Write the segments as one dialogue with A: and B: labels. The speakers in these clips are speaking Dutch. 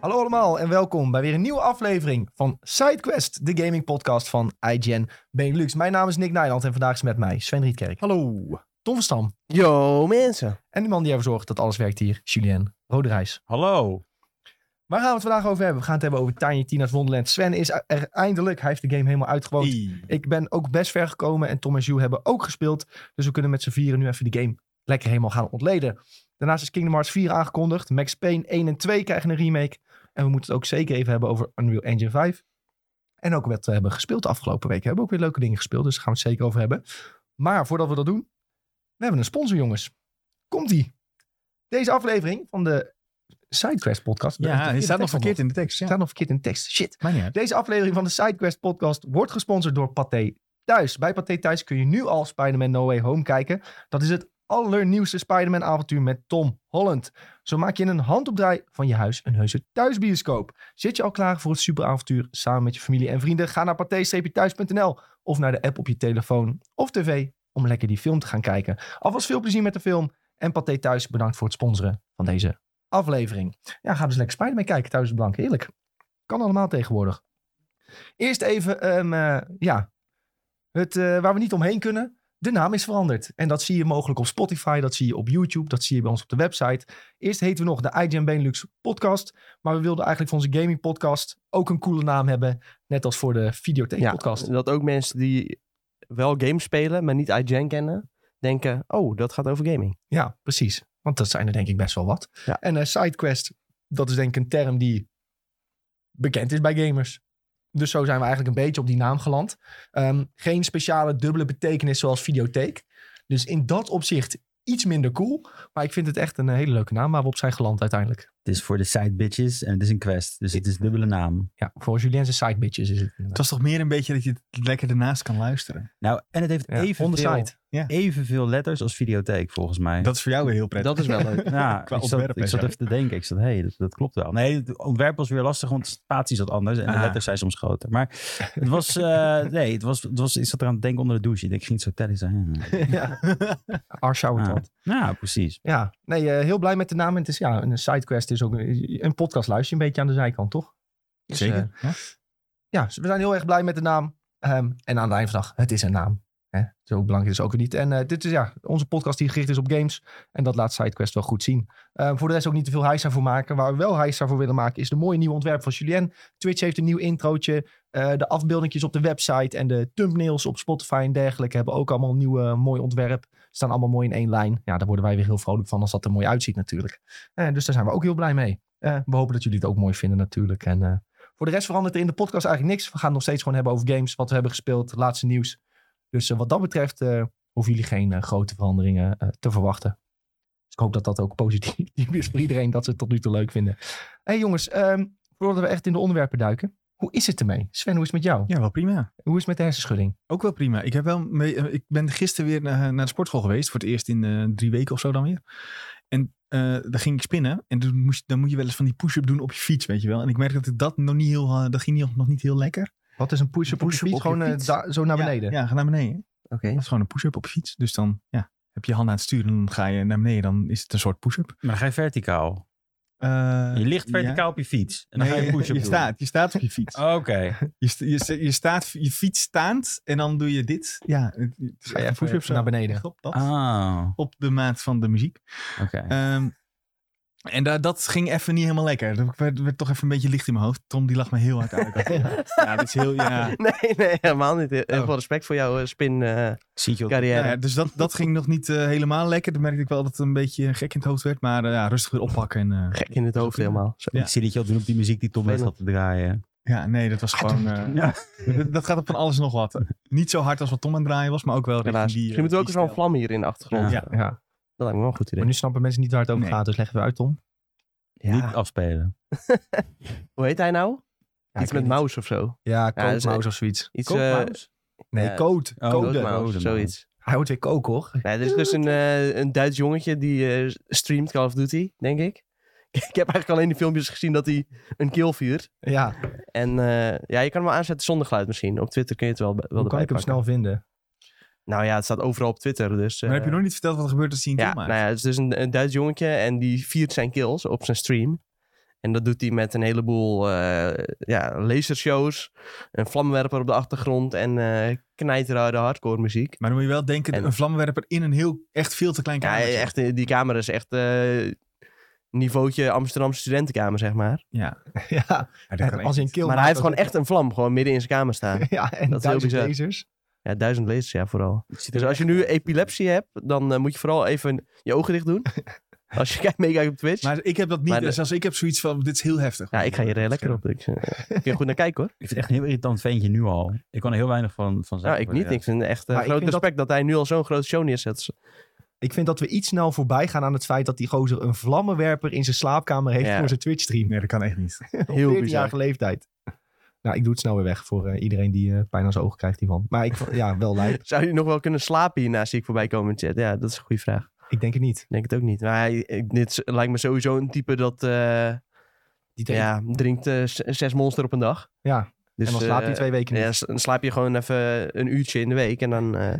A: Hallo allemaal en welkom bij weer een nieuwe aflevering van SideQuest, de gaming podcast van iGen Benelux. Mijn naam is Nick Nijland en vandaag is met mij Sven Rietkerk,
B: Hallo.
A: Tom van Stam
B: Yo mensen.
A: en de man die ervoor zorgt dat alles werkt hier, Julien Roderijs.
C: Hallo.
A: Waar gaan we het vandaag over hebben? We gaan het hebben over Tiny Tina's Wonderland. Sven is er eindelijk, hij heeft de game helemaal uitgewoond. Ik ben ook best ver gekomen en Tom en Jules hebben ook gespeeld. Dus we kunnen met z'n vieren nu even de game lekker helemaal gaan ontleden. Daarnaast is Kingdom Hearts 4 aangekondigd. Max Payne 1 en 2 krijgen een remake. En we moeten het ook zeker even hebben over Unreal Engine 5. En ook wat we hebben gespeeld de afgelopen week. We hebben ook weer leuke dingen gespeeld, dus daar gaan we het zeker over hebben. Maar voordat we dat doen, we hebben een sponsor jongens. Komt-ie. Deze aflevering van de SideQuest podcast.
C: Ja,
A: Die
C: hij staat nog verkeerd in de tekst. Ja.
A: staat nog verkeerd in de tekst. Shit.
C: Maakt niet uit.
A: Deze aflevering van de SideQuest podcast wordt gesponsord door Pathé Thuis. Bij Pathé Thuis kun je nu al Spider-Man No Way Home kijken. Dat is het allernieuwste Spider-Man avontuur met Tom Holland. Zo maak je in een handopdraai van je huis een heuse thuisbioscoop. Zit je al klaar voor het superavontuur samen met je familie en vrienden? Ga naar pathé-thuis.nl of naar de app op je telefoon of tv om lekker die film te gaan kijken. Alvast veel plezier met de film en Pathé Thuis bedankt voor het sponsoren van deze aflevering. Ja, ga dus lekker Spider-Man kijken thuis op de bank. Heerlijk. Kan allemaal tegenwoordig. Eerst even, ehm, eh, ja, het, eh, waar we niet omheen kunnen. De naam is veranderd. En dat zie je mogelijk op Spotify, dat zie je op YouTube, dat zie je bij ons op de website. Eerst heten we nog de IGN Benelux podcast. Maar we wilden eigenlijk voor onze gaming podcast ook een coole naam hebben. Net als voor de videotheek podcast.
B: Dat ook mensen die wel games spelen, maar niet iGen kennen, denken, oh, dat gaat over gaming.
A: Ja, precies. Want dat zijn er denk ik best wel wat.
B: Ja.
A: En eh, sidequest, dat is denk ik een term die bekend is bij gamers. Dus zo zijn we eigenlijk een beetje op die naam geland. Ehm, geen speciale dubbele betekenis zoals videotheek. Dus in dat opzicht iets minder cool. Maar ik vind het echt een eh, hele leuke naam waar we op zijn geland uiteindelijk.
D: Het is voor de side bitches en het is een quest. Dus het is dubbele naam.
A: Ja, voor Julien zijn side bitches is het.
C: Het was toch meer een beetje dat je het lekker ernaast kan luisteren.
D: Nou, en het heeft
A: Ja, on the
D: evenveel,
A: side.
D: evenveel letters als videotheek volgens mij.
C: Dat is voor jou weer heel prettig.
B: Dat is wel leuk.
D: ja,
C: qua
D: ik zat,
C: ontwerp
D: ik
C: en
D: zat
C: zo.
D: even te denken. Ik zat, hé, hey, dat, dat klopt wel. Nee, het ontwerp was weer lastig, want de spatie zat anders. En de
C: Ah.
D: letters zijn soms groter. Maar het was, eh, nee, het was, het was, ik zat eraan te denken onder de douche. Ik denk, ik ging het zo tellen zijn.
A: ja. Arshout
D: Ah. Ja, precies.
A: Ja, nee, eh, heel blij met de naam. En het is, ja, een sidequest is ook een, een podcast luister je een beetje aan de zijkant, toch? Dus, eh,
C: Zeker. Ja.
A: ja, dus we zijn heel erg blij met de naam. Ehm, en aan het eind van de dag, het is een naam. Hè? Zo belangrijk is het ook weer niet. En eh, dit is ja, onze podcast die gericht is op games. En dat laat SideQuest wel goed zien. Ehm, voor de rest ook niet te veel heisa voor maken. Waar we wel heisa voor willen maken is de mooie nieuwe ontwerp van Julien. Twitch heeft een nieuw introotje. Eh, de afbeeldingjes op de website en de thumbnails op Spotify en dergelijke hebben ook allemaal een nieuw eh, mooi ontwerp. Staan allemaal mooi in één lijn. Ja, daar worden wij weer heel vrolijk van als dat er mooi uitziet natuurlijk. Eh, dus daar zijn we ook heel blij mee. Eh, we hopen dat jullie het ook mooi vinden natuurlijk. En eh, voor de rest verandert er in de podcast eigenlijk niks. We gaan het nog steeds gewoon hebben over games, wat we hebben gespeeld, laatste nieuws. Dus eh, wat dat betreft eh, hoeven jullie geen eh, grote veranderingen eh, te verwachten. Dus ik hoop dat dat ook positief is voor iedereen, dat ze het tot nu toe leuk vinden. Hé hey jongens, ehm, voordat we echt in de onderwerpen duiken, hoe is het ermee? Sven, hoe is het met jou?
C: Ja, wel prima.
A: Hoe is het met de hersenschudding?
C: Ook wel prima. Ik, heb wel mee- eh, ik ben gisteren weer naar, naar de sportschool geweest. Voor het eerst in eh, drie weken of zo dan weer. En eh daar ging ik spinnen. En toen moest, dan moet je wel eens van die push-up doen op je fiets, weet je wel. En ik merkte dat ik dat nog niet heel... eh, dat ging niet, nog niet heel lekker.
A: Wat is een push-up
C: Een
A: push
C: push-up op je
A: Gewoon eh,
C: fiets?
A: da- zo naar
C: Ja,
A: beneden?
C: Ja, ga naar beneden.
B: Oké.
C: Dat is gewoon een push-up op je fiets. Dus dan ja, heb je je handen aan het sturen en dan ga je naar beneden. Dan is het een soort push-up.
D: Maar dan ga je verticaal.
C: Eh,
D: Je ligt
C: ja.
D: verticaal op je fiets. En dan
C: Nee,
D: ga je een push-up
C: je
D: doen.
C: staat, je staat op je fiets.
D: Oké.
C: Je, st- je, st- je, staat, je fiets staand en dan doe je dit. Ja, het- het is
A: Ga je
C: echt
A: Dus even
C: push-ups
A: naar
C: zo.
A: beneden.
C: Echt Op, dat.
D: Ah,
C: op de maat van de muziek.
D: oké.
C: Ehm, en da- dat ging even niet helemaal lekker. Dat werd, werd toch even een beetje licht in mijn hoofd. Tom die lag me heel hard uit. ja, dat is heel... Ja.
B: Nee, nee, helemaal niet. Heel
C: Oh.
B: veel respect voor jouw eh, spin eh,
D: Zie je
B: carrière.
C: Nou ja, dus dat, dat ging nog niet eh, helemaal lekker. Dan merkte ik wel dat het een beetje gek in het hoofd werd. Maar eh, ja, rustig weer oppakken. En, eh,
B: Gek in het hoofd
C: prima.
B: helemaal. Zo.
C: Ja.
D: Ik zie dat je al doen op die muziek die Tom net zat te draaien.
C: ja, nee, dat was
B: Ah,
C: gewoon... eh,
D: Ja.
C: dat, dat gaat op van alles en nog wat. Niet zo hard als wat Tom aan het draaien was, maar ook wel richting
B: Helaas.
C: die... eh,
B: Misschien moeten we ook
C: die
B: zo'n
C: stijl.
B: vlam hier in de achtergrond.
D: Ja.
A: Ja.
B: Dat lijkt me wel een goed
A: Maar
B: idee.
A: nu snappen mensen niet waar het over
C: Nee.
A: gaat, dus leggen we uit, Tom.
D: Niet afspelen.
B: Hoe heet hij nou?
A: Ja,
B: Iets
A: ik weet
B: met
A: niet.
B: mouse of zo.
A: Ja,
B: dat is-
A: Code Mouse of zoiets.
B: Iets,
D: Koop
B: dus, eh,
D: Maus?
A: Nee,
B: ja.
A: code.
D: Oh,
A: code.
B: Code Mouse,
D: Code
B: zoiets.
A: Hij wordt weer koken, hoor.
B: Nee, er is dus een, eh, een Duits jongetje die eh, streamt Call of Duty, denk ik. ik heb eigenlijk alleen die filmpjes gezien dat hij een kill vuurt.
A: Ja,
B: En eh, ja, je kan hem wel aanzetten zonder geluid misschien. Op Twitter kun je het wel, wel
A: hoe kan
B: erbij
A: ik hem
B: pakken.
A: snel vinden?
B: Nou ja, het staat overal op Twitter. Dus,
C: Maar
B: eh,
C: heb je nog niet verteld wat er gebeurt als hij een
B: ja,
C: kill maakt?
B: nou ja, het is dus een, een Duits jongetje en die viert zijn kills op zijn stream. En dat doet hij met een heleboel eh, ja, lasershows. Een vlammenwerper op de achtergrond. En eh knijterharde hardcore muziek.
C: Maar dan moet je wel denken,
B: En-
C: een vlammenwerper in een heel, echt veel te klein
B: Ja,
C: kamertje.
B: echt, eh, die kamer is echt eh niveautje Amsterdamse studentenkamer, zeg maar.
A: ja,
C: Ja, dat kan
A: als je een keel
B: Maar hij heeft
A: maakt,
B: gewoon echt een vlam gewoon midden in zijn kamer staan.
A: dan- Ja, en
B: Dat is heel
A: duizend
B: bizar.
A: lasers.
B: Ja, duizend lezers, ja, vooral.
D: ziet er
B: Dus als je nu epilepsie hebt, dan eh, moet je vooral even je ogen dicht doen. als je kijkt, meekijkt op Twitch.
C: Maar ik heb dat niet.
B: Maar de-
C: Zelfs ik heb zoiets van, dit is heel heftig.
B: ja, ik ga hier heel lekker op. Ik, eh, kun je goed naar kijken hoor.
D: Ik vind het echt een heel irritant ventje nu al. Ik kan er heel weinig van, van
B: Ja,
D: zeggen.
B: ik niet. Ik vind echt eh,
A: Maar ik
B: groot
A: vind dat-
B: respect dat... hij nu al zo'n grote show neerzet.
A: Ik vind dat we iets snel voorbij gaan aan het feit dat die gozer een vlammenwerper in zijn slaapkamer heeft
B: Ja.
A: voor zijn Twitch-stream.
C: Nee, dat kan echt niet.
A: Op
B: Heel
A: 14
B: bizar.
A: jarige leeftijd. Nou, ik doe het snel weer weg voor eh, iedereen die eh, pijn aan zijn ogen krijgt hiervan. Maar ik, ja, wel lijp.
B: Zou je nog wel kunnen slapen hierna, zie ik voorbij komen in de chat. Ja, dat is een goede vraag.
A: Ik denk het niet.
B: Ik denk het ook niet. Maar hij- ik- dit is- lijkt me sowieso een type dat eh,
A: Die twee-
B: ja, drinkt eh, z- zes monster op een dag.
A: Ja,
B: Dus,
A: en dan slaapt hij
B: eh,
A: twee weken niet.
B: Ja, s- dan slaap je gewoon even een uurtje in de week en dan eh,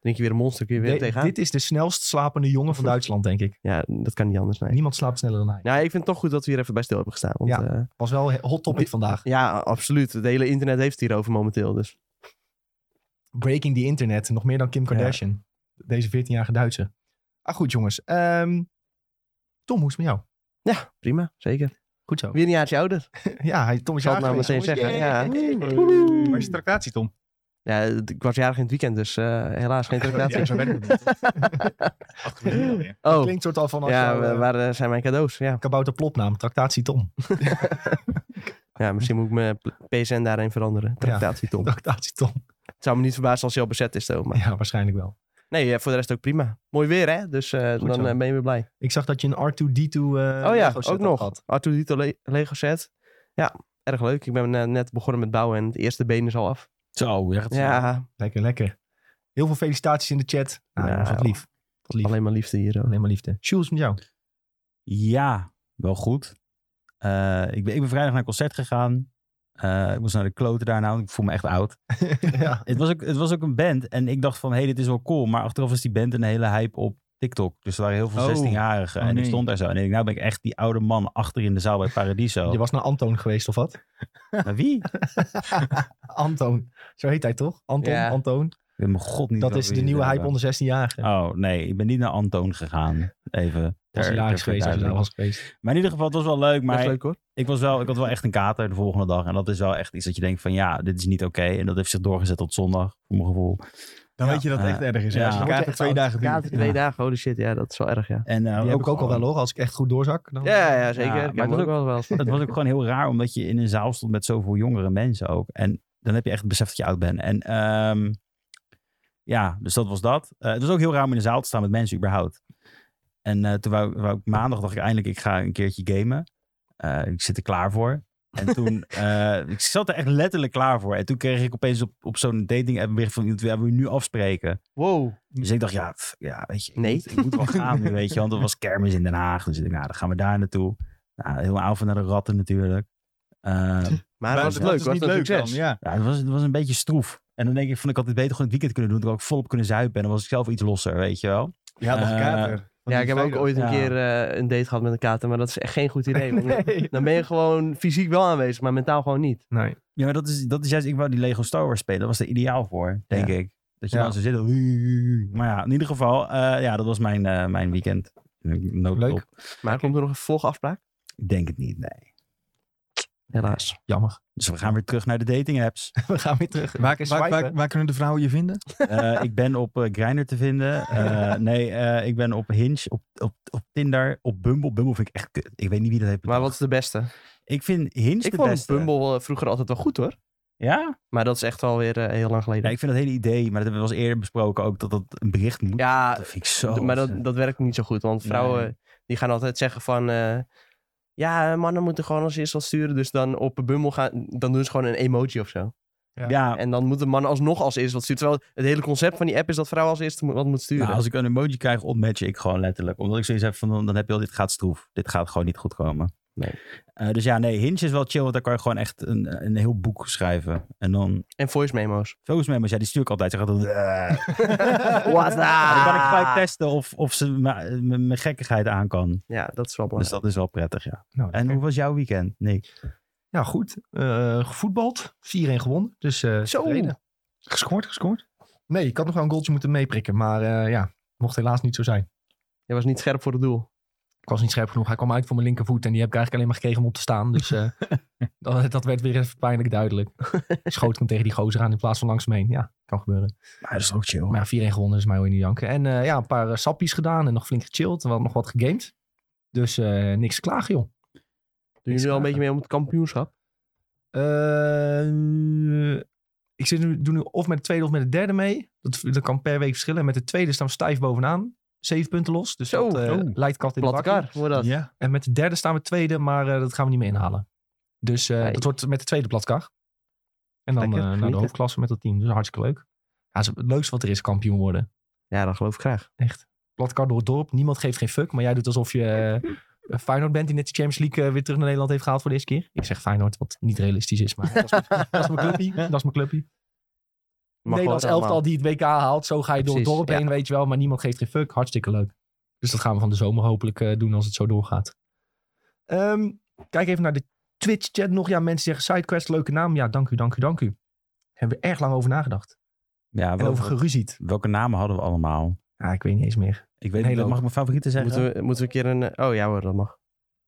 B: drink je weer een monster, kun je weer
A: De-
B: tegenaan.
A: dit is de snelst slapende jongen van Duitsland, denk ik.
B: Ja, dat kan niet anders, nee.
A: Niemand slaapt sneller dan hij.
B: Nou, ik vind het toch goed dat we hier even bij stil hebben gestaan. Want,
A: Ja.
B: ja.
A: Was wel een hot topic vandaag.
B: ja, absoluut. Het hele internet heeft het hierover momenteel. Dus
A: Breaking the internet. Nog meer dan Kim Kardashian. Deze 14-jarige Duitse. Ah, goed jongens. Ehm, Tom, hoe is het met jou?
B: prima, zeker.
A: Goed zo.
B: Weer een jaartje ouder.
A: Ja, hij, Tom is
B: Ik zal het nou
A: jarig
B: meteen
A: geweest,
B: zeggen.
A: jongens.
B: Ja.
C: Maar is het tractatie, Tom?
B: Ja, ik was jarig in het weekend, dus eh, helaas geen tractatie.
C: Ja, zo werkt het niet. Acht minuten alweer.
A: Het
B: oh,
A: Klinkt soort al van als
B: ja,
A: jouw, eh,
B: waar eh, zijn mijn cadeaus? Ja.
A: kabouter plopnaam. Tractatie Tom.
B: ja, misschien moet ik mijn pl- PSN daarin veranderen. Tractatie, Tom.
A: Tractatie Tom.
B: Het zou me niet verbazen als hij al bezet is, Tom. Maar
A: Ja, waarschijnlijk wel.
B: nee, eh, voor de rest ook prima. Mooi weer, hè? Dus eh,
A: Goed
B: dan
A: zo.
B: eh, ben je weer blij.
A: Ik zag dat je een R2-D2 eh,
B: oh ja,
A: Lego
B: ook
A: setup
B: nog.
A: had.
B: Arthur Dito Le- Lego set. Ja, erg leuk. Ik ben eh, net begonnen met bouwen en het eerste been is al af.
D: Zo, ja. dat is-
B: Ja,
A: Lekker, lekker. Heel veel felicitaties in de chat. Nou,
B: Ja,
A: jongens, wat lief. Wat lief.
B: alleen maar liefde hier. Ook.
A: Alleen maar liefde. Jules, met jou?
D: Ja, wel goed. Eh, ik, ben, ik ben vrijdag naar een concert gegaan. Eh, ik moest naar de kloten daarna, want ik voel me echt oud.
A: ja.
D: Het was, ook, het was ook een band en ik dacht van, hé, hey, dit is wel cool. Maar achteraf was die band een hele hype op TikTok. Dus er waren heel veel
C: Oh.
D: 16-jarigen.
C: Oh,
D: en
C: nee.
D: ik stond daar zo. En ik denk, nou ben ik echt die oude man achter in de zaal bij Paradiso.
A: Je was naar Antoon geweest of wat?
D: Maar wie? Ik
A: Antoon. Zo heet hij toch? Anton,
B: Ja.
A: Antoon.
D: weet mijn god niet
A: Dat
D: wel
A: is
D: wie
A: de
D: het
A: nieuwe hype
D: hebben.
A: onder 16-jarigen.
D: Oh, nee. Ik ben niet naar Antoon gegaan. Even.
A: was
D: ter-
A: hilarisch
D: ter
A: geweest als je daar was geweest.
D: Maar in ieder geval, het was wel leuk.
B: Maar...
D: Maar
B: leuk hoor.
D: ik, was wel, ik had wel echt een kater de volgende dag. En dat is wel echt iets dat je denkt van ja, dit is niet oké. En dat heeft zich doorgezet tot zondag, voor mijn gevoel.
C: Dan
A: Ja.
C: weet je dat het echt erg is. hè?
D: Ja.
C: Als je
A: word je
D: Dan
C: kaarten
A: echt
C: twee
A: oud.
C: dagen
B: Kater
C: duurt.
B: twee dagen, holy shit. Ja, dat is wel erg, ja.
D: En, eh,
A: Die heb ik ook al wel hoor. Als ik echt goed doorzak. Dan...
B: Ja, ja zeker.
D: Ja,
B: Ik
D: maar
B: heb
D: dat
B: ook wel wel.
D: Het was ook gewoon heel raar, omdat je in een zaal stond met zoveel jongere mensen ook. En dan heb je echt beseft dat je oud bent. En ehm, ja, dus dat was dat. Eh, het was ook heel raar om in een zaal te staan met mensen überhaupt. En eh, toen wou, wou ik maandag, dacht ik eindelijk, ik ga een keertje gamen. Eh, ik zit er klaar voor. En toen, eh, ik zat er echt letterlijk klaar voor. En toen kreeg ik opeens op, op zo'n dating app een bericht van iemand, ja, wil je nu afspreken?
B: Wow.
D: Dus ik dacht, ja, pff, ja weet je, ik,
B: Nee.
D: moet, ik moet wel gaan nu, weet je. Want er was kermis in Den Haag. Dus ik dacht, nou, dan gaan we daar naartoe. Nou, heel avond naar de ratten natuurlijk. Ehm,
B: Maar, was het
C: dat
B: Ah, leuk?
C: is
B: Was
C: niet
B: het een
C: leuk
B: succes?
C: dan, Ja.
D: ja, het, was, het was een beetje stroef. En dan denk ik, van ik had dit beter gewoon in het weekend kunnen doen. Toen had ik volop kunnen zuipen. En dan was ik zelf iets losser, weet je wel.
C: Je had nog
D: Eh,
C: kater.
B: Ja, ik heb ook ooit een
D: Ja.
B: keer eh, een date gehad met een kater, maar dat is echt geen goed idee. want
A: Nee.
B: Dan ben je gewoon fysiek wel aanwezig, maar mentaal gewoon niet.
A: Nee.
D: Ja, maar dat is, dat is juist, ik wou die Lego Star Wars spelen. Dat was er ideaal voor, denk ik. Dat je
A: Ja.
D: dan zo zit. Maar ja, in ieder geval, eh, ja, dat was mijn, eh, mijn weekend. Noodlop.
A: Leuk.
B: Maar komt er nog een vervolgafspraak?
D: Ik denk het niet, nee.
B: Helaas.
A: Jammer.
D: Dus we gaan weer terug naar de dating apps.
A: We gaan weer terug.
C: Waar,
A: Lekker
C: waar, waar,
A: swipen.
C: waar kunnen de vrouwen je vinden?
D: Eh, ik ben op eh Grindr te vinden. Eh, nee, eh, ik ben op Hinge, op, op, op Tinder, op Bumble. Bumble vind ik echt kut. Ik weet niet wie dat heeft
B: Maar
D: bedacht.
B: wat is de beste?
D: Ik vind Hinge
B: Ik
D: de
B: vond
D: beste.
B: Bumble eh, vroeger altijd wel goed hoor.
D: Ja?
B: Maar dat is echt alweer eh, heel lang
D: ja?
B: geleden.
D: Ik vind dat hele idee, maar dat hebben we wel eens eerder besproken ook, dat dat een bericht moet.
B: Ja,
D: Dat vind ik zo...
B: d- maar dat,
D: ontzettend.
B: dat werkt niet zo goed. Want vrouwen
D: Nee.
B: die gaan altijd zeggen van... eh, ja, mannen moeten gewoon als eerst wat sturen. Dus dan op Bumble gaan... Dan doen ze gewoon een emoji of zo.
A: ja.
D: Ja,
B: En dan moeten mannen alsnog als eerst wat sturen. Terwijl het hele concept van die app is dat vrouwen als eerst mo- wat moeten sturen.
D: nou, als ik een emoji krijg, ontmatch ik gewoon letterlijk. Omdat ik zoiets heb van, dan, dan heb je al, dit gaat stroef. Dit gaat gewoon niet goed komen.
B: Nee.
D: Eh, dus ja, nee, Hinge is wel chill, want daar kan je gewoon echt een, een heel boek schrijven. En dan,
B: En voice memo's.
D: volgens mij, maar ja, die stuur ik altijd. Ze gaat dan,
B: What
D: dan kan ik
B: Ah.
D: gelijk testen of, of ze ma- m- mijn gekkigheid aan kan.
B: Ja, dat is wel
D: Dus
B: belangrijk.
D: dat is wel prettig, ja.
A: Nou,
D: En hoe was jouw weekend, Nick?
A: Ja, goed. Eh, gevoetbald. 4-1 gewonnen. Dus eh
B: Zo.
A: tevreden.
C: Gescoord, gescoord.
A: Nee, ik had nog wel een goaltje moeten meeprikken. Maar eh, ja, mocht helaas niet zo zijn.
B: Je was niet scherp voor het doel.
A: Ik was niet scherp genoeg. Hij kwam uit voor mijn linkervoet. En die heb ik eigenlijk alleen maar gekregen om op te staan. Dus eh, dat, dat werd weer even pijnlijk duidelijk. Schoot ik hem tegen die gozer aan in plaats van langs me heen. Ja, kan gebeuren.
D: Maar dat is ook chill.
A: Maar ja, 4-1 gewonnen is mij hoor je niet janken. En eh, ja, een paar eh, sappies gedaan en nog flink gechilled. En wat, nog wat gegamed. Dus eh, niks te klagen, joh.
B: Doe je nu al een beetje mee om het kampioenschap?
A: Eh, ik zit nu, doe nu of met de tweede of met de derde mee. Dat, dat kan per week verschillen. En met de tweede staan we stijf bovenaan. Zeven punten los. Dus
B: Zo,
A: dat eh,
B: zo.
A: leidt kat in de
B: Platte
A: bakkie.
B: kar, wordt dat.
C: Ja.
A: En met de derde staan we tweede, maar eh, dat gaan we niet meer inhalen. Dus eh,
B: Nee.
A: dat wordt met de tweede platkar. En dan
B: Lekker,
A: eh, naar de
B: genieten.
A: hoofdklasse met dat team. Dus hartstikke leuk. Ja, het is het leukste wat er is, kampioen worden.
B: Ja, dat geloof ik graag.
A: Echt. Platkar door het dorp. Niemand geeft geen fuck. Maar jij doet alsof je eh, Feyenoord bent die net de Champions League eh, weer terug naar Nederland heeft gehaald voor de eerste keer. Ik zeg Feyenoord, wat niet realistisch is. Maar dat is mijn- dat is mijn clubpie. Dat is mijn clubpie.
B: Mag
A: Nederlands
B: gewoon
A: elftal
B: allemaal.
A: die het WK haalt. Zo ga je door
B: Precies,
A: het dorp
B: ja.
A: heen, weet je wel. Maar niemand geeft geen fuck. Hartstikke leuk. Dus dat gaan we van de zomer hopelijk eh, doen als het zo doorgaat. Ehm, kijk even naar de Twitch-chat nog. Ja, mensen zeggen SideQuest, leuke naam. Ja, dank u, dank u, dank u. Hebben we erg lang over nagedacht.
D: Ja,
A: En
D: wel-
A: over geruzied.
D: welke namen hadden we allemaal?
A: Ja, ik weet niet eens meer.
D: Ik weet
A: Hele
D: niet, mag
A: hoop.
D: ik mijn favorieten zeggen?
B: Moeten we, moeten we een keer een... eh, Oh ja hoor, dat mag.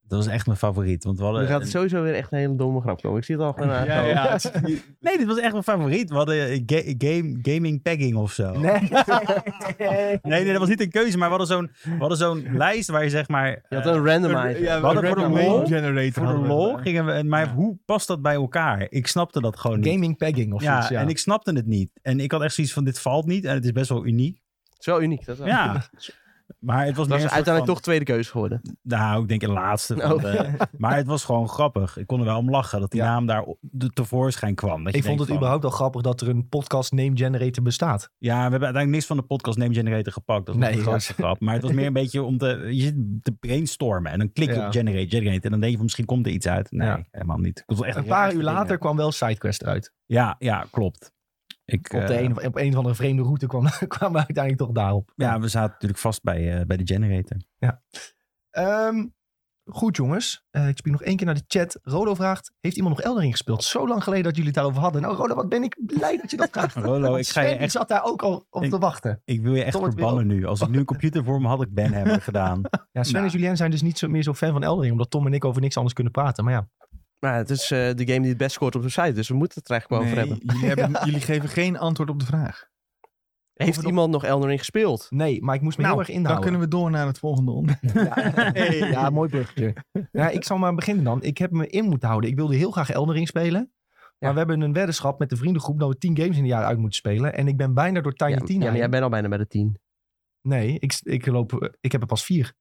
D: Dat was echt mijn favoriet. Want we hadden
B: Nu gaat
D: een-
B: het sowieso weer echt een hele domme grap komen. Ik zie het al gewoon aan.
C: eh, Ja, ja. het is-
D: Nee, dit was echt mijn favoriet. We hadden eh, ga- game, gaming tagging of zo. Nee. nee, dat was niet een keuze, maar we hadden zo'n, we hadden zo'n lijst waar je zeg maar...
B: Je
D: eh,
B: had een randomizer.
C: Ja, we
D: hadden voor de
C: random
D: lol-
C: generator.
D: voor de
C: hadden we
D: lol
C: het.
D: gingen we... Maar hoe past dat bij elkaar? Ik snapte dat gewoon niet.
A: Gaming pegging of
D: ja,
A: iets. Oh, Ja.
D: en ik snapte het niet. En ik had echt zoiets van, dit valt niet. En het is best wel uniek.
B: Het is wel uniek. Dat, wel.
D: Ja. Maar het
B: dat
D: was, meer
B: is
D: een soort
B: uiteindelijk
D: van-
B: toch tweede keuze geworden.
D: Nou, ik denk een laatste. van
B: Oh.
D: de- maar het was gewoon grappig. Ik kon er wel om lachen dat die
A: Ja.
D: naam daar op- de- tevoorschijn kwam. Dat je
A: Ik vond
D: denkt
A: het
D: van,
A: überhaupt al grappig dat er een podcast name generator bestaat.
D: Ja, we hebben uiteindelijk niks van de podcast Name Generator gepakt. Dat was
A: Nee,
D: de grootste grap. Maar het was meer een beetje om te, je zit te brainstormen. En dan klik je
A: Ja.
D: op generate, generate. En dan denk je van misschien komt er iets uit. Nee,
A: Ja.
D: helemaal niet. Ik vond het echt
A: Een
D: raar
A: paar uur
D: dingen.
A: later kwam wel SideQuest uit.
D: Ja, ja, klopt. Ik,
A: Op, de
D: eh,
A: een, op een of andere vreemde route kwam- kwamen we uiteindelijk toch daarop.
D: ja, we zaten natuurlijk vast bij, eh, bij de generator.
A: Ehm, goed jongens, Eh, ik spreek nog één keer naar de chat. Rodo vraagt, heeft iemand nog Eldering gespeeld? Zo lang geleden dat jullie het daarover hadden. Nou Rodo, wat ben ik blij dat je dat vraagt.
D: Rolo,
A: Want
D: ik, ga je
A: Sven, die
D: echt,
A: zat daar ook al op
D: Ik-
A: te wachten.
D: ik wil je echt
A: Tom, het
D: verbannen nu. Als ik nu een computer voor me had, ik Ben hebben gedaan.
A: Ja, Sven
C: Nou.
A: en Julien zijn dus niet zo, meer zo fan van Eldering. Omdat Tom en ik over niks anders kunnen praten. Maar ja,
B: Maar het is eh, de game die het best scoort op de site. Dus we moeten het er eigenlijk wel over
C: Nee,
B: hebben.
C: jullie, hebben, jullie geven geen antwoord op de vraag.
B: Heeft iemand nog Elden Ring gespeeld?
A: nee, maar ik moest me heel erg inhouden.
C: dan kunnen we door naar het volgende onderwerp.
A: Ja, ja, mooi bruggetje. Ja, ik zal maar beginnen dan. Ik heb me in moeten houden. Ik wilde heel graag Eldering spelen. Maar
B: Ja.
A: we hebben een weddenschap met de vriendengroep dat we tien games in een jaar uit moeten spelen. En ik ben bijna door Tiny
B: Ja,
A: Tina.
B: ja, maar jij
A: heen.
B: bent al bijna bij de tien.
A: Nee, ik, ik, loop, eh, ik heb er pas vier.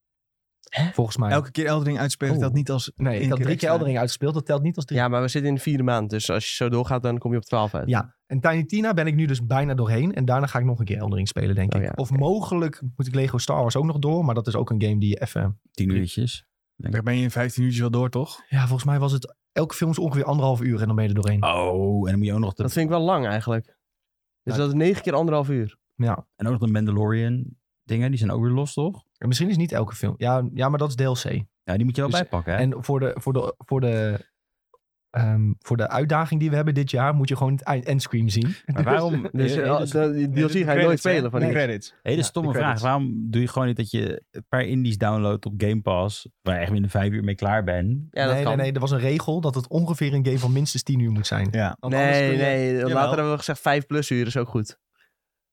A: Volgens mij.
C: Elke keer Eldering uitspelen
A: Oh.
C: dat niet als...
A: nee, ik
C: één
A: had drie
C: keer
A: keer
C: extra.
A: Eldering uitgespeeld. Dat telt niet als drie. Ja.
B: Ja, maar we zitten in de vierde maand. Dus als je zo doorgaat, dan kom je op 12 uit.
A: En Tiny Tina ben ik nu dus bijna doorheen. En daarna ga ik nog een keer Eldering spelen, denk
B: Oh
A: ik.
B: ja,
A: Of
B: oké.
A: mogelijk moet ik Lego Star Wars ook nog door. Maar dat is ook een game die je even...
D: Tien uurtjes.
C: Daar ben je in 15 uurtjes wel door, toch?
A: Ja, volgens mij was het... Elke film is ongeveer anderhalf uur en dan ben je er doorheen.
D: Oh, en dan moet je ook nog de,
B: Dat vind ik wel lang eigenlijk. Dus
A: Nou,
B: dat is negen keer anderhalf uur.
A: Ja.
D: en ook nog de Mandalorian dingen. Die zijn ook weer los, toch?
A: En misschien is niet elke film. Ja, ja, maar dat is DLC.
D: Ja, die moet je wel
A: Dus-
D: bijpakken, hè?
A: En voor de, voor, de, voor, de, ehm, voor de uitdaging die we hebben dit jaar moet je gewoon het eind- endscreen zien.
D: Maar waarom...
B: Dus
D: eh,
B: eh,
D: eh,
B: al-
D: dus-
B: de- die DLC ga je nooit spelen van
C: de
B: die
C: credits.
D: Hele
A: Ja,
D: stomme
B: de
D: vraag.
B: credits.
D: Waarom doe je gewoon niet dat je een paar indies downloadt op Game Pass, waar je echt binnen vijf uur mee klaar bent?
B: Ja, dat
A: nee,
B: kan.
A: nee, nee, er was een regel dat het ongeveer een game van minstens 10 uur moet zijn.
C: Ja.
A: Want anders kun
B: Nee,
A: je-
B: nee.
C: Jawel.
B: Later hebben we gezegd 5 plus uur is ook goed.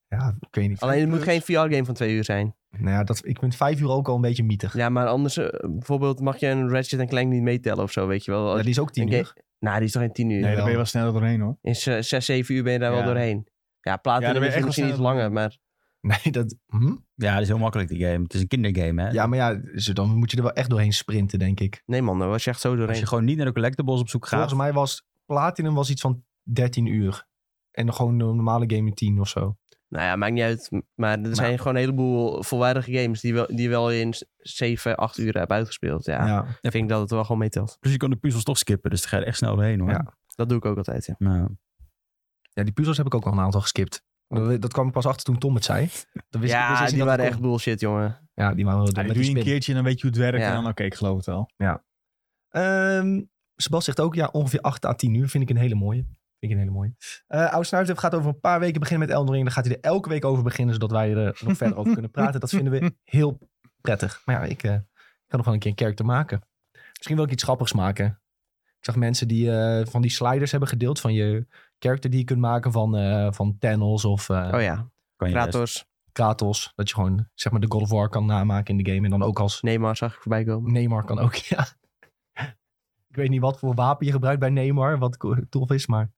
A: Ja, ik weet niet.
B: Alleen het moet
C: plus.
B: geen VR-game van 2 uur zijn.
A: Nou ja, dat, ik vind 5 uur ook al een beetje mietig. Ja,
B: Ja, maar anders eh, bijvoorbeeld mag je een Ratchet Clank niet meetellen of zo, weet je wel.
A: die is ook 10
B: Een
A: uur.
B: Nou, die is toch geen 10 uur?
C: Nee, daar ben je wel sneller doorheen, hoor.
B: In 6, 7 uur ben je daar
C: Ja.
B: wel doorheen. Ja, platen
C: Ja, dan ben je
B: is
C: echt
B: misschien
C: wel
B: iets
C: snel
B: langer, maar
A: Nee, dat, hm?
D: Ja, dat is heel makkelijk, die game. Het is een kindergame, hè?
A: Ja, maar ja, ze- dan moet je er wel echt doorheen sprinten, denk ik.
B: nee man, dan was je echt zo
D: Als
B: doorheen.
D: je gewoon niet naar de collectibles op zoek gaat.
A: Volgens mij was Platinum was iets van 13 uur. En gewoon een normale game in 10 of zo.
B: Nou ja, maakt niet uit. Maar er zijn gewoon een heleboel volwaardige games die, wel, die je wel in 7, 8 uur hebt uitgespeeld. Ja,
A: Ja.
B: ik vind dat het wel gewoon meetelt.
D: Dus je kan de puzzels toch skippen, dus daar ga je er echt snel doorheen hoor.
A: Ja.
B: Dat doe ik ook altijd, ja.
D: Nou,
A: ja, die puzzels heb ik ook al een aantal geskipt. Dat, dat kwam ik pas achter toen Tom het zei. Dan wist ik, wist
B: ja,
A: ik niet
B: die
A: dat
B: waren
A: het
B: echt
A: kon.
B: bullshit, jongen.
A: Ja, die waren wel
C: Ja,
A: dom
C: die
A: met
C: doe
A: die
C: je een
A: spin.
C: keertje en dan weet je hoe het werkt.
B: Ja.
C: En dan, oké, ik geloof het wel.
A: Ehm Sebas zegt ook, ja, ongeveer 8 à 10 uur vind ik een hele mooie. Vind ik een hele mooie. Eh Oud Snuiter gaat over een paar weken beginnen met Elden Ring. Dan gaat hij er elke week over beginnen, zodat wij er nog verder over kunnen praten. Dat vinden we heel prettig. Maar ja, ik eh, kan nog wel een keer een character maken. Misschien wil ik iets grappigs maken. Ik zag mensen die eh, van die sliders hebben gedeeld van je character die je kunt maken van, eh van Thanos of eh,
B: Oh ja,
D: kan je best.
B: Kratos,
A: Kratos. Dat je gewoon zeg maar de God of War kan namaken in de game. En dan ook als
B: Neymar zag ik voorbij komen.
A: Neymar kan ook, ja. Ik weet niet wat voor wapen je gebruikt bij Neymar, wat co- tof is, maar...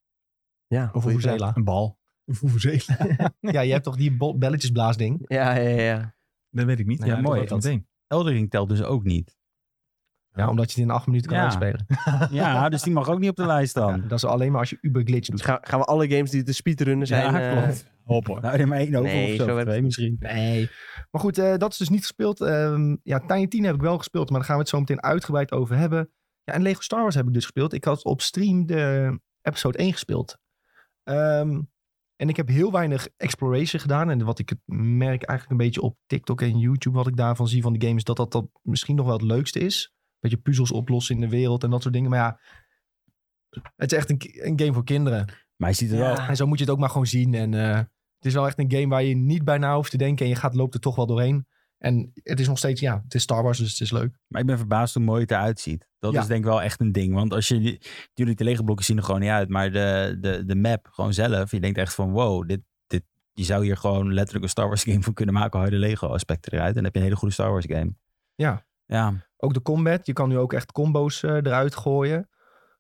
B: Ja,
A: Of
B: goeie
A: Hoezela.
C: Een bal. Een vuvuzela.
A: Ja, je hebt toch die bo- belletjesblaasding?
B: vraag. Ja, ja, ja, ja.
C: Dat weet ik niet.
A: Ja,
D: mooi.
C: dat weet ik meteen.
D: Eldering telt dus ook niet.
A: Ja, omdat je het in acht minuten kan
D: Ja.
A: uitspelen.
D: Ja, dus die mag ook niet op de lijst dan.
A: Dat is alleen maar als je uber glitch
B: Dus
A: doet.
B: ga- gaan we alle games die te speedrunnen zijn...
D: Ja,
B: eh,
D: klopt.
C: Hop hoor.
D: Nou, er maar één over
B: Nee,
D: of zo,
B: zo
D: of
B: heb-
D: twee misschien.
A: Nee. Maar goed, eh, dat is dus niet gespeeld. Ehm ja, Tiny 10 heb ik wel gespeeld, maar daar gaan we het zo meteen uitgebreid over hebben. Ja, en Lego Star Wars heb ik dus gespeeld. Ik had op stream de episode 1 gespeeld. Ehm, en ik heb heel weinig exploration gedaan. En wat ik het merk eigenlijk een beetje op TikTok en YouTube, wat ik daarvan zie van de games, dat dat, dat misschien nog wel het leukste is. Beetje puzzels oplossen in de wereld en dat soort dingen. Maar ja, het is echt een, ki- een game voor kinderen.
D: Maar je ziet er wel.
A: En zo moet je het ook maar gewoon zien. En eh, het is wel echt een game waar je niet bij na hoeft te denken. En je gaat, loopt er toch wel doorheen. En het is nog steeds, ja, het is Star Wars, dus het is leuk.
D: Maar ik ben verbaasd hoe mooi het eruit ziet. Dat
A: Ja.
D: is denk ik wel echt een ding. Want als je, jullie de lege blokken zien er gewoon niet uit. Maar de, de, de map gewoon zelf. Je denkt echt van wow, dit, dit, je zou hier gewoon letterlijk een Star Wars game van kunnen maken. Al haal je de Lego aspecten eruit. En dan heb je een hele goede Star Wars game.
A: Ja.
D: Ja,
A: Ook de combat, je kan nu ook echt combo's eh, eruit gooien.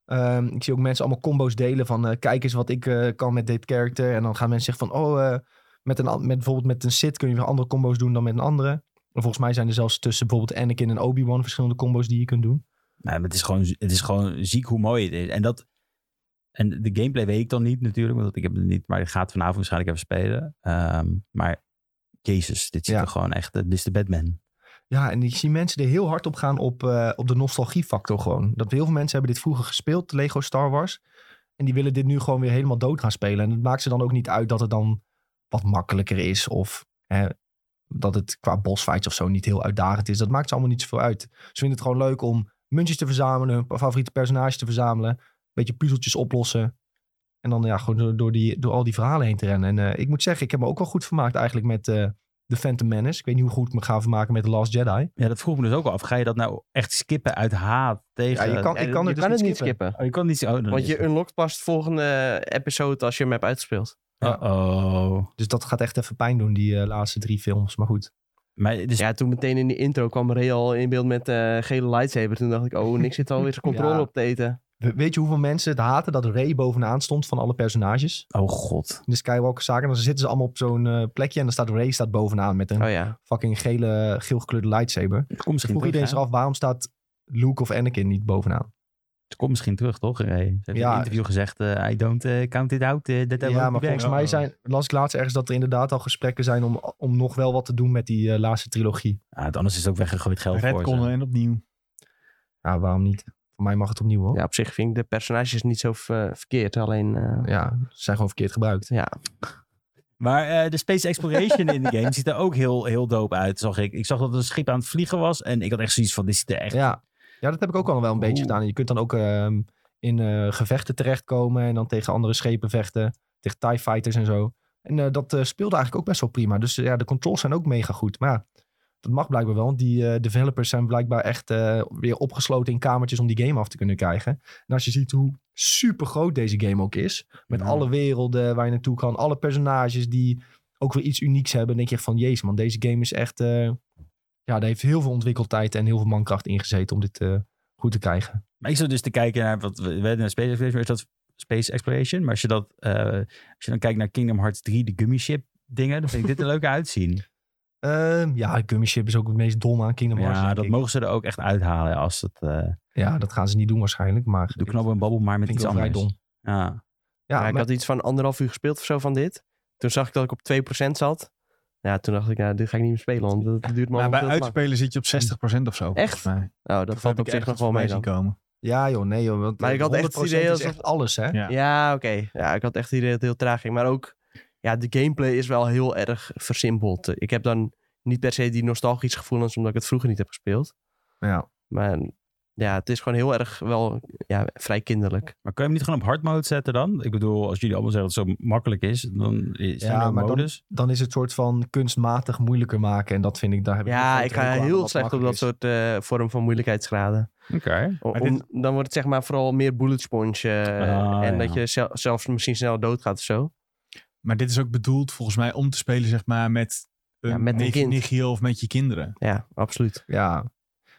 A: Ehm, ik zie ook mensen allemaal combo's delen van eh, kijk eens wat ik eh, kan met dit character. En dan gaan mensen zeggen van oh, eh, met een, an- met, bijvoorbeeld met een Sith kun je weer andere combo's doen dan met een andere. En volgens mij zijn er zelfs tussen bijvoorbeeld Anakin en Obi-Wan verschillende combo's die je kunt doen.
D: maar het is, gewoon, het is gewoon ziek hoe mooi het is. En dat. En de gameplay weet ik dan niet natuurlijk. Want ik heb het niet. Maar ik ga het vanavond waarschijnlijk even spelen. Ehm, maar Jezus, dit ziet
A: Ja.
D: er gewoon echt. Dit is de Batman.
A: Ja, en ik zie mensen er heel hard op gaan op, eh, op de nostalgiefactor gewoon. Dat heel veel mensen hebben dit vroeger gespeeld, Lego Star Wars. En die willen dit nu gewoon weer helemaal dood gaan spelen. En het maakt ze dan ook niet uit dat het dan wat makkelijker is. Of hè, dat het qua bossfights of zo niet heel uitdagend is. Dat maakt ze allemaal niet zoveel uit. Ze vinden het gewoon leuk om muntjes te verzamelen, hun favoriete personages te verzamelen. Een beetje puzzeltjes oplossen. En dan ja, gewoon door, door, die, door al die verhalen heen te rennen. En eh, ik moet zeggen, ik heb me ook wel goed vermaakt eigenlijk met eh The Phantom Menace. Ik weet niet hoe goed ik me ga vermaken met The Last Jedi.
D: Ja, dat vroeg me dus ook al af. Ga je dat nou echt skippen uit haat tegen...
A: Ja, je kan-
B: ja,
A: ik kan
B: je
A: er dus
B: kan
A: niet
B: het niet
A: skippen.
B: skippen.
D: Oh, je kan niet... Oh, dan
B: Want
D: is
B: je
D: het-
B: unlockt pas de volgende episode als je hem hebt uitgespeeld.
D: Uh-oh.
A: Dus dat gaat echt even pijn doen, die eh, laatste drie films. Maar goed.
D: Maar dus,
B: Ja, toen meteen in die intro kwam Real in beeld met eh, gele lightsaber. Toen dacht ik, oh, niks zit alweer zijn controle
A: Ja.
B: op te eten.
A: We- Weet je hoeveel mensen het haten dat Ray bovenaan stond van alle personages?
D: Oh god.
A: In de Skywalker zaken. En dan zitten ze allemaal op zo'n eh, plekje en dan staat Ray staat bovenaan met een
B: Oh ja.
A: fucking gele, geel gekleurde lightsaber.
D: Het komt
A: Ze
D: misschien
A: vroeg
D: terug,
A: iedereen
D: hè?
A: zich af, waarom staat Luke of Anakin niet bovenaan?
D: Het komt misschien terug, toch? Ray? Ze heeft in
A: Ja.
D: een interview gezegd... eh, I don't eh, count it out. eh, that I
A: ja,
D: won't
A: maar
D: be back.
A: volgens mij zijn, las ik laatst ergens dat er inderdaad al gesprekken zijn om, om nog wel wat te doen met die eh, laatste trilogie.
D: Ah, het anders is het ook weggegooid geld voor
C: Redconnen
D: ze.
C: en opnieuw.
A: Ja, waarom niet? Voor mij mag het opnieuw hoor. Ja,
B: ja, op zich vind ik de personages niet zo ver- verkeerd. Alleen, eh,
A: ze zijn gewoon verkeerd gebruikt.
B: ja.
D: Maar eh, de Space Exploration in de game ziet er ook heel, heel dope uit, zag ik. Ik zag dat er een schip aan het vliegen was. En ik had echt zoiets van, dit ziet er echt...
A: Ja. ja, dat heb ik ook al wel een beetje
D: Oeh.
A: gedaan. En Je kunt dan ook ehm, in eh, gevechten terechtkomen en dan tegen andere schepen vechten. Tegen TIE fighters en zo. En eh, dat eh, speelde eigenlijk ook best wel prima. Dus eh, ja, de controls zijn ook mega goed. Maar ja, dat mag blijkbaar wel. Want die eh, developers zijn blijkbaar echt eh, weer opgesloten in kamertjes om die game af te kunnen krijgen. En als je ziet hoe super groot deze game ook is. Met
D: Ja.
A: alle werelden waar je naartoe kan. Alle personages die ook weer iets unieks hebben. Dan denk je echt van, jezus man, deze game is echt... eh, ja, daar heeft heel veel ontwikkeltijd en heel veel mankracht ingezeten om dit eh, goed te krijgen.
D: Maar ik zat dus te kijken naar wat we we hebben naar Space Exploration, is dat Space Exploration. Maar als je dat, eh, als je dan kijkt naar Kingdom Hearts 3, de gummy ship dingen, dan vind ik dit er leuk uitzien.
A: Ehm, ja, Gummy Ship is ook het meest dom aan Kingdom Hearts.
D: Ja,
A: denk
D: dat
A: ik.
D: mogen ze er ook echt uithalen als het eh
A: ja, dat gaan ze niet doen waarschijnlijk, maar
D: doe knabbel en babbel maar met
A: vind
D: iets
A: ik wel vrij
D: anders.
A: dom.
D: Ja.
A: Ja,
B: Ja, ik
A: maar-
B: had iets van anderhalf uur gespeeld of zo van dit. Toen zag ik dat ik op 2% zat. Ja, toen dacht ik, nou, dit ga ik niet meer spelen, want dat duurt me
C: Maar Nou, bij
B: allemaal veel te lang.
C: uitspelen zit je op 60% of zo.
B: Echt?
C: volgens mij.
B: Nou, dat
C: Of
B: valt
C: heb
B: op
C: ik
B: zich nog
C: ergens
B: wel mee
C: voorbij
B: dan.
C: zien komen.
A: Ja joh, nee joh. want
B: Maar ik had echt het
A: 100%
B: idee
A: is
B: alsof-
A: echt alles hè.
C: Ja.
B: Ja, oké. Ja, ik had echt het idee dat het heel traag ging. Maar ook, ja, de gameplay is wel heel erg versimpeld. Ik heb dan niet per se die nostalgische gevoelens, omdat ik het vroeger niet heb gespeeld.
A: Ja.
B: Maar ja, het is gewoon heel erg wel ja, vrij kinderlijk.
D: Maar kan je hem niet gewoon op hard mode zetten dan? Ik bedoel, als jullie allemaal zeggen dat het zo makkelijk is, dan is
A: Ja,
D: ja, er
A: maar
D: ook
A: dan-
D: modus.
A: Dan is het soort van kunstmatig moeilijker maken. En dat vind ik, daar heb ik een
B: Ja,
A: grote
B: ik ga
A: hekel aan, omdat
B: heel
A: het
B: slecht op dat
A: makkelijk is.
B: soort eh, vorm van moeilijkheidsgraden.
D: Oké.
B: O-
C: Maar
B: om- dan wordt het zeg maar vooral meer bullet sponge. eh,
D: Ah,
B: en
D: ja.
B: dat je zel- zelfs misschien snel doodgaat of zo.
C: Maar dit is ook bedoeld volgens mij om te spelen zeg maar met een,
B: Ja, met een
C: neef,
B: kind.
C: nichtje of met je kinderen.
B: Ja, absoluut.
A: Ja.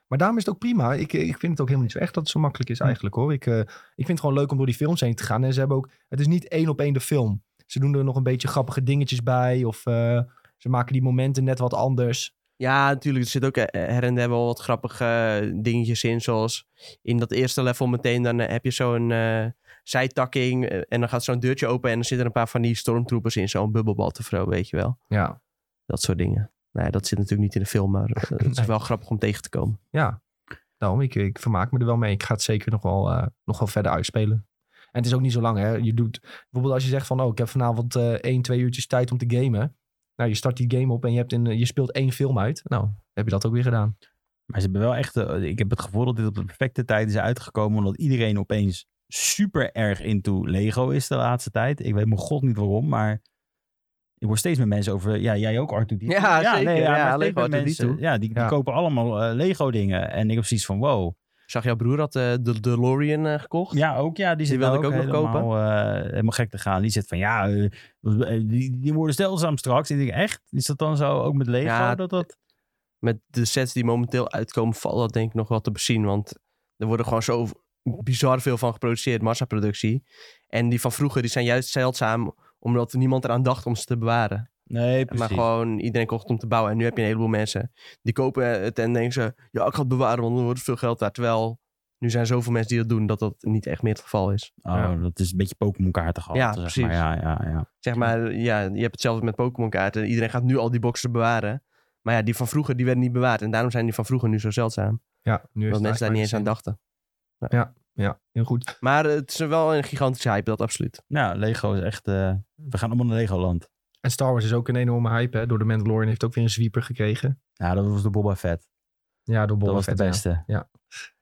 A: Maar daarom is het ook prima. Ik, eh, ik vind het ook helemaal niet zo echt dat het zo makkelijk
B: Hm.
A: is eigenlijk hoor. Ik, eh, ik vind het gewoon leuk om door die films heen te gaan. En ze hebben ook, het is niet één op één de film. Ze doen er nog een beetje grappige dingetjes bij. Of eh, ze maken die momenten net wat anders.
B: Ja, natuurlijk. Er zit ook eh, her en der wel wat grappige eh, dingetjes in. Zoals in dat eerste level meteen. Dan eh, heb je zo'n eh, zijtakking. eh, en dan gaat zo'n deurtje open. En dan zitten er een paar van die stormtroopers in. Zo'n bubbelbad of zo, weet je wel.
A: Ja.
B: Dat soort dingen. Nou ja, dat zit natuurlijk niet in de film. Maar eh, het is wel grappig om tegen te komen.
A: Ja. Daarom, ik, ik vermaak me er wel mee. Ik ga het zeker nog wel, eh, nog wel verder uitspelen. En het is ook niet zo lang hè. Je doet, bijvoorbeeld als je zegt van, oh ik heb vanavond eh één, twee uurtjes tijd om te gamen. Nou, je start die game op en je, hebt in, je speelt één film uit. Nou, heb je dat ook weer gedaan.
D: Maar ze hebben wel echt, eh, ik heb het gevoel dat dit op de perfecte tijd is uitgekomen, omdat iedereen opeens super erg into Lego is de laatste tijd. Ik weet mijn god niet waarom, maar ik hoor steeds meer mensen over, ja, jij ook Arthur die.
B: Ja, zeker. Ja,
D: maar steeds
B: Lego
D: meer
B: R2D2.
D: ja, die, die
A: Ja.
D: kopen allemaal eh, Lego dingen. En ik heb zoiets van, wow.
B: Zag jouw broer had eh, de DeLorean eh, gekocht?
D: Ja, ook ja. Die, zit
B: wilde
D: nou
B: ik ook nog
D: helemaal, eh, helemaal gek te gaan. Die zit van ja, eh, die, die worden zeldzaam straks. En ik denk echt, is dat dan zo ook met Lego?
B: Ja,
D: dat dat...
B: Met de sets die momenteel uitkomen, valt dat denk ik nog wel te bezien. Want er worden gewoon zo bizar veel van geproduceerd, massaproductie. En die van vroeger, die zijn juist zeldzaam, omdat niemand eraan dacht om ze te bewaren.
D: Nee, precies.
B: eh, Maar gewoon iedereen kocht om te bouwen. En nu heb je een heleboel mensen die kopen het en denken ze... Ja, ik ga het bewaren, want dan wordt het veel geld waard. Terwijl nu zijn zoveel mensen die dat doen, dat dat niet echt meer het geval is.
D: Oh, dat is een beetje Pokémon kaarten gehad.
B: Ja,
D: zeg
B: precies.
D: Maar. Ja, ja, ja.
B: Zeg maar, ja, je hebt hetzelfde met Pokémon kaarten. Iedereen gaat nu al die boxen bewaren. Maar ja, die van vroeger, die werden niet bewaard. En daarom zijn die van vroeger nu zo zeldzaam.
A: Ja, nu is
B: Dat
A: het
B: mensen daar niet eens
A: eigenlijk
B: aan dachten.
A: maar Ja, heel goed.
B: Maar het is wel een gigantische hype, dat absoluut.
D: Nou, Lego is echt. eh, we gaan allemaal naar Legoland.
A: En Star Wars is ook een enorme hype. Hè? Door de Mandalorian heeft ook weer een zwieper gekregen.
D: Ja, dat was de Boba Fett.
A: Ja, door Boba
D: dat was
A: Fett,
D: de
A: ja.
D: beste.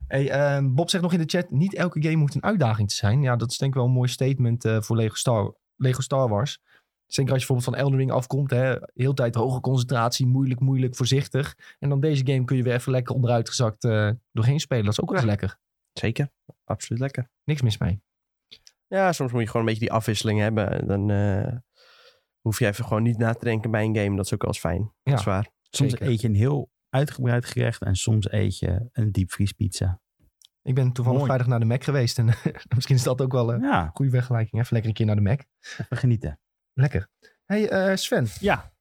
A: Hey, ehm, Bob zegt nog in de chat, niet elke game hoeft een uitdaging te zijn. Ja, dat is denk ik wel een mooi statement eh, voor Lego Star, Lego Star Wars. Zeker als je bijvoorbeeld van Elden Ring afkomt. Hè? Heel tijd hoge concentratie, moeilijk, moeilijk, voorzichtig. En dan deze game kun je weer even lekker onderuitgezakt eh, doorheen spelen. Dat is ook wel eens lekker.
B: Zeker. Absoluut lekker.
A: Niks mis mee.
B: Ja, soms moet je gewoon een beetje die afwisseling hebben. Dan eh, hoef je even gewoon niet na te denken bij een game. Dat is ook wel eens fijn.
A: Ja.
B: Dat is waar.
D: Soms
A: Zeker.
D: eet je een heel uitgebreid gerecht en soms eet je een diepvriespizza.
A: Ik ben toevallig
C: Mooi.
A: vrijdag naar de Mac geweest. En misschien is dat ook wel een
D: Ja,
A: goede vergelijking. Even lekker een keer naar de Mac.
D: even genieten.
A: Lekker. hey, eh, Sven.
D: Ja.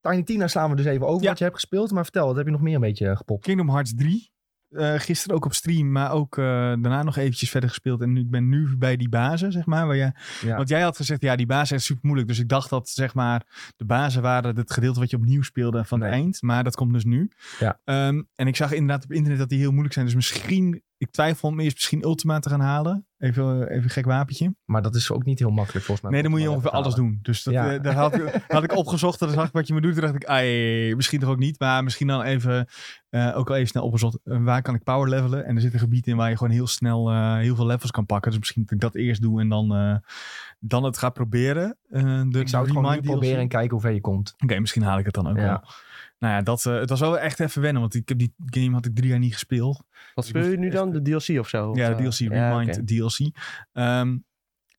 A: Tiny Tina slaan we dus even over
C: Ja.
A: wat je hebt gespeeld. Maar vertel, wat heb je nog meer een beetje eh, gepopt?
C: Kingdom Hearts 3. Eh, gisteren ook op stream, maar ook eh, daarna nog eventjes verder gespeeld. En nu, ik ben nu bij die bazen, zeg maar. Waar jij,
A: Ja.
C: Want jij had gezegd, ja, die bazen zijn super moeilijk. Dus ik dacht dat, zeg maar, de bazen waren het gedeelte wat je opnieuw speelde van
A: Nee.
C: het eind. Maar dat komt dus nu.
A: Ja.
C: Ehm, en ik zag inderdaad op internet dat die heel moeilijk zijn. Dus misschien, ik twijfel om eerst misschien Ultima te gaan halen. Even, eh, even een gek wapentje.
A: Maar dat is ook niet heel makkelijk volgens mij.
C: nee, dan moet je
A: Volgens
C: ongeveer
A: mij
C: alles
A: even
C: doen. Dus dat,
A: Ja.
C: eh, daar had, ik- had ik opgezocht. En dan zag ik wat je me doet. Toen dacht ik, ai, misschien toch ook niet. Maar misschien dan even, eh, ook al even snel opgezocht. eh, waar kan ik power levelen? En er zit een gebied in waar je gewoon heel snel eh, heel veel levels kan pakken. Dus misschien dat ik dat eerst doe en dan, eh, dan het ga proberen. Eh,
A: Ik
C: de,
A: zou het
C: de
A: gewoon nu
C: Remind DLC.
A: proberen en kijken hoe ver je komt.
C: Oké, misschien haal ik het dan ook
A: Ja.
C: wel. Nou ja, dat, eh, het was wel echt even wennen. Want ik heb die game had ik drie jaar niet gespeeld.
B: Wat speel je nu dan? De DLC of zo?
C: Ja,
B: Of,
C: de
B: eh,
C: DLC,
B: ja,
C: Remind
B: oké.
C: DLC. Ehm,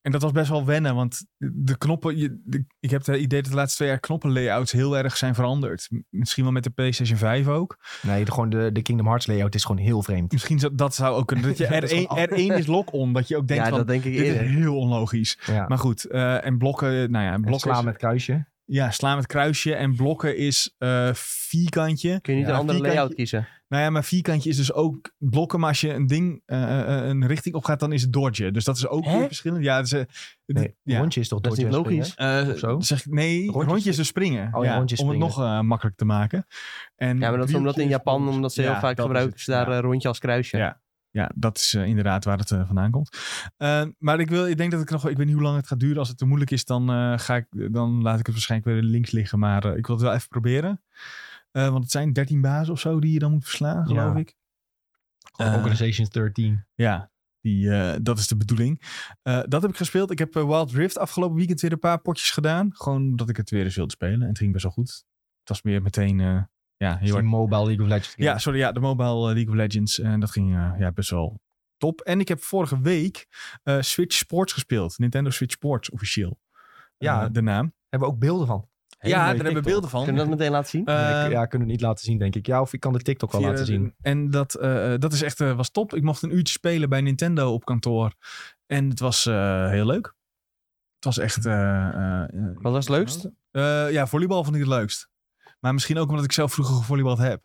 C: en dat was best wel wennen, want de knoppen... Je, de- ik heb het idee dat de laatste twee jaar knoppenlayouts heel erg zijn veranderd. M- Misschien wel met de PlayStation 5 ook.
A: Nee, de, gewoon de, de Kingdom Hearts layout is gewoon heel vreemd.
C: Misschien zou, dat zou ook kunnen. Dat je
A: Ja, dat is
C: R1,
A: gewoon-
C: R1 is lock-on, dat je ook denkt
B: Ja,
C: van...
B: dat denk ik
C: Dit is
B: eerder.
C: heel onlogisch.
A: Ja.
C: Maar goed, eh, en blokken, nou ja,
A: En
C: blokken...
A: slaan
C: is-
A: met kruisje.
C: ja, slaan met kruisje en blokken is eh, vierkantje.
B: Kun je niet
C: Ja,
B: een andere
C: vierkantje-
B: layout kiezen?
C: Nou ja, maar vierkantje is dus ook blokken. Maar als je een ding, eh, eh, een richting opgaat, dan is het dodgen. Dus dat is ook
B: Hè?
C: weer verschillend. Ja, het is, eh, het-
A: Nee,
C: ja.
A: rondje is toch
B: Dat is
A: dodgen
B: niet
A: en
B: logisch.
C: Eh,
A: Of zo?
C: Zeg, ik- nee,
A: Rondjes
C: rondjes, dus springen.
A: Oh ja,
C: ja,
A: rondjes
C: om het nog
A: springen.
C: eh, makkelijk te maken. En
B: Ja, maar dat is omdat in
C: driehoekjes-
B: Japan, omdat ze heel
C: Ja,
B: vaak
C: dat is
B: gebruiken,
C: het.
B: ze daar eh,
C: Ja.
B: een rondje als kruisje.
C: Ja. Ja, dat is eh, inderdaad waar het eh, vandaan komt. Eh, maar ik, wil, ik denk dat ik nog... Ik weet niet hoe lang het gaat duren. Als het te moeilijk is, dan, eh, ga ik, dan laat ik het waarschijnlijk weer links liggen. Maar eh, ik wil het wel even proberen. Eh, want het zijn 13 bazen of zo die je dan moet verslaan, geloof
A: Ja.
C: ik.
A: Gewoon
C: Eh,
A: Organization 13.
C: Ja, die, eh, dat is de bedoeling. Eh, dat heb ik gespeeld. Ik heb eh, Wild Rift afgelopen weekend weer een paar potjes gedaan. Gewoon dat ik het weer eens wilde spelen. En het ging best wel goed. Het was meer meteen eh, ja, heel
A: Die
C: erg...
A: mobile League of Legends.
C: Ja, sorry, ja, de Mobile eh, League of Legends. En dat ging eh, ja, best wel top. En ik heb vorige week eh, Switch Sports gespeeld. Nintendo Switch Sports officieel.
A: Ja.
C: Eh, de naam.
A: Hebben we ook beelden van?
D: Hele
C: ja,
D: mooie
C: daar hebben we
D: TikTok.
C: beelden van.
B: Kunnen we dat meteen laten zien?
C: Eh,
A: Ik- ja, kunnen we niet laten zien, denk ik. Ja, of ik kan de TikTok wel
C: Via-
A: laten zien.
C: En dat, eh, dat is echt, eh, was top. Ik mocht een uurtje spelen bij Nintendo op kantoor. En het was eh, heel leuk. Het was echt... eh, eh, eh,
B: Wat was het leukst?
C: eh, ja, volleybal vond ik het leukst. Maar misschien ook omdat ik zelf vroeger gevolleybald heb.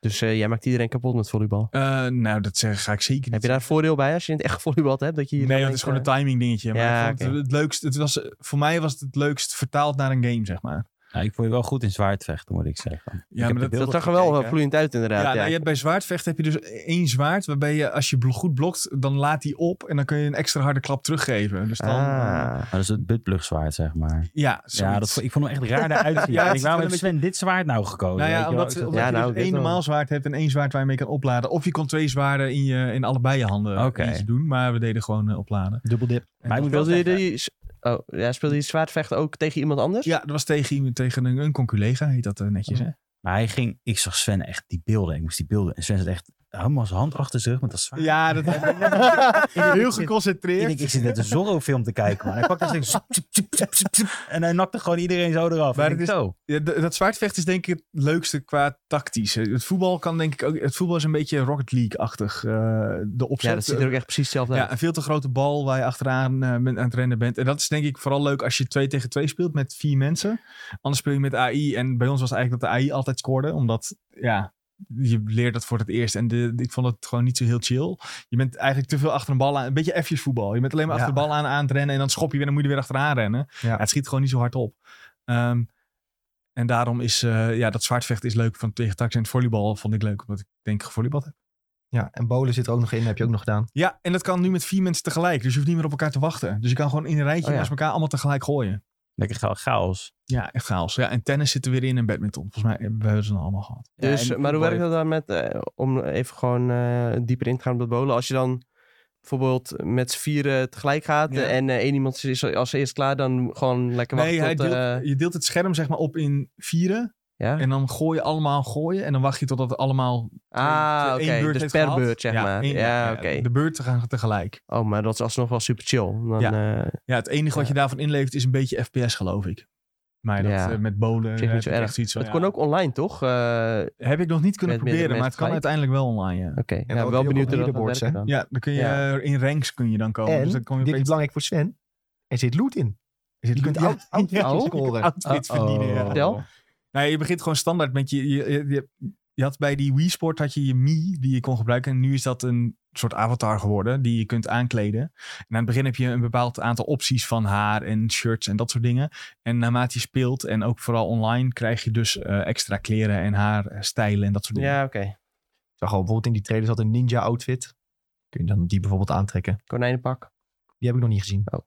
B: Dus eh, jij maakt iedereen kapot met volleybal.
C: Eh, nou, dat zeg, ga ik zeker
B: Heb
C: niet
B: je daar voordeel bij als je in het echt volleybal hebt? Dat je
C: Nee,
B: hier
C: want
B: dan
C: het is gewoon een
B: denkt, eh,
C: timing dingetje. Maar
B: Ja,
C: ik vond het,
B: oké.
C: het leukst, het was, eh, voor mij was het het leukst vertaald naar een game, zeg maar.
D: Nou, ik vond je wel goed in zwaardvechten, moet ik zeggen.
C: Ja, maar
D: de
C: dat-
B: eh,
D: beelden
B: Dat zag er wel
D: gekeken.
B: eh, vloeiend uit
C: Ja,
B: inderdaad. Ja,
C: nou, je hebt bij zwaardvechten heb je dus één zwaard, waarbij je als je blo- goed blokt, dan laat die op en dan kun je een extra harde klap teruggeven. Dus dan, eh,
B: Ah.
D: Maar dat is het buttplugzwaard, zeg maar.
C: ja,
D: Ja, dat,
C: zoiets.
D: vond- ik vond hem echt raar eruit zien.
C: Ja,
D: Ik
C: het
D: denk,
C: is
D: waarom
C: wel
D: heeft Sven dit zwaard nou gekozen?
C: Nou ja,
D: Weet je
C: omdat,
D: wel?
C: omdat
B: Ja,
C: je
B: nou,
C: dus
B: ik weet
C: één
B: wel.
C: normaal zwaard hebt en één zwaard waar je mee kan opladen. Of je kon twee zwaarden in, je, in allebei je handen
D: Oké.
C: iets doen, maar we deden gewoon eh, opladen.
A: Double dip.
D: Maar ik moet wel
B: Speelde je
D: zeggen,
B: die... s- Oh, ja, speelde je zwaardvechten ook tegen iemand anders?
C: Ja, dat was tegen, iemand- tegen een, een conculega, heet dat eh, netjes, hè?
D: maar hij ging, ik zag Sven echt die beelden. Ik moest die beelden. En Sven zat echt helemaal zijn hand achter zijn rug met dat zwaard.
C: Ja, dat heel
D: Ik
C: geconcentreerd.
D: denk, ik zit net een Zorro-film te kijken, man. Hij pakte echt zo- tsup, tsup, tsup, tsup, tsup. en hij nakte gewoon iedereen zo eraf.
C: Maar
D: Ik denk,
C: het
D: zo.
C: Ja, d- dat zwaardvechten is denk ik het leukste qua tactisch. Het voetbal kan denk ik ook. Het voetbal is een beetje Rocket League-achtig. eh, de opzet.
B: Ja, dat ziet er ook echt precies hetzelfde
C: Ja,
B: uit.
C: een veel te grote bal waar je achteraan eh, bent- aan het rennen bent. En dat is denk ik vooral leuk als je 2 tegen 2 speelt met vier mensen. Anders speel je met AI. En bij ons was het eigenlijk dat de AI altijd scoorde. Omdat, ja, je leert dat voor het eerst. En de, ik vond het gewoon niet zo heel chill. Je bent eigenlijk te veel achter een bal aan. Een beetje effjes voetbal. Je bent alleen maar achter
A: Ja.
C: de bal aan, aan het rennen. En dan schop je weer en moet je er weer achteraan rennen.
A: Ja.
C: Ja, het schiet gewoon niet zo hard op. Ehm, en daarom is eh, ja, dat zwaardvechten is leuk van tegen tax. En het volleybal vond ik leuk, omdat ik denk ik gevolleybald heb.
A: Ja, en bolen zit er ook nog in. Heb je ook nog gedaan.
C: Ja, en dat kan nu met vier mensen tegelijk. Dus je hoeft niet meer op elkaar te wachten. Dus je kan gewoon in een rijtje
B: Oh ja.
C: naast elkaar allemaal tegelijk gooien.
D: Lekker ga- chaos.
C: Ja, echt chaos. Ja, en tennis zit er weer in en badminton. Volgens mij hebben we ze nog allemaal gehad.
B: Dus,
D: Ja, en
B: maar hoe werkt
D: voetbal
B: dat dan met, eh, om even gewoon eh, dieper in te gaan op dat bolen? Als je dan bijvoorbeeld met z'n vieren tegelijk gaat
C: Ja.
B: eh, en eh, één iemand is als eerst klaar, dan gewoon lekker wachten
C: Nee, hij
B: tot...
C: deelt,
B: eh,
C: je deelt het scherm zeg maar op in vieren.
B: ja?
C: En dan gooi je allemaal gooien. En dan wacht je totdat het allemaal
B: Ah,
C: twee-
B: oké.
C: één beurt
B: Dus
C: heeft
B: per
C: gehad.
B: beurt, zeg
C: Ja,
B: maar.
C: één-
B: ja, oké.
C: De beurten gaan tegelijk.
B: Oh, maar dat is alsnog wel super chill. Dan,
C: Ja.
B: eh,
C: Ja, het enige wat
B: Ja.
C: je daarvan inlevert is een beetje FPS geloof ik. Maar dat
B: Ja.
C: eh, met bolen
B: zich niet
C: heb
B: zo
C: ik
B: erg.
C: echt zoiets van,
B: het
C: ja.
B: kon ook online, toch? Eh,
C: Heb ik nog niet kunnen
B: Met meerdere
C: proberen, maar
B: mensen
C: het kan
B: tegelijk.
C: uiteindelijk wel online. Ja,
B: Oké,
A: En
B: ja,
A: ook
B: wel
A: heel
B: benieuwd
A: veel
B: hoe dat gaat
A: leaderboards,
B: werken
A: hè?
B: dan.
C: ja dan kun je
B: Ja.
C: eh, in ranks kun je dan komen.
A: en,
C: dus dan kom je
A: dit is
C: opeens-
A: belangrijk voor Sven, er zit loot in. Oh,
C: Is het
A: Je kunt
C: lukt-
A: out- outfits
C: ja, je kunt
A: scoren.
C: outfits verdienen, ja.
B: Vertel.
C: Nou, je begint gewoon standaard met je... je, je, je- je had bij die Wii Sport had je je Mi die je kon gebruiken. En nu is dat een soort avatar geworden die je kunt aankleden. En aan het begin heb je een bepaald aantal opties van haar en shirts en dat soort dingen. En naarmate je speelt en ook vooral online krijg je dus eh, extra kleren en haarstijlen en dat soort dingen.
B: Ja, oké.
A: Ik zag al bijvoorbeeld in die trailer zat een ninja outfit. Kun je dan die bijvoorbeeld aantrekken?
B: Konijnenpak.
A: Die heb ik nog niet gezien.
B: Oh.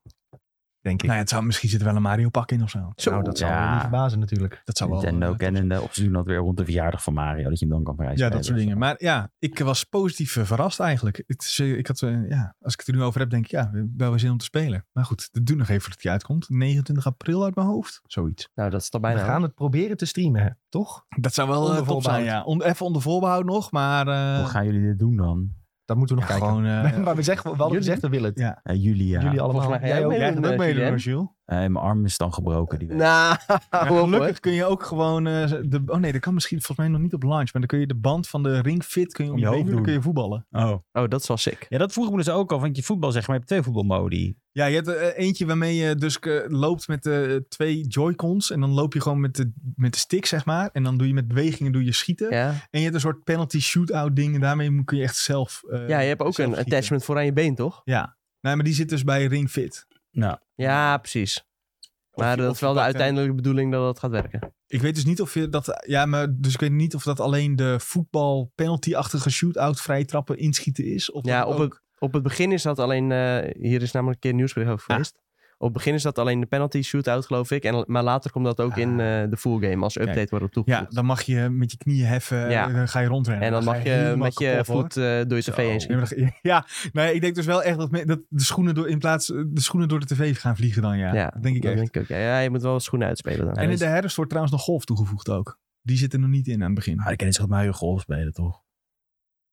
A: Denk ik.
C: Nou ja, het zou, misschien zit er wel een Mario pak in of zo.
B: Zo.
A: nou, dat zou
D: Ja.
A: me niet verbazen natuurlijk.
C: Dat zou wel...
D: Nintendo
C: eh,
D: kennen de optie doen dat weer rond de verjaardag van Mario. Dat je hem dan kan prijzen.
C: Ja, dat soort dingen. Maar ja, ik was positief eh, verrast eigenlijk. Het is, eh, ik had, eh, ja, als ik het er nu over heb, denk ik, ja, we hebben wel zin om te spelen. Maar goed, dat doe nog even voordat die uitkomt. 29 april uit mijn hoofd, zoiets.
B: Nou, dat is toch
A: We
B: bijna.
A: gaan het proberen te streamen, hè? toch?
C: Dat zou wel
A: Onder
C: eh, top zijn,
A: voorbehoud.
C: ja. On- even onder voorbehoud nog, maar... eh,
D: Hoe gaan jullie dit doen dan?
A: Dat moeten we nog kijken.
C: gewoon... eh,
A: maar we, zeggen, we hadden
B: Jullie?
A: gezegd, we willen het.
C: Ja.
D: Eh, jullie, ja.
A: Jullie allemaal.
B: Volgens mij ga
A: Jij
B: jij ook
A: ook?
B: mee.
C: jij
B: doen,
C: gaat ook
B: eh,
C: meedoen,
B: Julien.
C: hoor, Jules.
D: Eh, en mijn arm is dan gebroken. Die week.
B: Nou,
C: Maar
B: hou op, hoor.
C: gelukkig kun je ook gewoon... eh, de, oh nee, dat kan misschien volgens mij nog niet op launch. Maar dan kun je de band van de Ring Fit kun je om je, hoofd doen. Dan kun je voetballen.
D: Oh.
B: Oh, dat is wel sick.
D: Ja, dat vroeg ik me dus ook al. Want je voetbal zeg maar, je hebt twee voetbalmodi.
C: Ja, je hebt eh, eentje waarmee je dus eh, loopt met eh, twee Joy-Cons. En dan loop je gewoon met de, met de stick, zeg maar. En dan doe je met bewegingen doe je schieten.
B: Ja,
C: En je hebt een soort penalty shootout ding. En daarmee moet- kun je echt zelf. eh,
B: ja je hebt ook
C: zelf
B: een
C: schieten.
B: attachment voor aan je been, toch?
C: Ja. Nee, maar die zit dus bij Ring Fit.
D: Nou,
B: Ja, precies.
C: Of
B: Maar
C: je-
B: dat
C: of
B: is
C: je
B: wel de
C: pakt een-
B: uiteindelijke bedoeling dat dat gaat werken.
C: Ik weet dus niet of je dat. Ja, maar dus ik weet niet of dat alleen de voetbal penalty-achtige shootout vrij trappen inschieten is. Of
B: Ja,
C: dat
B: op
C: ook-
B: het, op het begin is dat alleen... eh, hier is namelijk een keer een nieuwsbericht over
C: Ah.
B: geweest. Op het begin is dat alleen de penalty shootout, geloof ik. En, maar later komt dat ook
C: Ah.
B: in eh, de full game als update wordt op
C: Ja,
B: toegevoegd.
C: dan mag je met je knieën heffen.
B: Ja.
C: en Dan ga je rondrennen.
B: en dan
C: ga
B: mag je
C: helemaal
B: met je
C: kapot, hoor.
B: voet eh, door je tv heen
C: Ja,
B: schieten.
C: maar dan- Oh, ja, nee, ik denk dus wel echt dat, me- dat de schoenen door, in plaats de schoenen door de tv gaan vliegen dan, ja.
B: Ja,
C: dat denk ik
B: Dat
C: echt.
B: denk ik ook. Ja, ja, je moet wel schoenen uitspelen dan.
C: en in de herfst wordt trouwens nog golf toegevoegd ook. Die zit er nog niet in aan het
B: Ah,
C: begin.
D: maar Ah, ik ken niet zo goed Mario Golf spelen, toch?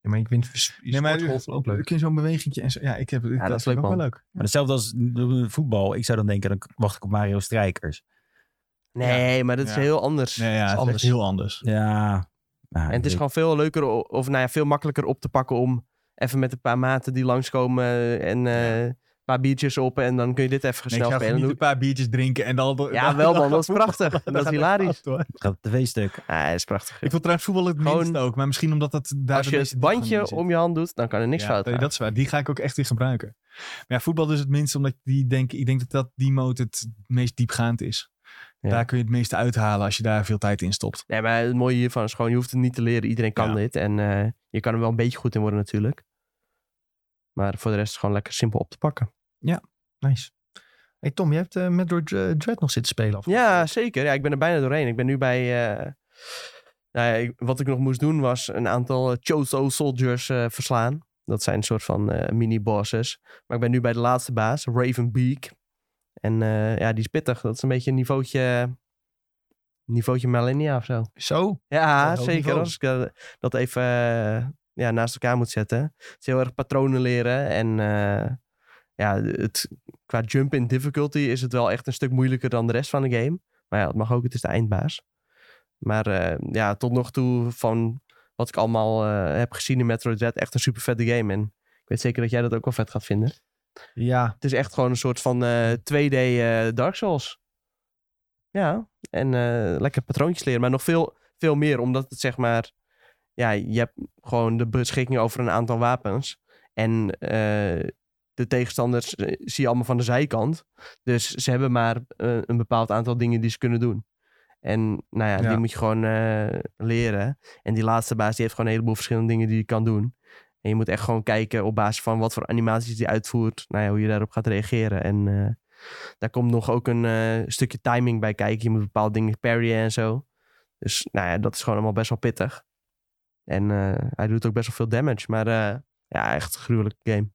A: Ja, maar ik vind
C: Nee, maar-
A: sportgolf ook
C: Dan
A: leuk.
C: kun je zo'n bewegingje en zo. Ja, ik heb, dat,
B: dat is
C: vind ik
B: leuk,
C: ook
B: man.
C: wel leuk.
D: Maar hetzelfde als eh, voetbal. Ik zou dan denken, dan wacht ik op Mario Strikers.
B: Nee, maar dat is
C: Ja.
B: heel anders.
C: Nee, ja,
B: Dat
C: het
B: is
C: is
B: anders.
C: heel anders.
D: Ja. Nou,
B: En het is
D: ik-
B: gewoon veel leuker, o- of nou ja, veel makkelijker op te pakken om even met een paar maten die langskomen eh, en eh, een paar biertjes op en dan kun je dit even
C: Nee, ik
B: snel
C: ga
B: spelen.
C: gewoon niet een
B: Doe-
C: paar biertjes drinken en dan...
B: Ja,
C: dan-
B: wel
C: dan
B: man, dat is
C: gaat
B: prachtig. En
C: voetballen.
B: dat is
C: gaat
B: hilarisch.
C: echt fout, hoor.
D: Het gaat op tv-stuk.
B: Ah, dat is prachtig.
C: Ik wil trouwens voetbal het
B: Gewoon-
C: minst ook, maar misschien omdat dat daar
B: Als
C: de
B: je
C: meeste
B: het
C: diepgang in
B: bandje
C: zit.
B: om je hand doet, dan kan er niks
C: Ja,
B: fout
C: nee,
B: gaan.
C: Dat is waar. Die ga ik ook echt weer gebruiken. Maar ja, voetbal dus het minst, omdat ik die denk, ik denk dat, dat die mode het meest diepgaand is.
B: Ja.
C: Daar kun je het meeste uithalen als je daar veel tijd in stopt.
B: Nee, maar het mooie hiervan is gewoon, je hoeft het niet te leren. Iedereen kan
C: Ja.
B: dit en eh, je kan er wel een beetje goed in worden natuurlijk. Maar voor de rest is het gewoon lekker simpel op te pakken.
A: Nice. Hey Tom, je hebt eh, Metroid eh, Dread nog zitten spelen af.
B: Ja, zeker. Ja, ik ben er bijna doorheen. Ik ben nu bij. eh, nou ja, ik- wat ik nog moest doen was een aantal eh, Chozo Soldiers eh, verslaan. Dat zijn een soort van eh, mini-bosses. Maar ik ben nu bij de laatste baas, Ravenbeak. En eh, ja, die is pittig. Dat is een beetje een niveautje. Niveautje Millennia of zo.
A: Zo?
B: Ja,
A: hoog
B: zeker.
A: niveau.
B: Als ik eh, dat even eh, ja, naast elkaar moet zetten. Het is heel erg patronen leren. En eh, ja, het, qua jump in difficulty is het wel echt een stuk moeilijker dan de rest van de game. Maar ja, dat mag ook. Het is de eindbaas. Maar eh, ja, tot nog toe van wat ik allemaal eh, heb gezien in Metroid Dread. Echt een super vette game. En ik weet zeker dat jij dat ook wel vet gaat vinden.
A: Ja.
B: Het is echt gewoon een soort van eh, 2D eh, Dark Souls. Ja, en eh, lekker patroontjes leren. Maar nog veel, veel meer, omdat het zeg maar... Ja, je hebt gewoon de beschikking over een aantal wapens. En eh, de tegenstanders eh, zie je allemaal van de zijkant. Dus ze hebben maar eh, een bepaald aantal dingen die ze kunnen doen. En nou ja,
C: Ja.
B: die moet je gewoon eh, leren. En die laatste baas die heeft gewoon een heleboel verschillende dingen die je kan doen. En je moet echt gewoon kijken op basis van wat voor animaties die uitvoert. Nou ja, hoe je daarop gaat reageren. En eh, daar komt nog ook een eh, stukje timing bij kijken. Je moet bepaalde dingen parryen en zo. Dus nou ja, dat is gewoon allemaal best wel pittig. En eh, hij doet ook best wel veel damage. Maar eh, ja, echt een gruwelijke game.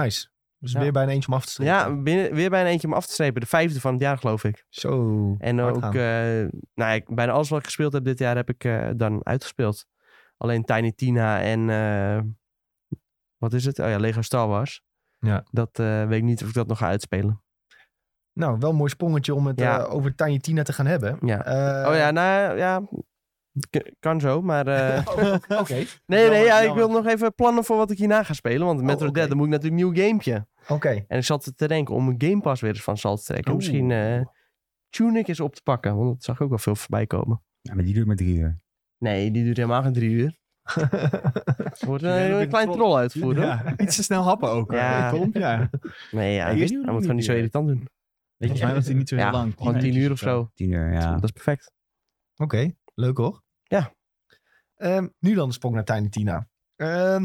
A: Nice. Dus
B: Ja.
A: weer bijna eentje om af te strepen.
B: Ja, binnen- weer bijna eentje om af te strepen. De vijfde van het jaar, geloof ik.
A: Zo.
B: En
A: hard
B: ook,
A: gaan.
B: eh, nou, ja, ik, bijna alles wat ik gespeeld heb dit jaar heb ik eh, dan uitgespeeld. Alleen Tiny Tina en, eh, wat is het? Oh ja, Lego Star Wars.
A: Ja.
B: Dat eh, weet ik niet of ik dat nog ga uitspelen.
A: Nou, wel een mooi sprongetje om het
B: Ja.
A: eh, over Tiny Tina te gaan hebben.
B: Ja.
A: Eh,
B: oh ja, nou ja, k- kan zo, maar... eh,
A: Oké.
B: nee, nee,
C: Jammer,
B: ja, ik
C: jammer.
B: wil nog even plannen voor wat ik hierna ga spelen. Want met Metroid
A: oké.
B: Dead, dan moet ik natuurlijk een nieuw gamepje.
A: Oké.
B: En ik zat te denken om een Game Pass weer eens van zal te trekken.
A: Oeh.
B: Misschien eh, Tunic eens op te pakken, want dat zag ik ook wel veel voorbij komen.
D: Ja, maar die duurt maar drie uur.
B: Nee, die duurt helemaal geen drie uur. Er wordt
C: bent
B: een,
C: ook
B: een
C: een
B: klein
C: troll.
B: troll uitvoeren.
C: Ja, iets te snel happen ook.
B: Ja.
C: Ja. Tom, ja.
B: Nee, ja,
D: ik weet niet hoe
B: hij
D: lang
B: moet
D: die
B: gewoon niet zo
D: duurt.
B: irritant doen.
C: Volgens mij was die niet zo heel
B: Ja,
C: lang.
B: gewoon tien uur of zo.
D: Tien uur, ja.
B: Dat is perfect.
A: Oké, leuk hoor.
B: Ja.
A: Ehm, nu dan de sprong naar Tiny Tina. Ehm,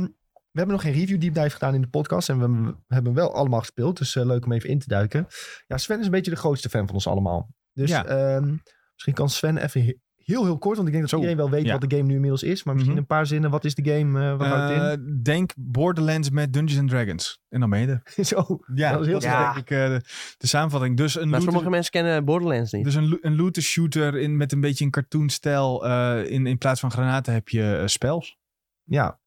A: we hebben nog geen review deep dive gedaan in de podcast. En we hebben- we hebben wel allemaal gespeeld. Dus eh, leuk om even in te duiken. Ja, Sven is een beetje de grootste fan van ons allemaal. Dus
C: Ja.
A: ehm, misschien kan Sven even he- heel, heel kort. Want ik denk dat
C: Zo,
A: iedereen wel weet
C: ja.
A: wat de game nu inmiddels is. Maar misschien
C: Mhm.
A: een paar zinnen. Wat is de game? eh wat houdt het
C: Eh, denk Borderlands met Dungeons and Dragons. En dan ben je er.
A: in? Zo.
C: Ja,
A: dat is heel
B: Ja.
C: denk ik eh, de, de samenvatting. Dus een
B: Maar
C: looter-
B: sommige mensen kennen Borderlands niet.
C: Dus een, lo- een looter shooter in, met een beetje een cartoonstijl. eh in, in plaats van granaten heb je eh, spels.
A: Ja.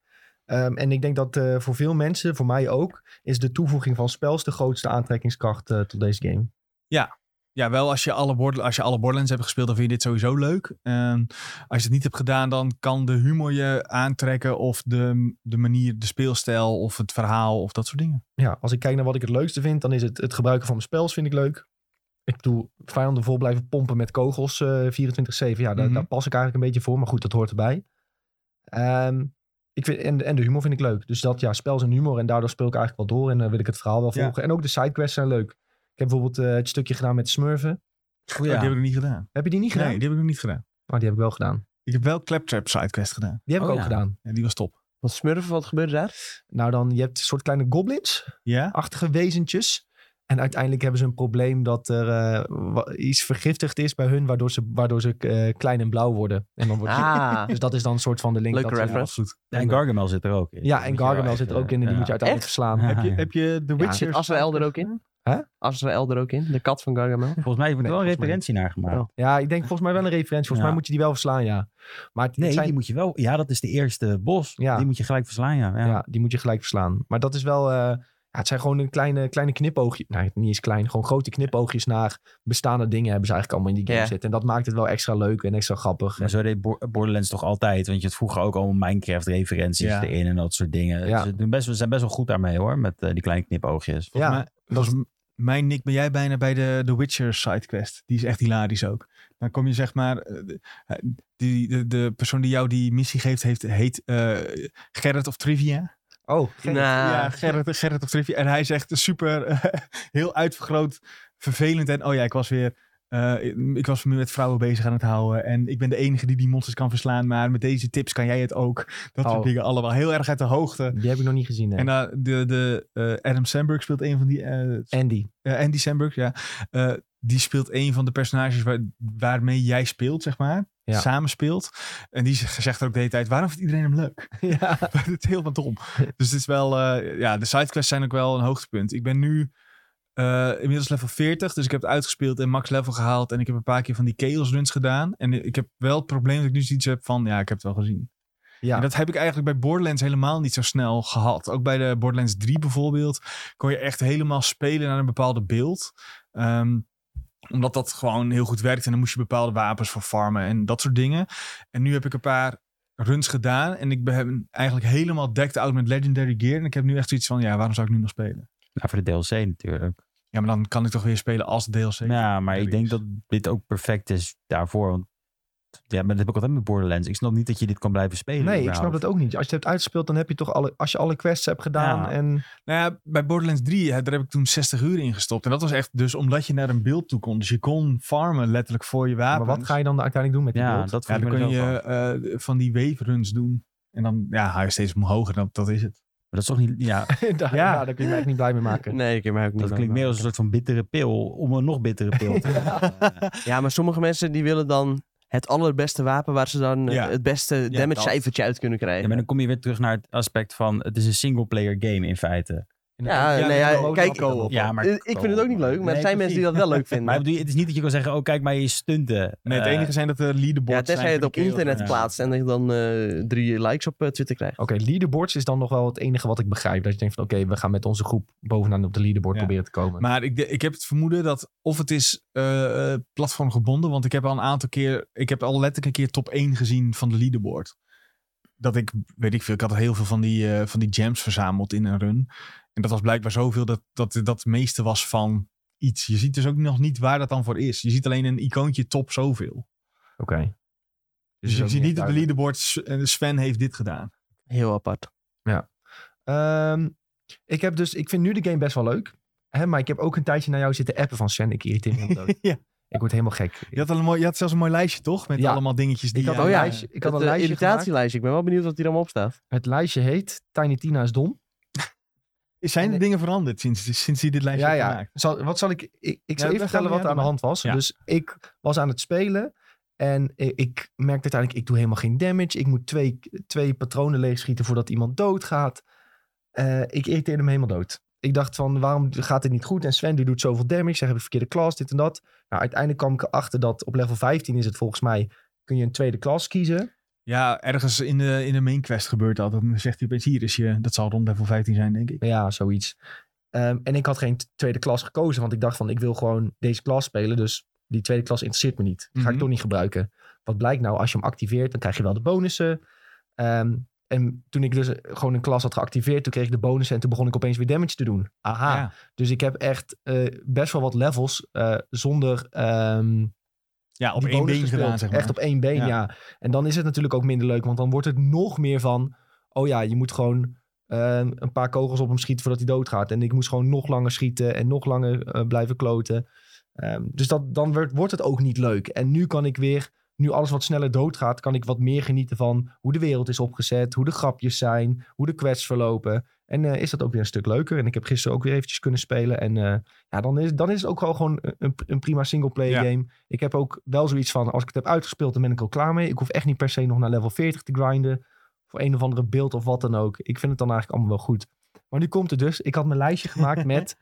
A: Ehm, en ik denk dat eh, voor veel mensen, voor mij ook, is de toevoeging van spels de grootste aantrekkingskracht eh, tot deze game.
C: Ja, wel als je alle, Borderlands, als je alle Borderlands hebt gespeeld, dan vind je dit sowieso leuk. En als je het niet hebt gedaan, dan kan de humor je aantrekken. Of de, de manier, de speelstijl, of het verhaal, of dat soort dingen.
A: Ja, als ik kijk naar wat ik het leukste vind, dan is het het gebruiken van mijn spels vind ik leuk. Ik doe vijanden vol blijven pompen met kogels eh, 24-7. Ja, daar,
C: Mhm.
A: daar pas ik eigenlijk een beetje voor, maar goed, dat hoort erbij. Ehm, ik vind, en, en de humor vind ik leuk. Dus dat, ja, spel is een humor en daardoor speel ik eigenlijk wel door en eh, wil ik het verhaal wel
C: Ja.
A: volgen. En ook de sidequests zijn leuk. Ik heb bijvoorbeeld eh, het stukje gedaan met Smurfen.
C: Oh, die heb ik nog niet gedaan.
A: Heb je die niet gedaan?
C: Nee, die heb ik nog niet gedaan.
A: Oh, die heb ik wel gedaan.
C: Ik heb wel Claptrap sidequest gedaan.
A: Die heb
B: Oh,
A: ik ook
B: ja.
A: gedaan.
C: Ja, die was top.
B: Wat smurfen, wat gebeurde daar?
A: Nou dan, je hebt een soort kleine goblins.
C: Ja?
A: achtige wezentjes. En uiteindelijk hebben ze een probleem dat er eh, wa- iets vergiftigd is bij hun, waardoor ze, waardoor ze eh, klein en blauw worden. En dan wordt
B: Ah,
A: Dus dat is dan een soort van de link.
B: Leuke
A: dat ze-
B: reference.
C: Goed.
D: En Gargamel zit er ook in.
A: Ja, en Gargamel zit er ook in en die
D: eh, ja.
A: moet je uiteindelijk verslaan.
D: Ja.
C: Heb je, heb je The Witcher?
B: zit Azrael er ook in?
A: Hè?
B: Azrael er ook in? De kat van Gargamel?
D: Volgens mij wordt er
A: Nee,
D: wel een
A: volgens mij
D: referentie naar gemaakt.
B: Oh.
A: Ja, ik denk volgens mij wel een referentie. Volgens
D: Ja.
A: mij moet je die wel verslaan, ja. Maar het, het
D: Nee,
A: zijn-
D: die moet je wel... Ja, dat is de eerste bos.
A: Ja.
D: Die moet je gelijk verslaan, ja.
A: ja.
D: ja.
A: die moet je gelijk verslaan. Maar dat is wel... eh, ja, het zijn gewoon een kleine, kleine knipoogje. Nou, niet eens klein. Gewoon grote knipoogjes naar bestaande dingen hebben ze eigenlijk allemaal in die game
B: Ja.
A: zitten. En dat maakt het wel extra leuk en extra grappig.
D: Maar zo deed Bo- Borderlands toch altijd. Want je had vroeger ook allemaal Minecraft-referenties
C: Ja.
D: erin en dat soort dingen.
A: Ja.
D: Ze, doen best, we zijn best wel goed daarmee hoor, met eh, die kleine knipoogjes.
A: ja.
C: Maar, volgens m- mijn Nick ben jij bijna bij de, de Witcher sidequest. Die is echt hilarisch ook. Dan kom je zeg maar... eh, de- eh, Die, de, de persoon die jou die missie geeft, heeft, heet eh, Gerrit of Trivia.
A: Oh,
B: Nou,
C: Ja, Gerrit, Gerrit of Trivia. En hij zegt super, eh, heel uitvergroot, vervelend. En oh ja, ik was weer... eh, ik was me met vrouwen bezig aan het houden. En ik ben de enige die die monsters kan verslaan. Maar met deze tips kan jij het ook. Dat
A: Oh.
C: soort dingen allemaal. Heel erg uit de hoogte.
A: die heb ik nog niet gezien. nee.
C: En eh, de, de, eh, Adam Sandberg speelt een van die eh,
A: Andy.
C: en Andy Samberg, ja. Eh, die speelt een van de personages waar, waarmee jij speelt, zeg maar.
A: Ja.
C: Samen speelt. En die z- zegt er ook de hele tijd, waarom vindt iedereen hem leuk?
A: ja.
C: Het is heel van dom. Dus het is wel, eh, ja, de sidequests zijn ook wel een hoogtepunt. Ik ben nu eh, inmiddels level 40, dus ik heb het uitgespeeld en max level gehaald. En ik heb een paar keer van die chaos runs gedaan. En ik heb wel het probleem dat ik nu zoiets heb van, ja, ik heb het wel gezien.
A: Ja.
C: En dat heb ik eigenlijk bij Borderlands helemaal niet zo snel gehad. Ook bij de Borderlands 3 bijvoorbeeld kon je echt helemaal spelen naar een bepaalde beeld. Ehm, omdat dat gewoon heel goed werkt en dan moest je bepaalde wapens voor farmen en dat soort dingen. En nu heb ik een paar runs gedaan en ik ben eigenlijk helemaal decked out met Legendary Gear. En ik heb nu echt zoiets van, ja, waarom zou ik nu nog spelen?
D: Nou, voor de DLC natuurlijk.
C: Ja, maar dan kan ik toch weer spelen als de DLC.
D: Ja, maar ik
C: Legendary
D: denk
C: is.
D: dat dit ook perfect is daarvoor. Want ja, maar dat heb ik altijd met Borderlands. Ik snap niet dat je dit kan blijven spelen.
A: Nee,
C: nou.
A: ik snap dat ook niet. Als je het hebt uitgespeeld, dan heb je toch alle, als je alle quests hebt gedaan.
D: Ja.
A: En,
C: Nou ja, bij Borderlands 3, hè, daar heb ik toen 60 uur in gestopt. En dat was echt dus omdat je naar een beeld toe kon. Dus je kon farmen letterlijk voor je
A: maar
C: wapens.
A: wat ga je dan uiteindelijk doen met die
D: Ja,
A: beeld?
D: dat
C: Ja,
D: vond ik
C: dan
D: me
C: kun
D: er zo van.
C: je eh, van die wave runs doen. En dan ja, hou je steeds omhoog en dat, dat is het.
D: Maar dat is toch niet... Ja,
A: daar,
C: Ja.
A: ja, daar kun je me echt niet blij mee maken.
B: Nee, ik heb mij ook niet
D: dat klinkt meer als een soort van bittere pil om een nog bittere pil te maken.
B: Ja, maar sommige mensen die willen dan het allerbeste wapen waar ze dan eh,
C: Ja.
B: het beste
C: Ja,
B: damage
C: dat.
B: cijfertje uit kunnen
D: Ja,
B: krijgen.
D: maar dan kom je weer terug naar het aspect van... Het is een single-player game in feite.
B: Ja, nee, ja, kijk,
D: Ja, maar...
B: Eh, ik vind het ook niet leuk, maar
D: Nee,
B: er zijn mensen die dat wel leuk vinden.
D: Maar ik bedoel, het is niet dat je kan zeggen... Oh, kijk maar je stunten.
C: Nee, het
D: Eh,
C: enige zijn dat de leaderboards
B: ja, tenzij
C: zijn
B: je het
C: voor
B: op
C: de kerels.
B: internet
D: ja.
B: plaatst en dat je dan eh, drie likes op eh, Twitter krijgt.
A: Oké, leaderboards is dan nog wel het enige wat ik begrijp. Dat je denkt van oké, we gaan met onze groep bovenaan op de leaderboard
C: Ja.
A: proberen te komen.
C: Maar ik, de- ik heb het vermoeden dat of het is eh, eh, platformgebonden. Want ik heb al een aantal keer, ik heb al letterlijk een keer top 1 gezien van de leaderboard. Dat ik, weet ik veel, ik had heel veel van die, eh, van die gems verzameld in een run. En dat was blijkbaar zoveel dat dat, dat het meeste was van iets. Je ziet dus ook nog niet waar dat dan voor is. Je ziet alleen een icoontje top zoveel.
A: oké.
C: Dus, je ziet niet op de leaderboard, S- eh, Sven heeft dit gedaan.
B: Heel apart.
A: Ehm, ik heb dus, ik vind nu de game best wel leuk. Hè, maar ik heb ook een tijdje naar jou zitten appen van Sven. Ik irriteer me helemaal dood.
C: Ja.
A: Ik word helemaal gek.
C: Je had, al een mooi, je had zelfs een mooi lijstje, toch? Met
A: Ja.
C: allemaal dingetjes die...
A: Ik had
C: je-
A: een
B: oh ja.
A: lijstje, ik had
B: Het,
A: een
B: eh,
A: lijstje gemaakt.
B: irritatielijstje. Ik ben wel benieuwd wat hier allemaal op staat.
A: Het lijstje heet Tiny Tina is dom.
C: Zijn
A: En
C: er
A: ik-
C: dingen veranderd sinds, sinds je dit lijstje
A: Ja,
C: hebt
A: ja.
C: gemaakt?
A: Zal, wat zal ik... Ik, ik zal even
C: Ja, dat gaan we
A: vertellen wat
C: niet
A: er aan de
C: aan
A: hand was.
C: Ja.
A: Dus ik was aan het spelen. En i- ik merkte uiteindelijk, ik doe helemaal geen damage. Ik moet twee, twee patronen leegschieten voordat iemand doodgaat. Eh, ik irriteerde me helemaal dood. Ik dacht van, waarom gaat dit niet goed? En Sven, die doet zoveel damage. Zij hebben verkeerde klas, dit en dat. Nou, uiteindelijk kwam ik erachter dat op level 15 is het volgens mij... kun je een tweede klas kiezen.
C: Ja, ergens in de, in de main quest gebeurt dat. Dan zegt hij opeens, hier is je... Dat zal rond level 15 zijn, denk ik.
A: Ja, zoiets. Ehm, en ik had geen t- tweede klas gekozen, want ik dacht van ik wil gewoon deze klas spelen. Dus die tweede klas interesseert me niet. Ga
C: Mhm.
A: ik toch niet gebruiken. Wat blijkt nou, als je hem activeert, dan krijg je wel de bonussen. Ehm, en toen ik dus eh, gewoon een klas had geactiveerd, toen kreeg ik de bonussen en toen begon ik opeens weer damage te doen. Aha.
C: Ja.
A: Dus ik heb echt eh, best wel wat levels eh, zonder ehm,
C: Ja, op
A: die
C: één
A: bonus
C: been
A: gespeeld.
C: gedaan, zeg maar.
A: Echt op één been,
C: Ja.
A: ja. En dan is het natuurlijk ook minder leuk, want dan wordt het nog meer van... Oh ja, je moet gewoon eh, een paar kogels op hem schieten voordat hij doodgaat. En ik moest gewoon nog langer schieten en nog langer eh, blijven kloten. Ehm, dus dat, dan werd, wordt het ook niet leuk. En nu kan ik weer, nu alles wat sneller doodgaat, kan ik wat meer genieten van hoe de wereld is opgezet, hoe de grapjes zijn, hoe de quests verlopen. En eh, is dat ook weer een stuk leuker. En ik heb gisteren ook weer eventjes kunnen spelen. En eh, ja, dan is, dan is het ook wel gewoon een, een prima singleplayer
C: Ja.
A: game. Ik heb ook wel zoiets van, als ik het heb uitgespeeld, dan ben ik er al klaar mee. Ik hoef echt niet per se nog naar level 40 te grinden. Voor een of andere beeld of wat dan ook. Ik vind het dan eigenlijk allemaal wel goed. Maar nu komt het dus. Ik had mijn lijstje gemaakt met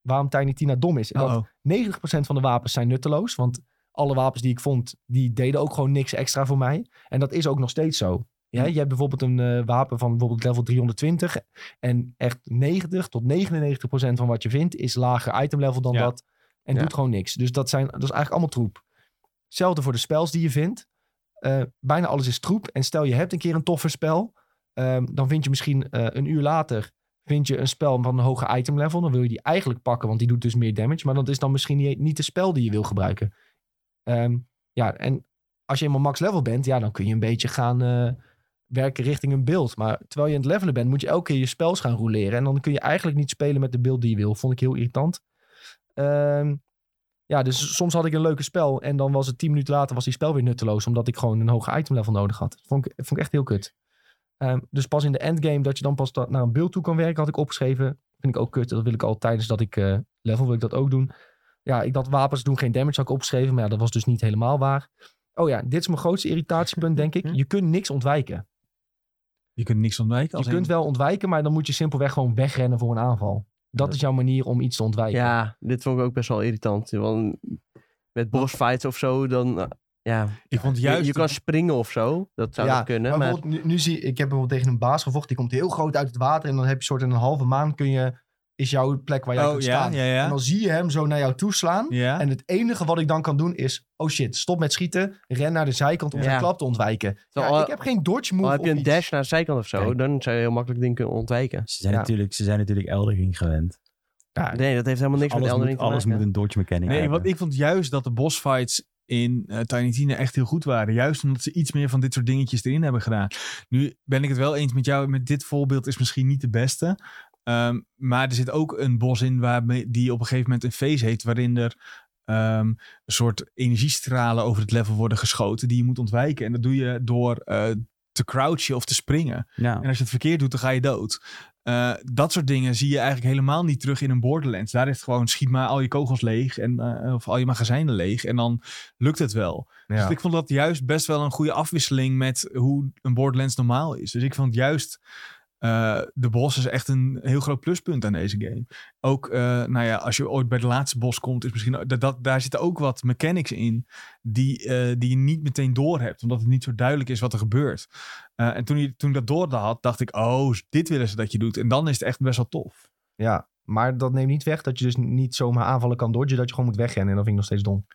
A: waarom Tiny Tina dom is. En dat
C: Oh, oh.
A: 90% van de wapens zijn nutteloos. Want alle wapens die ik vond, die deden ook gewoon niks extra voor mij. En dat is ook nog steeds zo. Ja, je hebt bijvoorbeeld een eh, wapen van bijvoorbeeld level 320. En echt 90 tot 99% van wat je vindt is lager item level dan
C: Ja.
A: dat. En
B: Ja.
A: doet gewoon niks. Dus dat, zijn, dat is eigenlijk allemaal troep. Hetzelfde voor de spels die je vindt. Eh, bijna alles is troep. En stel je hebt een keer een toffer spel. ehm, dan vind je misschien eh, een uur later vind je een spel van een hoger item level. Dan wil je die eigenlijk pakken, want die doet dus meer damage. Maar dat is dan misschien niet, niet de spel die je wil gebruiken. Ehm, ja, en als je eenmaal max level bent, ja, dan kun je een beetje gaan eh, werken richting een beeld. Maar terwijl je aan het levelen bent, moet je elke keer je spels gaan roleren. En dan kun je eigenlijk niet spelen met de beeld die je wil. Vond ik heel irritant. Ehm, ja, dus soms had ik een leuke spel en dan was het tien minuten later was die spel weer nutteloos. Omdat ik gewoon een hoger itemlevel nodig had. Vond ik, vond ik echt heel kut. Ehm, dus pas in de endgame dat je dan pas da- naar een beeld toe kan werken, had ik opgeschreven. Vind ik ook kut. Dat wil ik al tijdens dat ik eh, level, wil ik dat ook doen. Ja, ik dat wapens doen geen damage had ik opgeschreven. Maar ja, dat was dus niet helemaal waar. Oh ja, dit is mijn grootste irritatiepunt, denk ik. Je kunt niks ontwijken.
C: Je kunt niks ontwijken.
A: Je
C: als
A: kunt
C: in-
A: wel ontwijken, maar dan moet je simpelweg gewoon wegrennen voor een aanval. Dat is jouw manier om iets te ontwijken.
B: Ja, dit vond ik ook best wel irritant. Want met boss fights of zo, dan... eh, Ja,
C: Ik vond
B: je,
C: juist...
B: je kan springen of zo. Dat zou
A: Ja,
B: nog kunnen.
A: Maar
B: Maar,
A: bijvoorbeeld, nu, nu zie ik, heb bijvoorbeeld tegen een baas gevochten. Die komt heel groot uit het water. En dan heb je soort in een halve maan kun je, is jouw plek waar jij
C: Oh,
A: kunt
C: ja,
A: staan.
C: ja,
A: En
C: ja.
A: dan zie je hem zo naar jou toeslaan.
C: Ja.
A: En het enige wat ik dan kan doen is, oh shit, stop met schieten. Ren naar de zijkant om
B: Ja.
A: zijn klap te ontwijken. Ja,
B: Terwijl al-
A: ik heb geen dodge
B: al
A: move
B: heb je
A: of
B: een
A: iets.
B: dash naar de zijkant of zo,
A: Kijk.
B: dan zou je heel makkelijk dingen kunnen ontwijken.
D: Ze zijn,
A: Ja.
D: natuurlijk, ze zijn natuurlijk Eldering gewend.
A: Ja,
B: Nee, dat heeft helemaal niks met
D: dus
B: Elden
D: alles moet,
B: Ring te
D: alles
B: maken.
D: moet een dodge mechanic
C: Nee,
D: hebben.
C: want ik vond juist dat de bossfights in eh, Tiny Tina echt heel goed waren. Juist omdat ze iets meer van dit soort dingetjes erin hebben gedaan. Nu ben ik het wel eens met jou, met dit voorbeeld is misschien niet de beste. Ehm, maar er zit ook een bos in waar die op een gegeven moment een face heet, waarin er ehm, een soort energiestralen over het level worden geschoten die je moet ontwijken. En dat doe je door eh, te crouchen of te springen.
D: ja.
C: En als je het verkeerd doet, dan ga je dood. Eh, dat soort dingen zie je eigenlijk helemaal niet terug in een Borderlands. Daar is het gewoon schiet maar al je kogels leeg en, eh, of al je magazijnen leeg en dan lukt het wel. Dus ik vond dat juist best wel een goede afwisseling met hoe een Borderlands normaal is. Dus ik vond juist eh, de bos is echt een heel groot pluspunt aan deze game. Ook, eh, nou ja, als je ooit bij de laatste bos komt, is misschien dat, dat daar zitten ook wat mechanics in die, eh, die je niet meteen doorhebt, omdat het niet zo duidelijk is wat er gebeurt. Eh, en toen, je, toen ik dat door had, dacht ik, oh, dit willen ze dat je doet. En dan is het echt best wel tof.
A: ja, maar dat neemt niet weg dat je dus niet zomaar aanvallen kan dodgen. Dat je gewoon moet wegrennen. En dat vind ik nog steeds dom.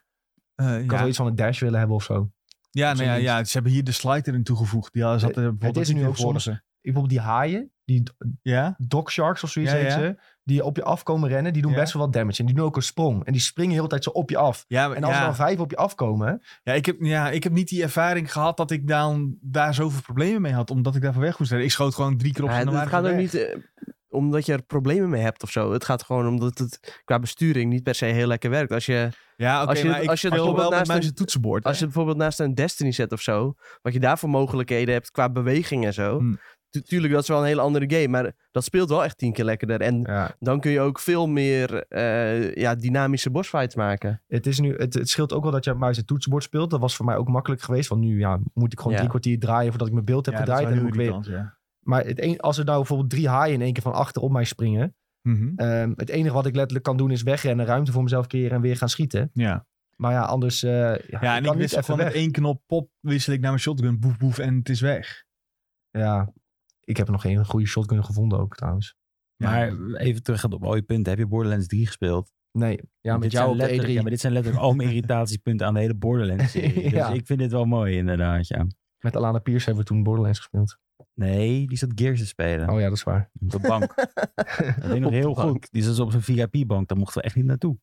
C: Eh,
A: Ik had
C: ja,
A: wel iets van een dash willen hebben of zo.
C: ja, nou ja,
A: zoiets. Eh,
C: ja, ze hebben hier de slide erin toegevoegd. Die zat er bijvoorbeeld
A: is
C: niet
A: nu
C: in
A: ook
C: voor
A: soms-
C: ze.
A: Ik bijvoorbeeld die haaien, die
C: Ja?
A: Dog Sharks of zoiets
C: Ja,
A: heet
C: ja.
A: ze. Die op je af komen rennen. Die doen
C: Ja.
A: best wel wat damage. En die doen ook een sprong. En die springen heel de tijd zo op je af.
C: Ja, maar-
A: En als
C: ja.
A: er dan vijf op je afkomen.
C: Ja ik, heb, ja, ik heb niet die ervaring gehad dat ik dan, daar zoveel problemen mee had, omdat ik daarvoor weg moest rennen. Ik schoot gewoon drie keer op
B: Ja,
C: ze en
B: het
C: dan
B: het
C: waren
B: gaat
C: ze
B: ook
C: weg.
B: niet eh, omdat je er problemen mee hebt of zo. Het gaat gewoon omdat het qua besturing niet per se heel lekker werkt. Als je,
C: Ja, oké,
B: als je-
C: maar ik
B: als je het
C: speel wel
B: bijvoorbeeld
C: met
B: naast
C: muis
B: een-
C: en toetsenbord.
B: als je het bijvoorbeeld naast een Destiny zet of zo, wat je daar voor mogelijkheden hebt qua beweging en zo.
C: Hmm.
B: Tu- tuurlijk, dat is wel een hele andere game, maar dat speelt wel echt tien keer lekkerder. En
A: Ja.
B: dan kun je ook veel meer eh, ja, dynamische bossfights maken.
A: Het, is nu, het, het scheelt ook wel dat je muis en toetsenbord speelt. Dat was voor mij ook makkelijk geweest. Want nu ja, moet ik gewoon
B: Ja.
A: drie kwartier draaien voordat ik mijn beeld heb
C: Ja, dat is
A: gedraaid.
C: wel
A: En
C: heel
A: dan moet ik weer...
C: irritant, ja.
A: Maar het een, als er nou bijvoorbeeld drie haaien in één keer van achter op mij springen.
C: Mhm,
A: ehm, het enige wat ik letterlijk kan doen is wegrennen. Ruimte voor mezelf creëren en weer gaan schieten.
C: ja.
A: Maar ja, anders... eh, ja,
C: ja, en ik
A: kan
C: wist
A: niet even
C: gewoon
A: weg.
C: met één knop pop wissel ik naar mijn shotgun, boef boef en het is weg. e-
A: Ja, ik heb nog geen goede shotgun gevonden ook trouwens.
C: Ja.
D: Maar even terug op mooie punten. Heb je Borderlands 3 gespeeld?
A: Nee, ja,
D: Want
A: met jou
D: dit zijn
A: op de E
D: letterlijk-
A: E3.
D: Ja, maar dit zijn letterlijk al mijn irritatiepunten aan de hele Borderlands-serie.
A: Ja.
D: Dus ik vind dit wel mooi, inderdaad, ja.
A: Met Alana Pierce hebben we toen Borderlands gespeeld.
D: Nee, die zat Gears te spelen.
A: Oh ja, dat is waar.
D: Op de bank. Dat weet ik nog
B: Op de
D: heel
B: bank.
D: goed. Die zat op zo'n VIP-bank. Daar mochten we echt niet naartoe.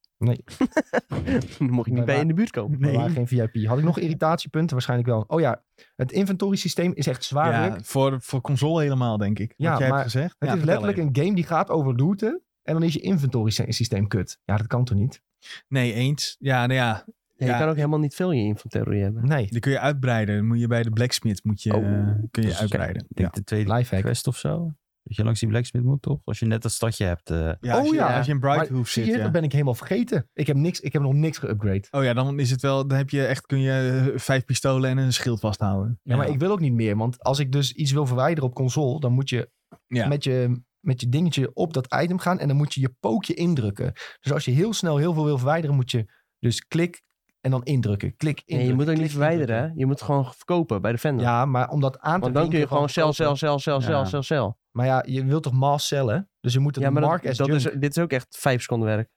B: Dan mocht ik
A: Bij
B: niet bij
A: wa-
B: in de buurt komen.
A: Nee. Maar geen VIP. Had ik nog irritatiepunten? Waarschijnlijk wel. Oh ja, het inventoriesysteem is echt zwaar.
C: Ja,
A: druk.
C: voor, voor console helemaal, denk ik.
A: Ja,
C: wat jij
A: maar
C: hebt gezegd.
A: Het
C: Ja,
A: is
C: vertel
A: letterlijk
C: even.
A: een game die gaat over looten. En dan is je inventoriesysteem kut. Ja, dat kan toch niet?
C: Nee, eens. Ja, nou ja.
B: Ja,
C: Ja.
B: Je kan ook helemaal niet veel in je inventory hebben.
A: Nee.
C: Die kun je uitbreiden. Dan moet je bij de blacksmith moet je,
B: Oh,
C: eh, kun je
D: dus-
C: uitbreiden.
D: Ik denk de tweede
A: Lifehack.
D: quest of zo. Dat je langs die blacksmith moet, toch? Als je net dat stadje hebt. eh,
C: Ja, als
A: Oh
C: je,
A: ja.
C: Als je in Brighthoof
A: Zie
C: zit.
A: je,
C: ja.
A: dat ben ik helemaal vergeten. Ik heb, niks, ik heb nog niks geüpgrade.
C: Oh ja, dan is het wel. Dan heb je echt. Kun je eh, vijf pistolen en een schild vasthouden.
A: Ja, maar ik wil ook niet meer. Want als ik dus iets wil verwijderen op console, dan moet je,
C: Ja.
A: met, je met je dingetje op dat item gaan. En dan moet je je pookje indrukken. Dus als je heel snel heel veel wil verwijderen, moet je dus klik en dan indrukken. Klik, indrukken.
B: Nee, je moet ook
A: klik,
B: niet verwijderen.
A: indrukken.
B: hè. Je moet gewoon verkopen bij de vendor.
A: Ja, maar om dat aan te
B: Want dan kun je gewoon cel, cel, cel, cel,
D: Ja.
B: cel, cel, cel.
A: Maar ja, je wilt toch mass cellen? Dus je moet het
B: Ja, maar
A: mark
B: dat,
A: as
B: dat
A: junk.
B: is, dit is ook echt vijf seconden werk.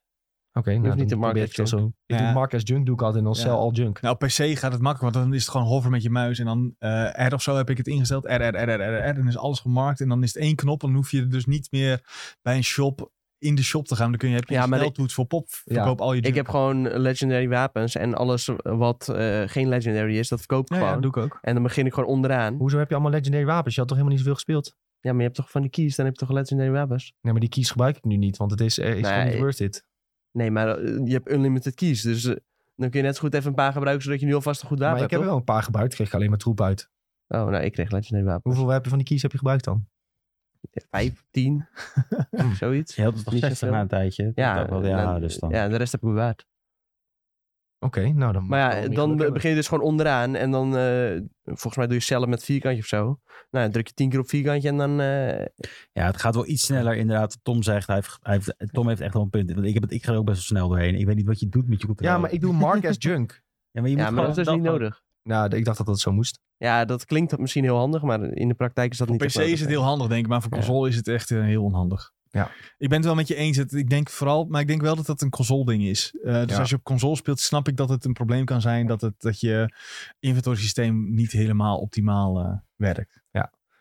A: Oké,
B: hoeft
A: nou,
B: niet te
A: dan
B: mark
A: probeer
B: as
A: ik het wel zo. Ik
C: Ja.
A: doe mark as junk doe ik altijd en dan
C: Ja.
A: cel al junk.
C: Nou, op PC gaat het makkelijk, want dan is het gewoon hover met je muis en dan eh, R of zo heb ik het ingesteld. R, R, R, R, R, R. En dan is alles gemarkt en dan is het één knop. Dan hoef je dus niet meer bij een shop in de shop te gaan. Dan kun je, heb je
B: Ja,
C: een
B: maar
C: sneltoets voor pop.
A: Ja.
C: Verkoop al je
B: Ik heb gewoon legendary wapens en alles wat eh, geen legendary is, dat verkoop ik
C: ja,
B: gewoon.
C: ja, doe ik ook.
B: En dan begin ik gewoon onderaan.
A: Hoezo heb je allemaal legendary wapens? Je had toch helemaal niet zoveel gespeeld?
B: Ja, maar je hebt toch van die keys, dan heb je toch legendary wapens?
A: Nee, maar die keys gebruik ik nu niet, want het is, eh, is gewoon niet
B: Nee.
A: worth it.
B: Nee, maar eh, je hebt unlimited keys, dus eh, dan kun je net zo goed even een paar gebruiken, zodat je nu alvast een goed wapen
A: maar ik heb
B: hebt,
A: er wel een paar gebruikt, kreeg ik alleen maar troep uit.
B: toch? Oh, nou, ik kreeg legendary wapens.
A: Hoeveel heb je van die keys heb je gebruikt dan?
B: Vijf, tien, zoiets.
D: Je had het toch
B: Niet
D: 60
B: zoveel.
D: na een tijdje? Dat
B: Ja,
D: ook wel, ja,
B: nou,
D: dus dan.
B: ja, de rest heb ik bewaard.
A: Oké, nou dan...
B: Maar ja,
A: dan-
B: dan be- begin je dus gewoon onderaan en dan, eh, volgens mij doe je cellen met vierkantje of zo. Nou, dan druk je tien keer op vierkantje en dan... eh,
D: Ja, het gaat wel iets sneller inderdaad. Tom zegt, hij heeft, hij heeft- Tom heeft echt wel een punt. Want ik, heb het, ik ga er ook best wel snel doorheen. Ik weet niet wat je doet met je controle.
A: Ja, maar ik doe mark as junk.
D: Ja, maar, je
B: ja,
D: moet
B: maar
D: gewoon
B: dat is dus
D: dan
B: niet
D: gewoon-
B: nodig.
A: Nou, d- ik dacht dat dat zo moest.
B: Ja, dat klinkt dat misschien heel handig, maar in de praktijk is dat
C: Op
B: niet
C: PC
B: echt nodig,
C: is het
B: nee.
C: heel handig, denk ik, maar voor
B: Ja.
C: console is het echt eh, heel onhandig.
A: Ja.
C: Ik ben het wel met je eens. Het, ik denk vooral, maar ik denk wel dat dat een console-ding is. Eh, dus
A: Ja.
C: als je op console speelt, snap ik dat het een probleem kan zijn dat, het, dat je inventoriesysteem niet helemaal optimaal eh, werkt.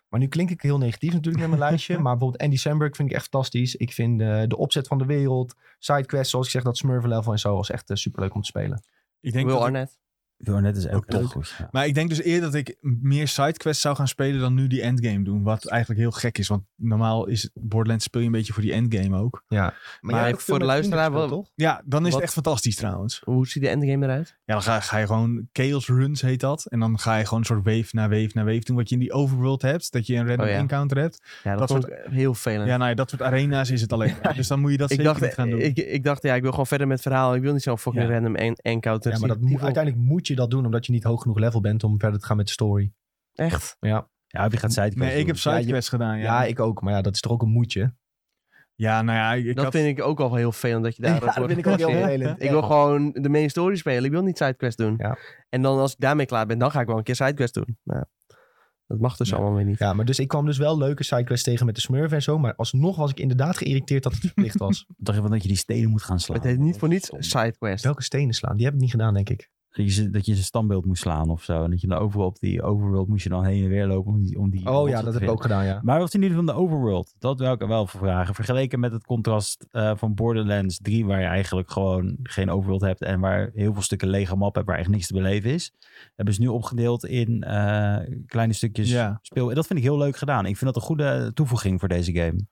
A: Maar nu klink ik heel negatief natuurlijk met mijn lijstje. Maar bijvoorbeeld Andy Samberg vind ik echt fantastisch. Ik vind eh, de opzet van de wereld, sidequests, zoals ik zeg, dat Smurf level en zo, was echt super superleuk om te spelen.
C: Ik denk
B: Will
C: dat ik-
B: Arnett.
D: Jornet is ook
C: Ook
D: heel
C: leuk.
D: goed. ja.
C: Maar ik denk dus eerder dat ik meer sidequests zou gaan spelen dan nu die endgame doen. Wat eigenlijk heel gek is, want normaal is Borderlands speel je een beetje voor die endgame ook.
A: jij
B: Maar
A: hebt ook veel
B: voor de
A: met vrienden
B: luisteraar
A: gespeeld,
B: wel-
A: toch?
C: Ja, dan is
B: Wat-
C: het echt fantastisch trouwens.
B: Hoe ziet de endgame eruit?
C: Ja, dan ga, ga je gewoon chaos runs heet dat. En dan ga je gewoon een soort wave na wave na wave doen. Wat je in die overworld hebt, dat je een random
B: Oh ja.
C: encounter hebt.
B: Ja, dat,
C: Dat
B: vond ik heel vervelend.
C: Ja, nou ja, dat soort arena's is het alleen. maar. Dus dan moet je dat
B: ik,
C: zeker
B: dacht, eh,
C: niet gaan doen.
B: ik, ik dacht, ja, ik wil gewoon verder met het verhaal. Ik wil niet zo'n fucking
C: Ja.
B: random en- encounter.
A: Ja, maar dat moet- uiteindelijk moet je dat doen, omdat je niet hoog genoeg level bent om verder te gaan met de story.
B: Echt?
A: Ja,
D: Ja, of je gaat sidequests
C: nee, ik heb
A: Ja, je-
C: sidequests gedaan. Ja.
A: ja ik ook. Maar ja, dat is toch ook een moetje.
C: Ja, nou ja, ik
B: Dat
C: had-
B: vind ik ook al heel vervelend dat je daar...
A: Ja, dat vind ik ook heel vervelend.
B: Ik wil gewoon de main story spelen. Ik wil niet sidequest doen.
A: Ja.
B: En dan als ik daarmee klaar ben, dan ga ik wel een keer sidequest doen. Maar dat mag dus
C: Ja.
B: allemaal weer niet.
A: Ja, maar dus ik kwam dus wel leuke sidequests tegen met de smurf en zo. Maar alsnog was ik inderdaad geïrriteerd dat het verplicht was. Dus
D: Dacht je wel dat je die stenen moet gaan slaan?
B: Het heet niet voor niets
D: Stom.
B: sidequest.
A: Welke stenen slaan? Die heb ik niet gedaan, denk ik.
D: Dat je, ze- dat je zijn standbeeld moest slaan of zo. En dat je dan overal op die overworld moest je dan heen en weer lopen om die... Om die
A: Oh
D: rotzooi
A: ja,
D: te
A: dat heb ik
D: vinden.
A: ook gedaan, ja.
D: Maar wat in ieder geval de overworld? Dat wil ik er wel voor vragen. Vergeleken met het contrast eh, van Borderlands 3, waar je eigenlijk gewoon geen overworld hebt en waar heel veel stukken lege map hebt waar echt niks te beleven is. Hebben ze nu opgedeeld in eh, kleine stukjes
C: Ja.
D: speel. En dat vind ik heel leuk gedaan. Ik vind dat een goede toevoeging voor deze game.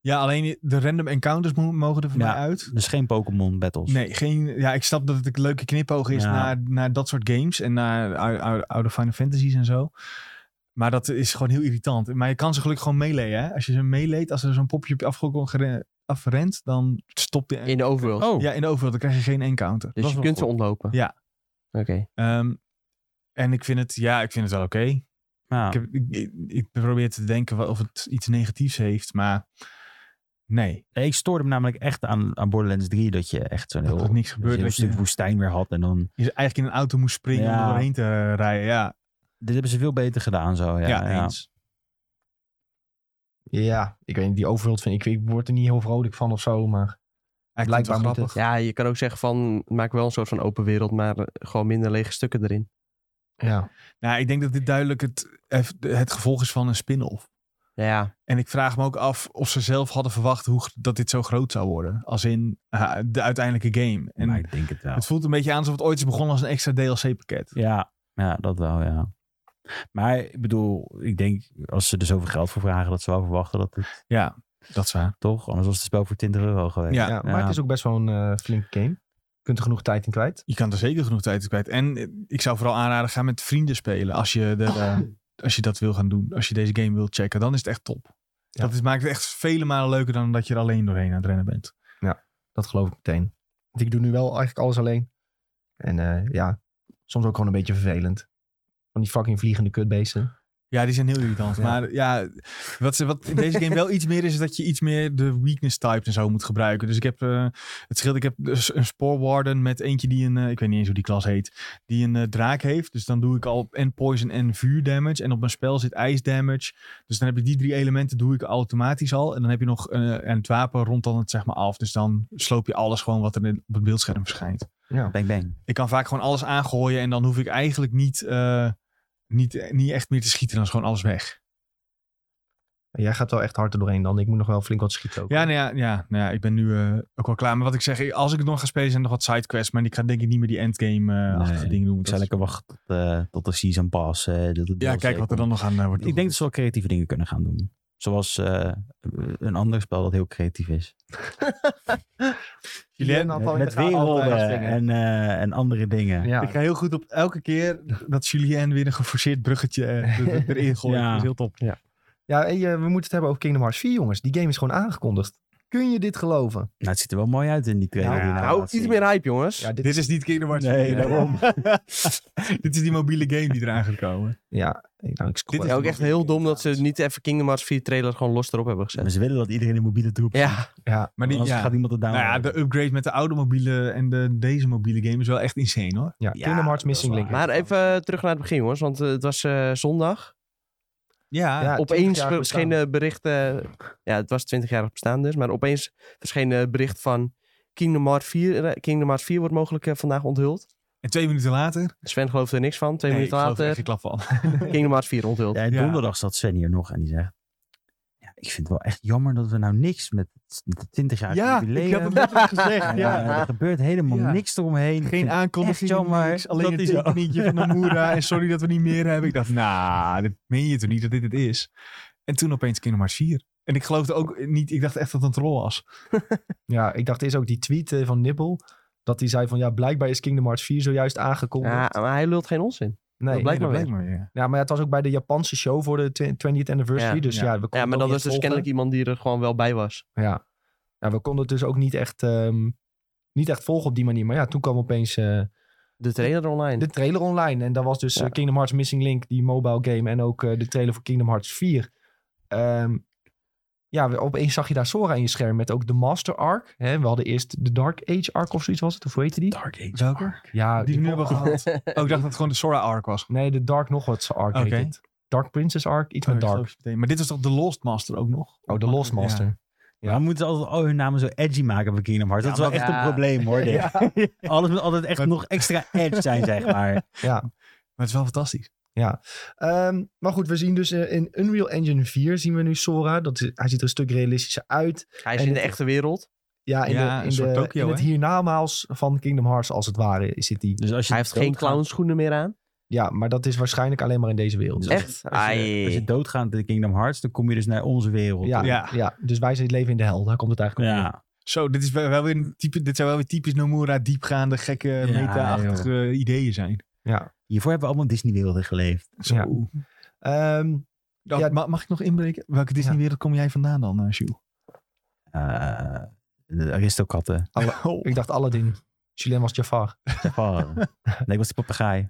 C: ja, alleen de random encounters mo- mogen er voor
D: Ja.
C: mij uit.
D: Dus geen Pokémon battles.
C: Nee, geen, ja, ik snap dat het een leuke knipoog is
D: Ja.
C: naar, naar dat soort games en naar ou- ou- oude Final Fantasies en zo. Maar dat is gewoon heel irritant. Maar je kan ze gelukkig gewoon meeleeën. hè. Als je ze meeleedt, als er zo'n popje op je afge- gere- afrent, dan stopt de...
B: In de overworld.
D: Oh,
C: Ja, in de overworld, dan krijg je geen encounter.
B: dus je kunt ze ontlopen.
C: Ja.
B: Oké.
C: Ehm, en ik vind het, ja, ik vind het wel oké.
D: ja.
C: Ik, heb- ik- ik, ik probeer te denken wa- of het iets negatiefs heeft, maar nee.
D: Nee, ik stoorde me namelijk echt aan, aan Borderlands 3 dat je echt zo'n heel,
C: Dat er niks
D: dat je
C: gebeurt.
D: een
C: Dat
D: stuk
C: je,
D: woestijn weer had. En dan,
C: je eigenlijk in een auto moest springen om
D: Ja.
C: er doorheen te eh, rijden. Ja,
D: dit hebben ze veel beter gedaan zo. Ja,
C: ja, eens.
A: Ja, ik weet niet, die overworld vind ik, ik word er niet heel vrolijk van of zo, maar blijkbaar moet het.
B: Ja, je kan ook zeggen van, maak wel een soort van open wereld, maar eh, gewoon minder lege stukken erin.
A: Ja.
C: Nou, ik denk dat dit duidelijk het, het gevolg is van een spin-off.
B: Ja,
C: En ik vraag me ook af of ze zelf hadden verwacht hoe, g- dat dit zo groot zou worden. Als in ah, de uiteindelijke game. En
D: maar ik denk het wel.
C: het voelt een beetje aan alsof het ooit is begonnen als een extra DLC-pakket.
D: Ja, ja, dat wel, ja. Maar ik bedoel, ik denk als ze er zoveel geld voor vragen, dat ze wel verwachten dat het
C: Ja, dat is waar.
D: toch, anders was het spel voor 20 euro geweest.
C: Ja.
A: Ja, maar het is ook best wel een eh, flinke game. Je kunt er genoeg tijd in kwijt.
C: Je kan er zeker genoeg tijd in kwijt. En eh, ik zou vooral aanraden, ga met vrienden spelen. Als je, de,
A: Oh.
C: eh, als je dat wil gaan doen. Als je deze game wilt checken, dan is het echt top.
A: Ja.
C: Dat is, maakt het echt vele malen leuker dan dat je er alleen doorheen aan het rennen bent.
A: Dat geloof ik meteen. Want ik doe nu wel eigenlijk alles alleen. En eh, ja, soms ook gewoon een beetje vervelend. Van die fucking vliegende kutbeesten.
C: Ja, die zijn heel irritant.
A: Ja.
C: Maar ja, wat, ze- wat in deze game wel iets meer is, is dat je iets meer de weakness types en zo moet gebruiken. Dus ik heb, eh, het scheelt, ik heb dus een Spore Warden met eentje die een, eh, ik weet niet eens hoe die klas heet, die een eh, draak heeft. Dus dan doe ik al en poison en vuur damage. En op mijn spel zit ijs damage. Dus dan heb ik die drie elementen, doe ik automatisch al. En dan heb je nog eh, en het wapen rond dan het zeg maar af. Dus dan sloop je alles gewoon wat er in- op het beeldscherm verschijnt
A: Ja.
D: Bang, bang.
C: ik kan vaak gewoon alles aangooien en dan hoef ik eigenlijk niet, eh, niet, niet echt meer te schieten. Dan is gewoon alles weg.
A: Jij gaat wel echt hard er doorheen dan. Ik moet nog wel flink wat schieten ook.
C: Ja, nou ja, ja, nou ja ik ben nu eh, ook wel klaar. Maar wat ik zeg, als ik het nog ga spelen, zijn er nog wat sidequests. Maar ik ga denk ik niet meer die endgame-achtige
D: Nee,
C: dingen doen.
D: Ik
C: Dat
D: zou
C: is-
D: lekker wachten tot, eh, tot de season pass. eh, dat het
C: ja,
D: DLC
C: kijk wat er
D: komt.
C: dan nog aan eh, wordt
D: Ik denk dat ze wel creatieve dingen kunnen gaan doen. Zoals eh, een ander spel dat heel creatief is. Eh,
A: Julien had al in de
D: Met
A: gaten altijd
D: werelden
A: vingen.
D: en, eh, en andere dingen.
A: Ja.
C: Ik ga heel goed op elke keer dat Julien weer een geforceerd bruggetje eh, er- er- erin gooit.
D: Ja.
C: Dat is heel top.
A: Ja, hey, eh, we moeten het hebben over Kingdom Hearts 4, jongens. Die game is gewoon aangekondigd. Kun je dit geloven?
D: Nou, het ziet er wel mooi uit in die trailer.
A: Nou,
D: die
A: nou,
D: laat
B: hou iets
D: zien.
B: meer hype, jongens. Ja,
A: dit,
C: Dit is niet Kingdom Hearts
D: Nee,
C: 4.
D: daarom.
C: Dit is die mobiele game die eraan gaat komen.
A: Ja, hey, nou, ik scroll
C: Dit is
A: even.
B: ook echt heel dom dat ze niet even Kingdom Hearts 4 trailer gewoon los erop hebben gezet.
D: Maar ze willen dat iedereen in mobiele troep ziet.
B: Ja,
C: Maar die,
D: Anders
C: ja.
D: gaat iemand het
C: Nou
D: downloaden.
C: ja, de upgrade met de oude mobiele en de, deze mobiele game is wel echt insane hoor.
A: Ja, Kingdom Hearts
D: dat is
A: Missing
D: waar.
A: Link.
B: maar even eh, terug naar het begin, jongens. Want eh, het was eh, zondag.
C: Ja,
A: Ja, 20
B: opeens
A: jaar bestaan.
B: verschenen berichten. Ja, het was 20 jaar bestaan dus. Maar opeens verscheen eh, bericht van Kingdom Hearts 4. eh, Kingdom Hearts 4 wordt mogelijk eh, vandaag onthuld.
C: en twee minuten later,
B: Sven geloofde er niks van. Twee
C: nee, ik
B: minuten
C: geloof er
B: later,
C: echt geen klap van.
B: Kingdom Hearts 4 onthuld.
D: Ja, en
C: Ja.
D: donderdag zat Sven hier nog en die zegt... Ja, ik vind het wel echt jammer dat we nou niks met het 20 jaar jubileum...
C: net gezegd.
D: en, eh, er gebeurt helemaal
C: Ja.
D: niks eromheen. Ik
C: Geen
D: vind-
C: aankondiging,
D: Echt jammer,
C: niks, alleen
D: dat
C: een
D: is zo.
C: tekeningetje van Nomura en sorry dat we niet meer hebben. Ik dacht, nou, dit meen je toch niet dat dit het is? En toen opeens Kingdom Hearts 4. En ik geloofde ook niet, ik dacht echt dat het een troll was.
A: Ja, ik dacht eerst ook die tweet eh, van Nibble. Dat hij zei van, ja, blijkbaar is Kingdom Hearts 4 zojuist aangekondigd.
B: Ja, maar hij lult geen onzin.
A: nee,
B: dat blijkt
C: Nee,
B: maar
C: dat maar weer.
A: Ja, maar het was ook bij de Japanse show voor de twi- 20th anniversary.
B: Ja,
A: dus
C: ja.
A: ja, we konden
B: Ja,
A: het
B: maar
A: ook niet
B: dat was dus
A: echt volgen.
B: kennelijk iemand die er gewoon wel bij was.
A: Ja. ja, we konden het dus ook niet echt, ehm, niet echt volgen op die manier. Maar ja, toen kwam opeens eh,
B: De trailer online.
A: de trailer online. En daar was dus
B: Ja.
A: eh, Kingdom Hearts Missing Link, die mobile game. En ook eh, de trailer voor Kingdom Hearts 4. Ehm, ja, we- opeens zag je daar Sora in je scherm met ook de Master Arc. Hè, we hadden eerst de Dark Age Arc of zoiets was het. Of hoe heette die?
D: Dark Age.
C: Welke?
D: Park.
A: Ja,
C: Die we nu hebben gehad. Oh, ik dacht dat het gewoon de Sora arc was.
A: Nee, de Dark nog wat arc heet
C: Oké.
A: het. Dark Princess Arc, iets
C: Oh,
A: met
C: ik
A: Dark.
C: geloof je meteen. Maar dit was toch de Lost Master ook nog?
A: Oh, de Lost
C: Ja.
A: Master. Ja.
D: Waarom moeten ze altijd al hun namen zo edgy maken bij Kingdom Hearts? dat
B: Ja,
D: is wel
B: maar-
D: echt
B: ja.
D: een probleem hoor. dit. Alles moet altijd echt
C: Maar-
D: nog extra edge zijn, zeg maar.
C: Maar het is wel fantastisch.
A: Ehm, maar goed, we zien dus eh, in Unreal Engine 4 zien we nu Sora. Dat, is- hij ziet er een stuk realistischer uit.
B: Hij is in de echte wereld.
A: Ja, in,
C: Ja,
A: de,
C: een
A: in,
C: soort
A: de,
C: Tokyo,
A: in het
C: hè?
A: hiernamaals van Kingdom Hearts als het ware is dit die.
D: Dus als je
B: Hij heeft geen
D: doodgaat-
B: clownschoenen meer aan.
A: Ja, maar dat is waarschijnlijk alleen maar in deze wereld.
D: Dus als je-
B: Echt?
D: Als je, als je
B: Ai.
D: doodgaat in Kingdom Hearts, dan kom je dus naar onze wereld.
A: Ja,
D: toe.
A: ja.
C: Ja.
A: dus wij zijn leven in de hel. Daar komt het eigenlijk op. neer.
D: Ja.
C: Zo, dit, is wel wel weer een type, dit zijn wel weer typisch Nomura diepgaande, gekke, meta-achtige ideeën zijn.
D: Hiervoor hebben we allemaal Disney-werelden geleefd.
C: Zo.
A: Ja. Ehm,
C: Dan-
A: Ja.
C: ma- mag ik nog inbreken? Welke Disney-wereld kom jij vandaan dan, eh, Sjoe?
D: Eh, de Aristokatten.
C: Oh.
A: ik dacht Aladdin. Julien was Jafar.
D: Jafar. nee, ik was die papegaai.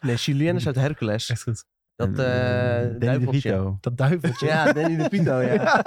B: Nee, Julien is uit Hercules.
C: Echt goed.
B: Dat eh
D: Danny
B: duiveltje.
D: DeVito.
A: dat duiveltje.
B: Ja, Danny DeVito, ja.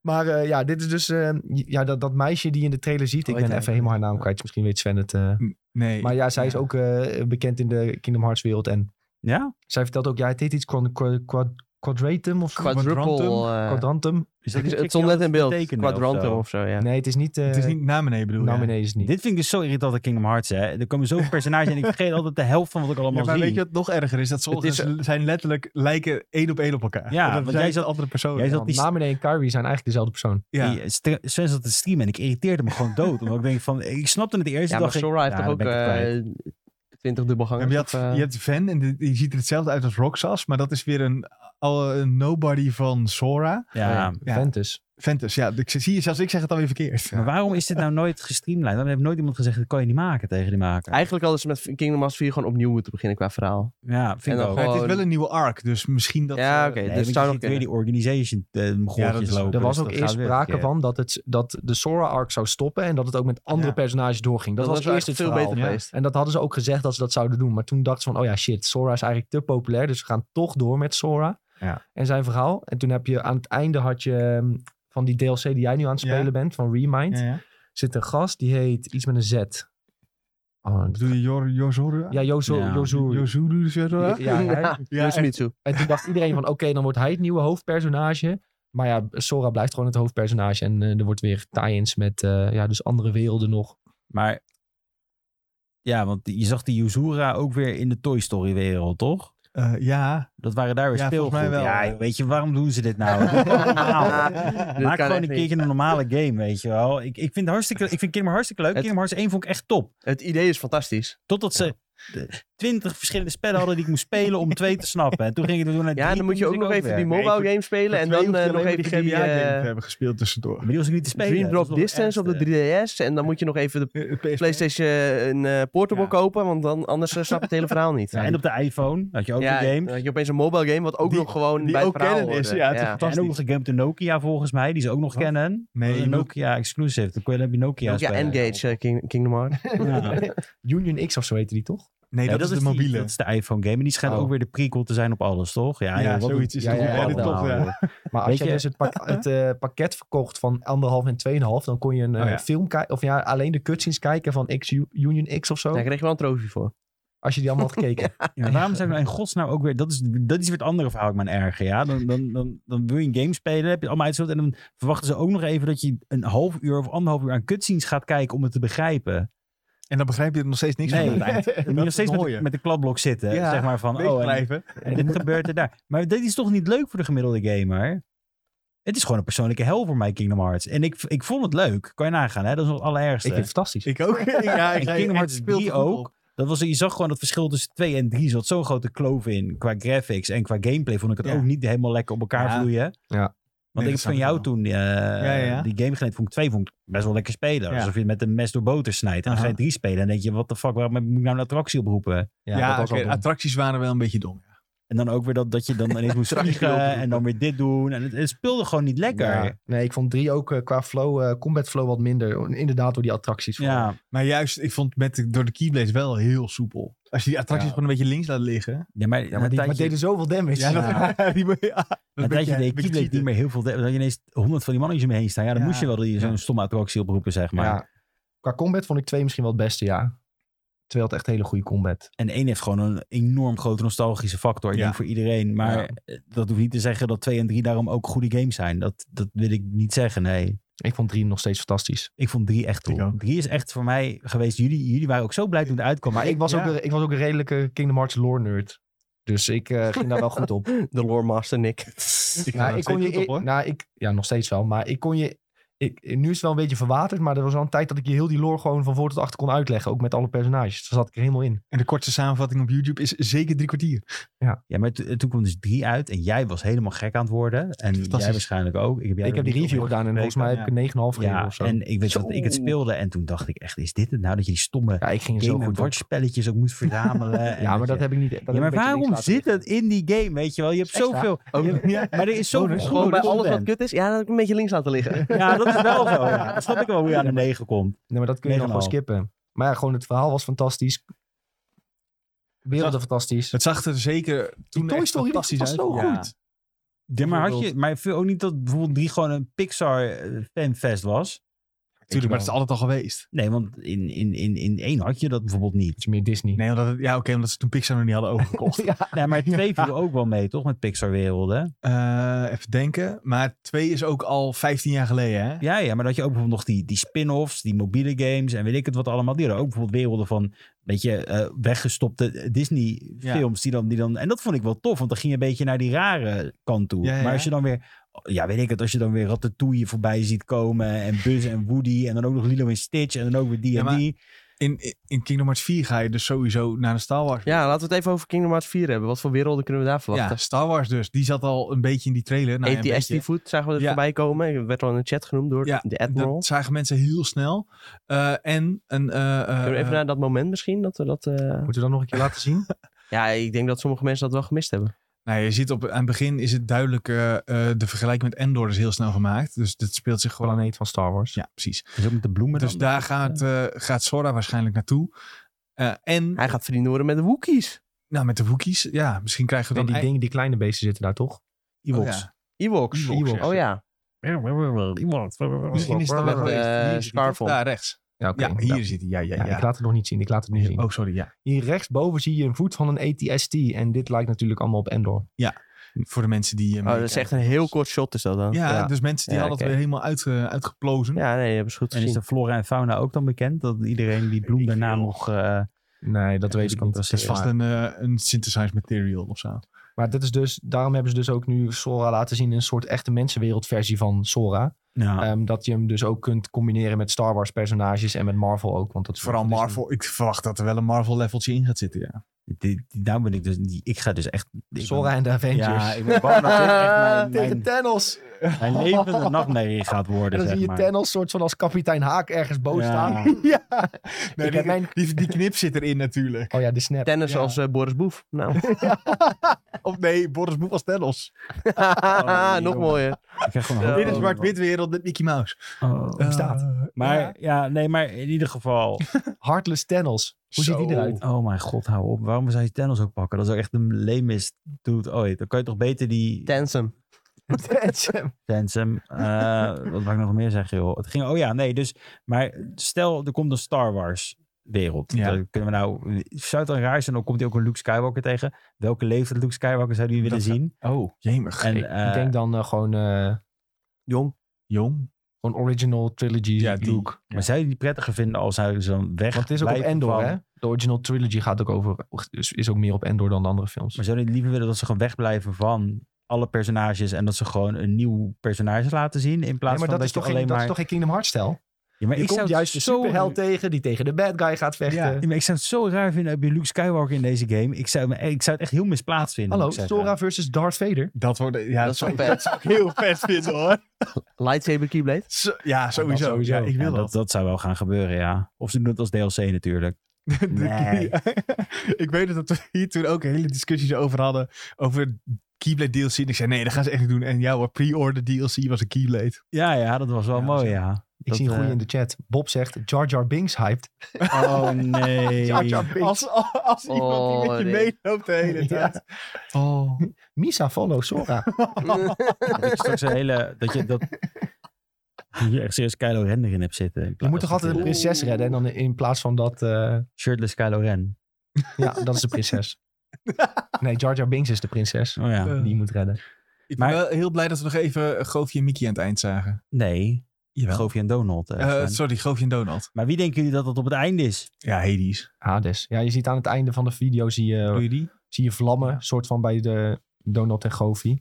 A: maar eh, ja, dit is dus eh, ja, dat, dat meisje die je in de trailer ziet.
B: Hoe
A: Ik
B: heet
A: ben
B: hij?
A: even helemaal haar naam kwijt. Misschien weet Sven het. eh.
C: Nee.
A: Maar ja, zij is ook eh, bekend in de Kingdom Hearts wereld. En
D: Ja?
A: Zij vertelt ook, ja, het heet iets quad, quad, quad- quadratum of zo.
B: Quadruple.
A: Quadrantum.
B: eh,
A: Quadrantum.
D: Is
B: het-
D: dat die chick
B: het
D: die
B: stond net
D: altijd
B: in beeld.
D: tekenen of
B: Quadrantum
D: zo?
B: of zo, ja.
A: Nee, het is niet... eh
C: Het is niet naar beneden bedoel
A: Nou,
C: je?
A: nee, het is niet.
D: Dit vind ik dus zo irritant aan Kingdom Hearts, hè. Er komen zoveel personages en ik vergeet altijd de helft van wat ik
C: Ja,
D: allemaal
C: maar
D: zie.
C: weet je wat nog erger is? eh, Dat
B: Het
C: sommige
B: is-
C: ze zijn letterlijk lijken één op één op elkaar.
D: Ja,
C: dat
D: want
C: zijn
D: jij zat-
C: andere personen.
D: jij zat-
A: Want
D: die-
A: Namine en Kyrie zijn eigenlijk dezelfde persoon.
C: ja.
D: Die, eh, stre- Sven zat te streamen en ik irriteerde me gewoon dood. Omdat ik denk van, ik snapte het eerst.
B: Ja, maar
D: en dacht ik,
B: Sora heeft
D: "Nou,
B: toch ook
D: dan ben ik het kwijt."
B: eh 20
C: Ja, maar
B: dubbelgangers?
C: je,
B: of,
C: had,
B: eh,
C: je had Van en die, die ziet er hetzelfde uit als Roxas, maar dat is weer een, al- een nobody van Sora.
D: ja.
C: Ja.
A: Ventus.
C: Ventus, ja, ik zie je, zelfs ik zeg het dan weer verkeerd.
D: Maar waarom is dit nou nooit gestreamlijnd? Dan heeft nooit iemand gezegd, dat kan je niet maken tegen die maker.
B: Eigenlijk hadden ze met Kingdom Hearts 4 gewoon opnieuw moeten beginnen qua verhaal.
D: Ja, vind
B: En dan
D: ik ook.
C: Maar het is
B: gewoon-
C: wel een nieuwe arc, dus misschien dat...
B: Ja,
C: eh,
B: oké.
D: Nee,
B: dus
D: want je
B: zou nog
D: ziet weer
B: kunnen.
D: die organization eh,
C: Ja, dat
D: goortjes
C: is-
D: lopen.
A: Er was
D: dus
A: ook
D: dat
A: eerst
D: gaat weer
A: sprake
D: verkeerd.
A: van dat, het, dat de Sora-arc zou stoppen en dat het ook met andere
C: Ja.
A: personages doorging. Dat, was eerst het
B: veel
A: verhaal.
B: beter
C: Ja.
B: geweest.
A: En dat hadden ze ook gezegd dat ze dat zouden doen. Maar toen dachten ze van, oh ja, shit, Sora is eigenlijk te populair. Dus we gaan toch door met Sora
C: Ja.
A: en zijn verhaal. En toen heb je aan het einde had je ehm, van die DLC die jij nu aan het
C: Ja.
A: spelen bent, van Remind,
C: Ja, ja.
A: zit een gast die heet iets met een Z. Oh, dat-
C: Bedoel je Jor- Jozora?
A: ja, Yozo,
D: Ja.
A: Yozuru.
C: Jozuru, Jozora?
A: Ja, hij-
C: Ja,
B: dus
C: echt.
B: niet zo.
A: en toen dacht iedereen van, oké, dan wordt hij het nieuwe hoofdpersonage. Maar ja, Sora blijft gewoon het hoofdpersonage. En eh, er wordt weer tie-ins met eh, ja, dus andere werelden nog.
D: Maar ja, want die- je zag die Yuzura ook weer in de Toy Story wereld, toch?
C: Eh, ja.
D: Dat waren daar weer
C: Ja,
D: speelgoed.
C: volgens mij wel.
D: Ja, weet je, waarom doen ze dit nou? Doe het normaal.
B: Dit kan
D: Maak gewoon
B: echt
D: een
B: niet.
D: keertje een normale game, weet je wel. Ik, ik vind hartstikke, ik vind Kingdom Hearts hartstikke leuk.
B: Het-
D: Kingdom Hearts 1 vond ik echt top.
B: Het idee is fantastisch.
D: Totdat ze twintig verschillende spellen hadden die ik moest spelen om twee te snappen. En toen ging ik er door naar
B: Ja, en
D: drie,
B: dan moet je
D: toen
B: ook
D: moest
B: nog
D: ik
B: even die
D: weer.
B: mobile
D: Nee, ik
B: game spelen. En
C: Voor twee
B: dan
C: hoef je
B: eh,
C: alleen
B: nog
C: maar die
B: even die
C: GBA game te
B: eh,
C: hebben gespeeld tussendoor.
D: vond- Maar die was ik niet te spelen.
B: Dream
D: Dat
B: Drop
D: was nog
B: Distance op de
D: ernstig.
B: 3DS. En dan moet je nog even de
C: Eh, PSP.
B: PlayStation een Portable
C: Ja.
B: kopen. Want dan, anders eh, snap ik het hele verhaal niet.
D: Ja, en op de iPhone had je ook
B: Ja,
D: een game.
B: dan had je opeens een mobile game. Wat ook
C: Die-
B: nog gewoon
C: die
B: bij het
C: ook
B: verhaal
C: kennen is,
B: hoorde.
C: ja, het is
B: ja.
D: En ook nog een game op de Nokia volgens mij, die ze ook nog
C: Wat?
D: kennen. Dat
C: Nee,
D: was een
C: je moet-
D: Nokia exclusive. Dan kon je dan heb je Nokia
B: Ja,
D: spelen.
B: Engage, eh, King, Kingdom
D: Oh.
B: Hearts.
D: Ja. Nee,
A: Union X of zo heette die toch?
C: Nee, dat, is de
D: die-
C: mobiele.
D: dat is de iPhone game. En die schijnt
A: Oh.
D: ook weer de prequel te zijn op alles, toch? Ja,
C: ja,
D: joh, wat Nou,
C: zoiets is
A: ja,
C: het
A: ja,
C: ja,
A: ja,
C: top,
D: allemaal,
C: ja.
D: joh.
A: Maar als
D: Weet
A: jij
D: je-
A: dus het, pak- het eh, pakket verkocht van anderhalf en tweeënhalf, dan kon je een eh,
C: Oh ja.
A: film kijken. Of ja, alleen de cutscenes kijken van X, U- Union X of zo.
B: Daar kreeg je wel een trofee voor.
A: Als je die allemaal had gekeken.
D: Ja, maar waarom zijn we nou in godsnaam ook weer... Dat is, dat is weer het andere verhaal, ik mijn erger. Ja? Dan, dan, dan, dan wil je een game spelen, heb je het allemaal uitgespeeld... en dan verwachten ze ook nog even dat je een half uur of anderhalf uur aan cutscenes gaat kijken om het te begrijpen.
C: En dan begrijp je er nog steeds niks
D: Nee,
C: van. aan het eind.
D: En
C: Dat
D: nog
C: is
D: steeds
C: het
D: met, de-
C: mooie.
D: met de kladblok zitten.
C: Ja,
D: zeg maar van,
C: Leeg
D: oh, en,
C: blijven.
D: en dit gebeurt er daar. Maar dit is toch niet leuk voor de gemiddelde gamer? Het is gewoon een persoonlijke hel voor mij, Kingdom Hearts. En ik, ik vond het leuk. Kan je nagaan, hè? Dat is nog het allerergste.
A: Ik vind het fantastisch.
C: Ik ook. ja,
D: En
C: ik
D: Kingdom Hearts 3 ook. Dat was, je zag gewoon dat verschil tussen 2 en 3 zat zo'n grote kloof in. Qua graphics en qua gameplay vond ik het
C: Ja.
D: ook niet helemaal lekker op elkaar
C: Ja.
D: vloeien.
A: Ja.
D: Want ik
C: Nee,
D: heb van
C: dat snap ik
D: jou
C: wel.
D: toen eh,
C: ja.
D: die game geleend, vond ik 2 vond ik best wel lekker spelen.
C: Ja.
D: Alsof je met een mes door boter snijdt. En dan
C: Aha.
D: ga je 3 spelen en denk je, wat de fuck, waarom moet ik nou een attractie oproepen?
C: Ja,
A: dat was
C: oké,
A: al dom.
C: attracties waren wel een beetje dom. ja.
D: En dan ook weer dat, dat je dan ineens moest
B: Attractie
D: vliegen
B: oproepen.
D: en dan weer dit doen. En het, het speelde gewoon niet lekker.
A: Ja.
D: Ja.
A: Nee, ik vond drie ook eh, qua flow, eh, combat flow wat minder. Inderdaad, door die attracties.
C: Maar juist, ik vond met de- door de Keyblades wel heel soepel. Als je die attracties
A: Ja.
C: gewoon een beetje links laat liggen.
D: Ja, maar,
A: Ja, maar die maar deden zoveel damage.
C: Ja, dat, die, moet je- ja, dat
D: Een
C: beetje-
D: tijdje deed
C: beetje
D: Keyblade niet
C: cheaten.
D: meer heel veel. Dat je ineens honderd van die mannetjes om je heen staan. Ja, dan
C: Ja.
D: moest je wel die- zo'n
C: Ja.
D: stomme attractie oproepen, zeg maar.
A: Maar qua combat vond ik twee misschien wel het beste, ja. Terwijl het echt hele goede combat.
D: En één heeft gewoon een enorm grote nostalgische factor. Ik
C: Ja.
D: denk voor iedereen. Maar eh, dat hoeft niet te zeggen dat 2 en 3 daarom ook goede games zijn. Dat, dat wil ik niet zeggen, nee.
A: Ik vond drie nog steeds fantastisch.
D: Ik vond 3 echt
C: Ik
D: cool.
C: ook.
D: 3 is echt voor mij geweest. Jullie, jullie waren ook zo blij toen het uitkwam.
A: Maar ik was,
C: Ja.
A: ook, een- ik was ook een redelijke Kingdom Hearts lore nerd. Dus ik eh, ging daar wel goed op.
B: De Lore Master Nick.
C: Ik,
A: Nou, ik kon je,
C: op, hoor.
A: nou, ik, ja, nog steeds wel. Maar ik kon je, ik, nu is het wel een beetje verwaterd, maar er was wel een tijd dat ik je heel die lore gewoon van voor tot achter kon uitleggen. Ook met alle personages. Dus Daar zat ik er helemaal in.
C: En de kortste samenvatting op YouTube is zeker drie kwartier.
D: Ja, maar to- toen kwam dus 3 uit. En jij was helemaal gek aan het worden. En
C: Fantastisch.
D: jij waarschijnlijk ook. Ik heb, jij
A: ik heb die
D: niet
A: review
D: op-
A: gedaan en volgens mij heb ik een 9,5 gegeven
D: Ja,
A: of zo.
D: en ik weet dat ik het
B: Zo.
D: speelde. En toen dacht ik echt, is dit het nou? Dat je die stomme
A: ja, ik ging er zo
D: Game
A: goed op.
D: Watch spelletjes ook moest verzamelen. en
A: Ja, maar dat
D: je-
A: heb ik niet. dat heb
D: Ja,
A: ik
D: maar
A: een beetje links
D: waarom
A: laten
D: zit
A: liggen.
D: dat in die game, weet je wel? Je hebt
A: Extra.
D: zoveel...
B: Ook-
D: je- Maar er is zoveel
A: Bonus.
D: goede
B: Gewoon bij alles wat
D: content.
B: kut is. Ja, dat heb ik een beetje links laten liggen.
D: Ja, dat is wel zo. Ja. Dat snap ik wel hoe je aan de 9 komt.
A: Nee, maar dat kun je dan gewoon
D: 9,5.
A: skippen. Maar ja, gewoon het verhaal was fantastisch. Werelden fantastisch.
C: Het zag er zeker toen
A: Toy
C: echt
A: Story, dat
C: fantastisch
A: was
C: uit.
A: zo
C: Ja.
A: goed.
D: Ja, maar, had je, maar viel ook niet dat bijvoorbeeld 3 gewoon een Pixar eh, fanfest was? weet je
C: Tuurlijk, maar het is
D: wel.
C: altijd al geweest.
D: Nee, want in, in, in, in één had je dat bijvoorbeeld niet.
A: is meer Disney.
C: Nee, omdat, het- ja, oké, omdat ze toen Pixar nog niet hadden overgekocht.
A: ja.
D: Nee, maar twee viel ook wel mee, toch? Met Pixar werelden.
C: Eh, even denken. Maar twee is ook al 15 jaar geleden, hè?
D: Ja, ja, maar dat je ook bijvoorbeeld nog die, die spin-offs, die mobiele games en weet ik het wat allemaal. Die hadden ook bijvoorbeeld werelden van, weet je, eh, weggestopte eh, Disney
C: Ja.
D: films. Die dan, die dan, en dat vond ik wel tof, want dan ging je een beetje naar die rare kant toe.
C: Ja, ja,
D: Maar als
C: ja.
D: je dan weer, ja weet ik het, als je dan weer Ratatouille voorbij ziet komen en Buzz en Woody en dan ook nog Lilo en Stitch en dan ook weer die
C: Ja,
D: en
C: maar-
D: die.
C: In, in Kingdom Hearts 4 ga je dus sowieso naar de Star Wars.
B: Ja, laten we het even over Kingdom Hearts 4 hebben. Wat voor werelden kunnen we daar
C: Ja,
B: verwachten?
C: Star Wars dus. Die zat al een beetje in die trailer. Nou, ja, een
B: ATST
C: beetje.
B: Food zagen we er
C: Ja.
B: voorbij komen. Ik werd al in de chat genoemd door
C: Ja,
B: de Admiral.
C: Dat eh, zagen mensen heel snel. Eh, en een... eh, eh,
B: Kunnen we even naar dat moment misschien? Dat we dat, eh,
A: Moeten we dat nog een keer laten zien?
B: Ja, ik denk dat sommige mensen dat wel gemist hebben.
C: Nou, je ziet op, aan het begin is het duidelijk, eh, eh, de vergelijking met Endor is heel snel gemaakt. Dus dat speelt zich gewoon...
A: Planeet van Star Wars.
C: Ja, precies.
D: Dus ook met de bloemen
C: dus
D: dan.
C: daar gaat, eh, gaat Sora waarschijnlijk naartoe. Eh, en,
B: Hij gaat vrienden worden met de Wookiees.
C: nou met de Wookiees, ja, misschien krijgen we
A: Nee,
C: dan...
A: die, dingen, die kleine beesten zitten daar toch?
D: Ewoks.
C: Oh, ja.
B: Ewoks.
C: Ewoks,
B: Oh ja.
D: Dus
C: Misschien is het dan wel
B: Met,
C: geweest.
B: eh,
C: Hier zit hij,
B: Scarfon.
C: toch? Daar rechts.
A: Ja, oké.
C: Ja, hier zit hij. Ja, ja,
A: Ja,
C: ja.
A: Ik laat het nog niet zien. Ik laat het nu zien.
C: Oh, sorry, ja.
A: Hier rechtsboven zie je een voet van een E ATST. En dit lijkt natuurlijk allemaal op Endor.
C: Voor de mensen die... eh,
B: Oh, dat is echt een heel kort shot is dat dan.
C: Ja,
A: Ja.
C: dus mensen die
B: Ja,
C: hadden het
B: oké.
C: weer helemaal uit, eh, uitgeplozen.
B: Ja, nee, hebben ze goed
D: En is
B: gezien.
D: de flora en fauna ook dan bekend? Dat iedereen die bloem
C: ik
D: daarna
C: veel.
D: nog... eh,
A: Nee, dus dat weet
D: is
A: ik niet.
D: niet
C: Het dus is vast
A: Maar-
C: een, eh, een synthesized material of zo.
A: Maar dat is dus, daarom hebben ze dus ook nu Sora laten zien in een soort echte mensenwereldversie van Sora.
D: nou,
A: Ehm, dat je hem dus ook kunt combineren met Star Wars personages en met Marvel ook. Want dat is
C: Vooral
A: dat is
C: Marvel. Ik verwacht dat er wel een Marvel leveltje in gaat zitten, ja.
D: die- die- nou ben ik dus... Die, ik ga dus echt...
A: een-
D: ik
A: Sora en de Avengers.
D: Ja, ik ben bang dat dit echt mijn,
A: Tegen
D: mijn,
A: Thanos.
D: mijn levende nachtmerrie gaat
A: En
D: worden,
A: dan zie
D: zeg
A: je
D: maar.
A: Thanos soort van als kapitein Haak ergens boos
D: Ja.
A: staan. ja.
C: Nee,
A: Ik heb mijn-
C: Die, die knip zit erin natuurlijk.
A: Oh ja, de snap.
B: Tennis
C: Ja.
B: als eh, Boris Boef. Nou,
C: Of nee, Boris Boef als Thanos.
B: nog
D: jongen.
B: mooier.
D: Ik krijg gewoon een
B: Ja.
D: hoofd-
C: Dit is zwart-wit wereld met Mickey Mouse.
D: Oh.
C: Oh. Eh,
A: staat.
D: Maar ja, nee, maar in ieder geval...
A: Heartless Thanos. Hoe
C: Zo.
A: ziet die eruit?
D: Oh mijn god, hou op. Waarom zou je Thanos ook pakken? Dat is ook echt een lamest dude ooit. Dan kan je toch beter die...
B: Tensum.
A: Tensem.
D: Tensem. Eh, wat mag ik nog meer zeggen, joh? Het ging, oh ja, nee, dus... Maar stel, er komt een Star Wars wereld.
C: Ja.
D: Dan kunnen we nou... Zou het dan raar zijn, dan komt hij ook een Luke Skywalker tegen. Welke leeftijd Luke Skywalker zou die willen
C: Dat zou-
D: zien?
C: Oh, jemig.
D: En,
A: ik, ik
D: eh,
A: denk dan eh, gewoon, eh,
B: Jong.
C: Jong.
A: gewoon original trilogy
C: Ja, die.
A: Luke.
D: Maar zou je die prettiger vinden als hij ze dan weg
A: Want het is ook op
D: blijven
A: Endor,
D: van-
A: hè? De original trilogy gaat ook over, is, is ook meer op Endor dan de andere films.
D: Maar zou je liever willen dat ze gewoon wegblijven van alle personages en dat ze gewoon een nieuw personage laten zien in
A: Nee,
D: plaats
A: maar
D: van
A: dat, is
D: je
A: toch geen,
D: alleen
A: dat
D: maar...
A: is toch geen Kingdom Hearts stijl?
D: Ja, maar
A: Je komt
D: het
A: juist de
D: zo-
A: superheld tegen die tegen de bad guy gaat vechten.
D: Ja, maar ik zou het zo raar vinden heb je Luke Skywalker in deze game. Ik zou, me- ik zou het echt heel misplaatst vinden.
A: Hallo,
D: moet ik eh, zeggen.
A: Sora versus Darth Vader.
C: Dat wordt, ja,
B: dat is wel vet.
C: ook heel vet vinden hoor.
B: Lightsaber Keyblade.
C: Zo- ja, sowieso.
A: sowieso.
C: Ja, ik
D: Ja,
C: wil
D: dat, dat zou wel gaan gebeuren, ja. Of ze doen het als DLC natuurlijk.
C: De-
D: Nee.
C: ik weet het, dat we hier toen ook hele discussies over hadden. Over Keyblade DLC. En ik zei, nee, dat gaan ze echt niet doen. En jouw pre-order DLC was een Keyblade.
D: Ja, ja, dat was wel
C: Ja,
D: mooi,
C: zo.
D: ja.
A: Ik
D: Dat,
A: zie een goeie
D: eh,
A: in de chat. Bob zegt Jar Jar Binks hyped.
D: Oh, nee.
A: Jar Jar Binks.
C: Als, als iemand
B: Oh,
C: die met je
B: nee.
C: meeloopt de hele
A: Ja.
C: tijd. Oh.
A: Misa follow Sora.
D: Dat je straks een hele... Dat je dat... dat je echt serieus Kylo Ren erin hebt zitten. in
A: Je
D: plaats
A: moet toch
D: van
A: altijd de
D: de
A: prinses redden en dan in plaats van dat... eh,
D: Shirtless Kylo Ren.
A: ja, dat is de prinses. Nee, Jar Jar Binks is de prinses.
D: Oh ja.
A: Die je moet redden.
C: Ik
D: Maar-
C: ben wel heel blij dat we nog even Goofy en Mickey aan het eind zagen.
D: Nee,
C: Jawel.
D: Goofy en Donald. eh, zijn.
C: sorry, Goofy en Donald.
D: maar wie denken jullie dat dat op het einde is?
C: Ja, Hades.
A: Hades. Ja, je ziet aan het einde van de video zie
C: Doe
A: je,
C: je die?
A: zie je vlammen. Soort van bij de Donald en Goofy.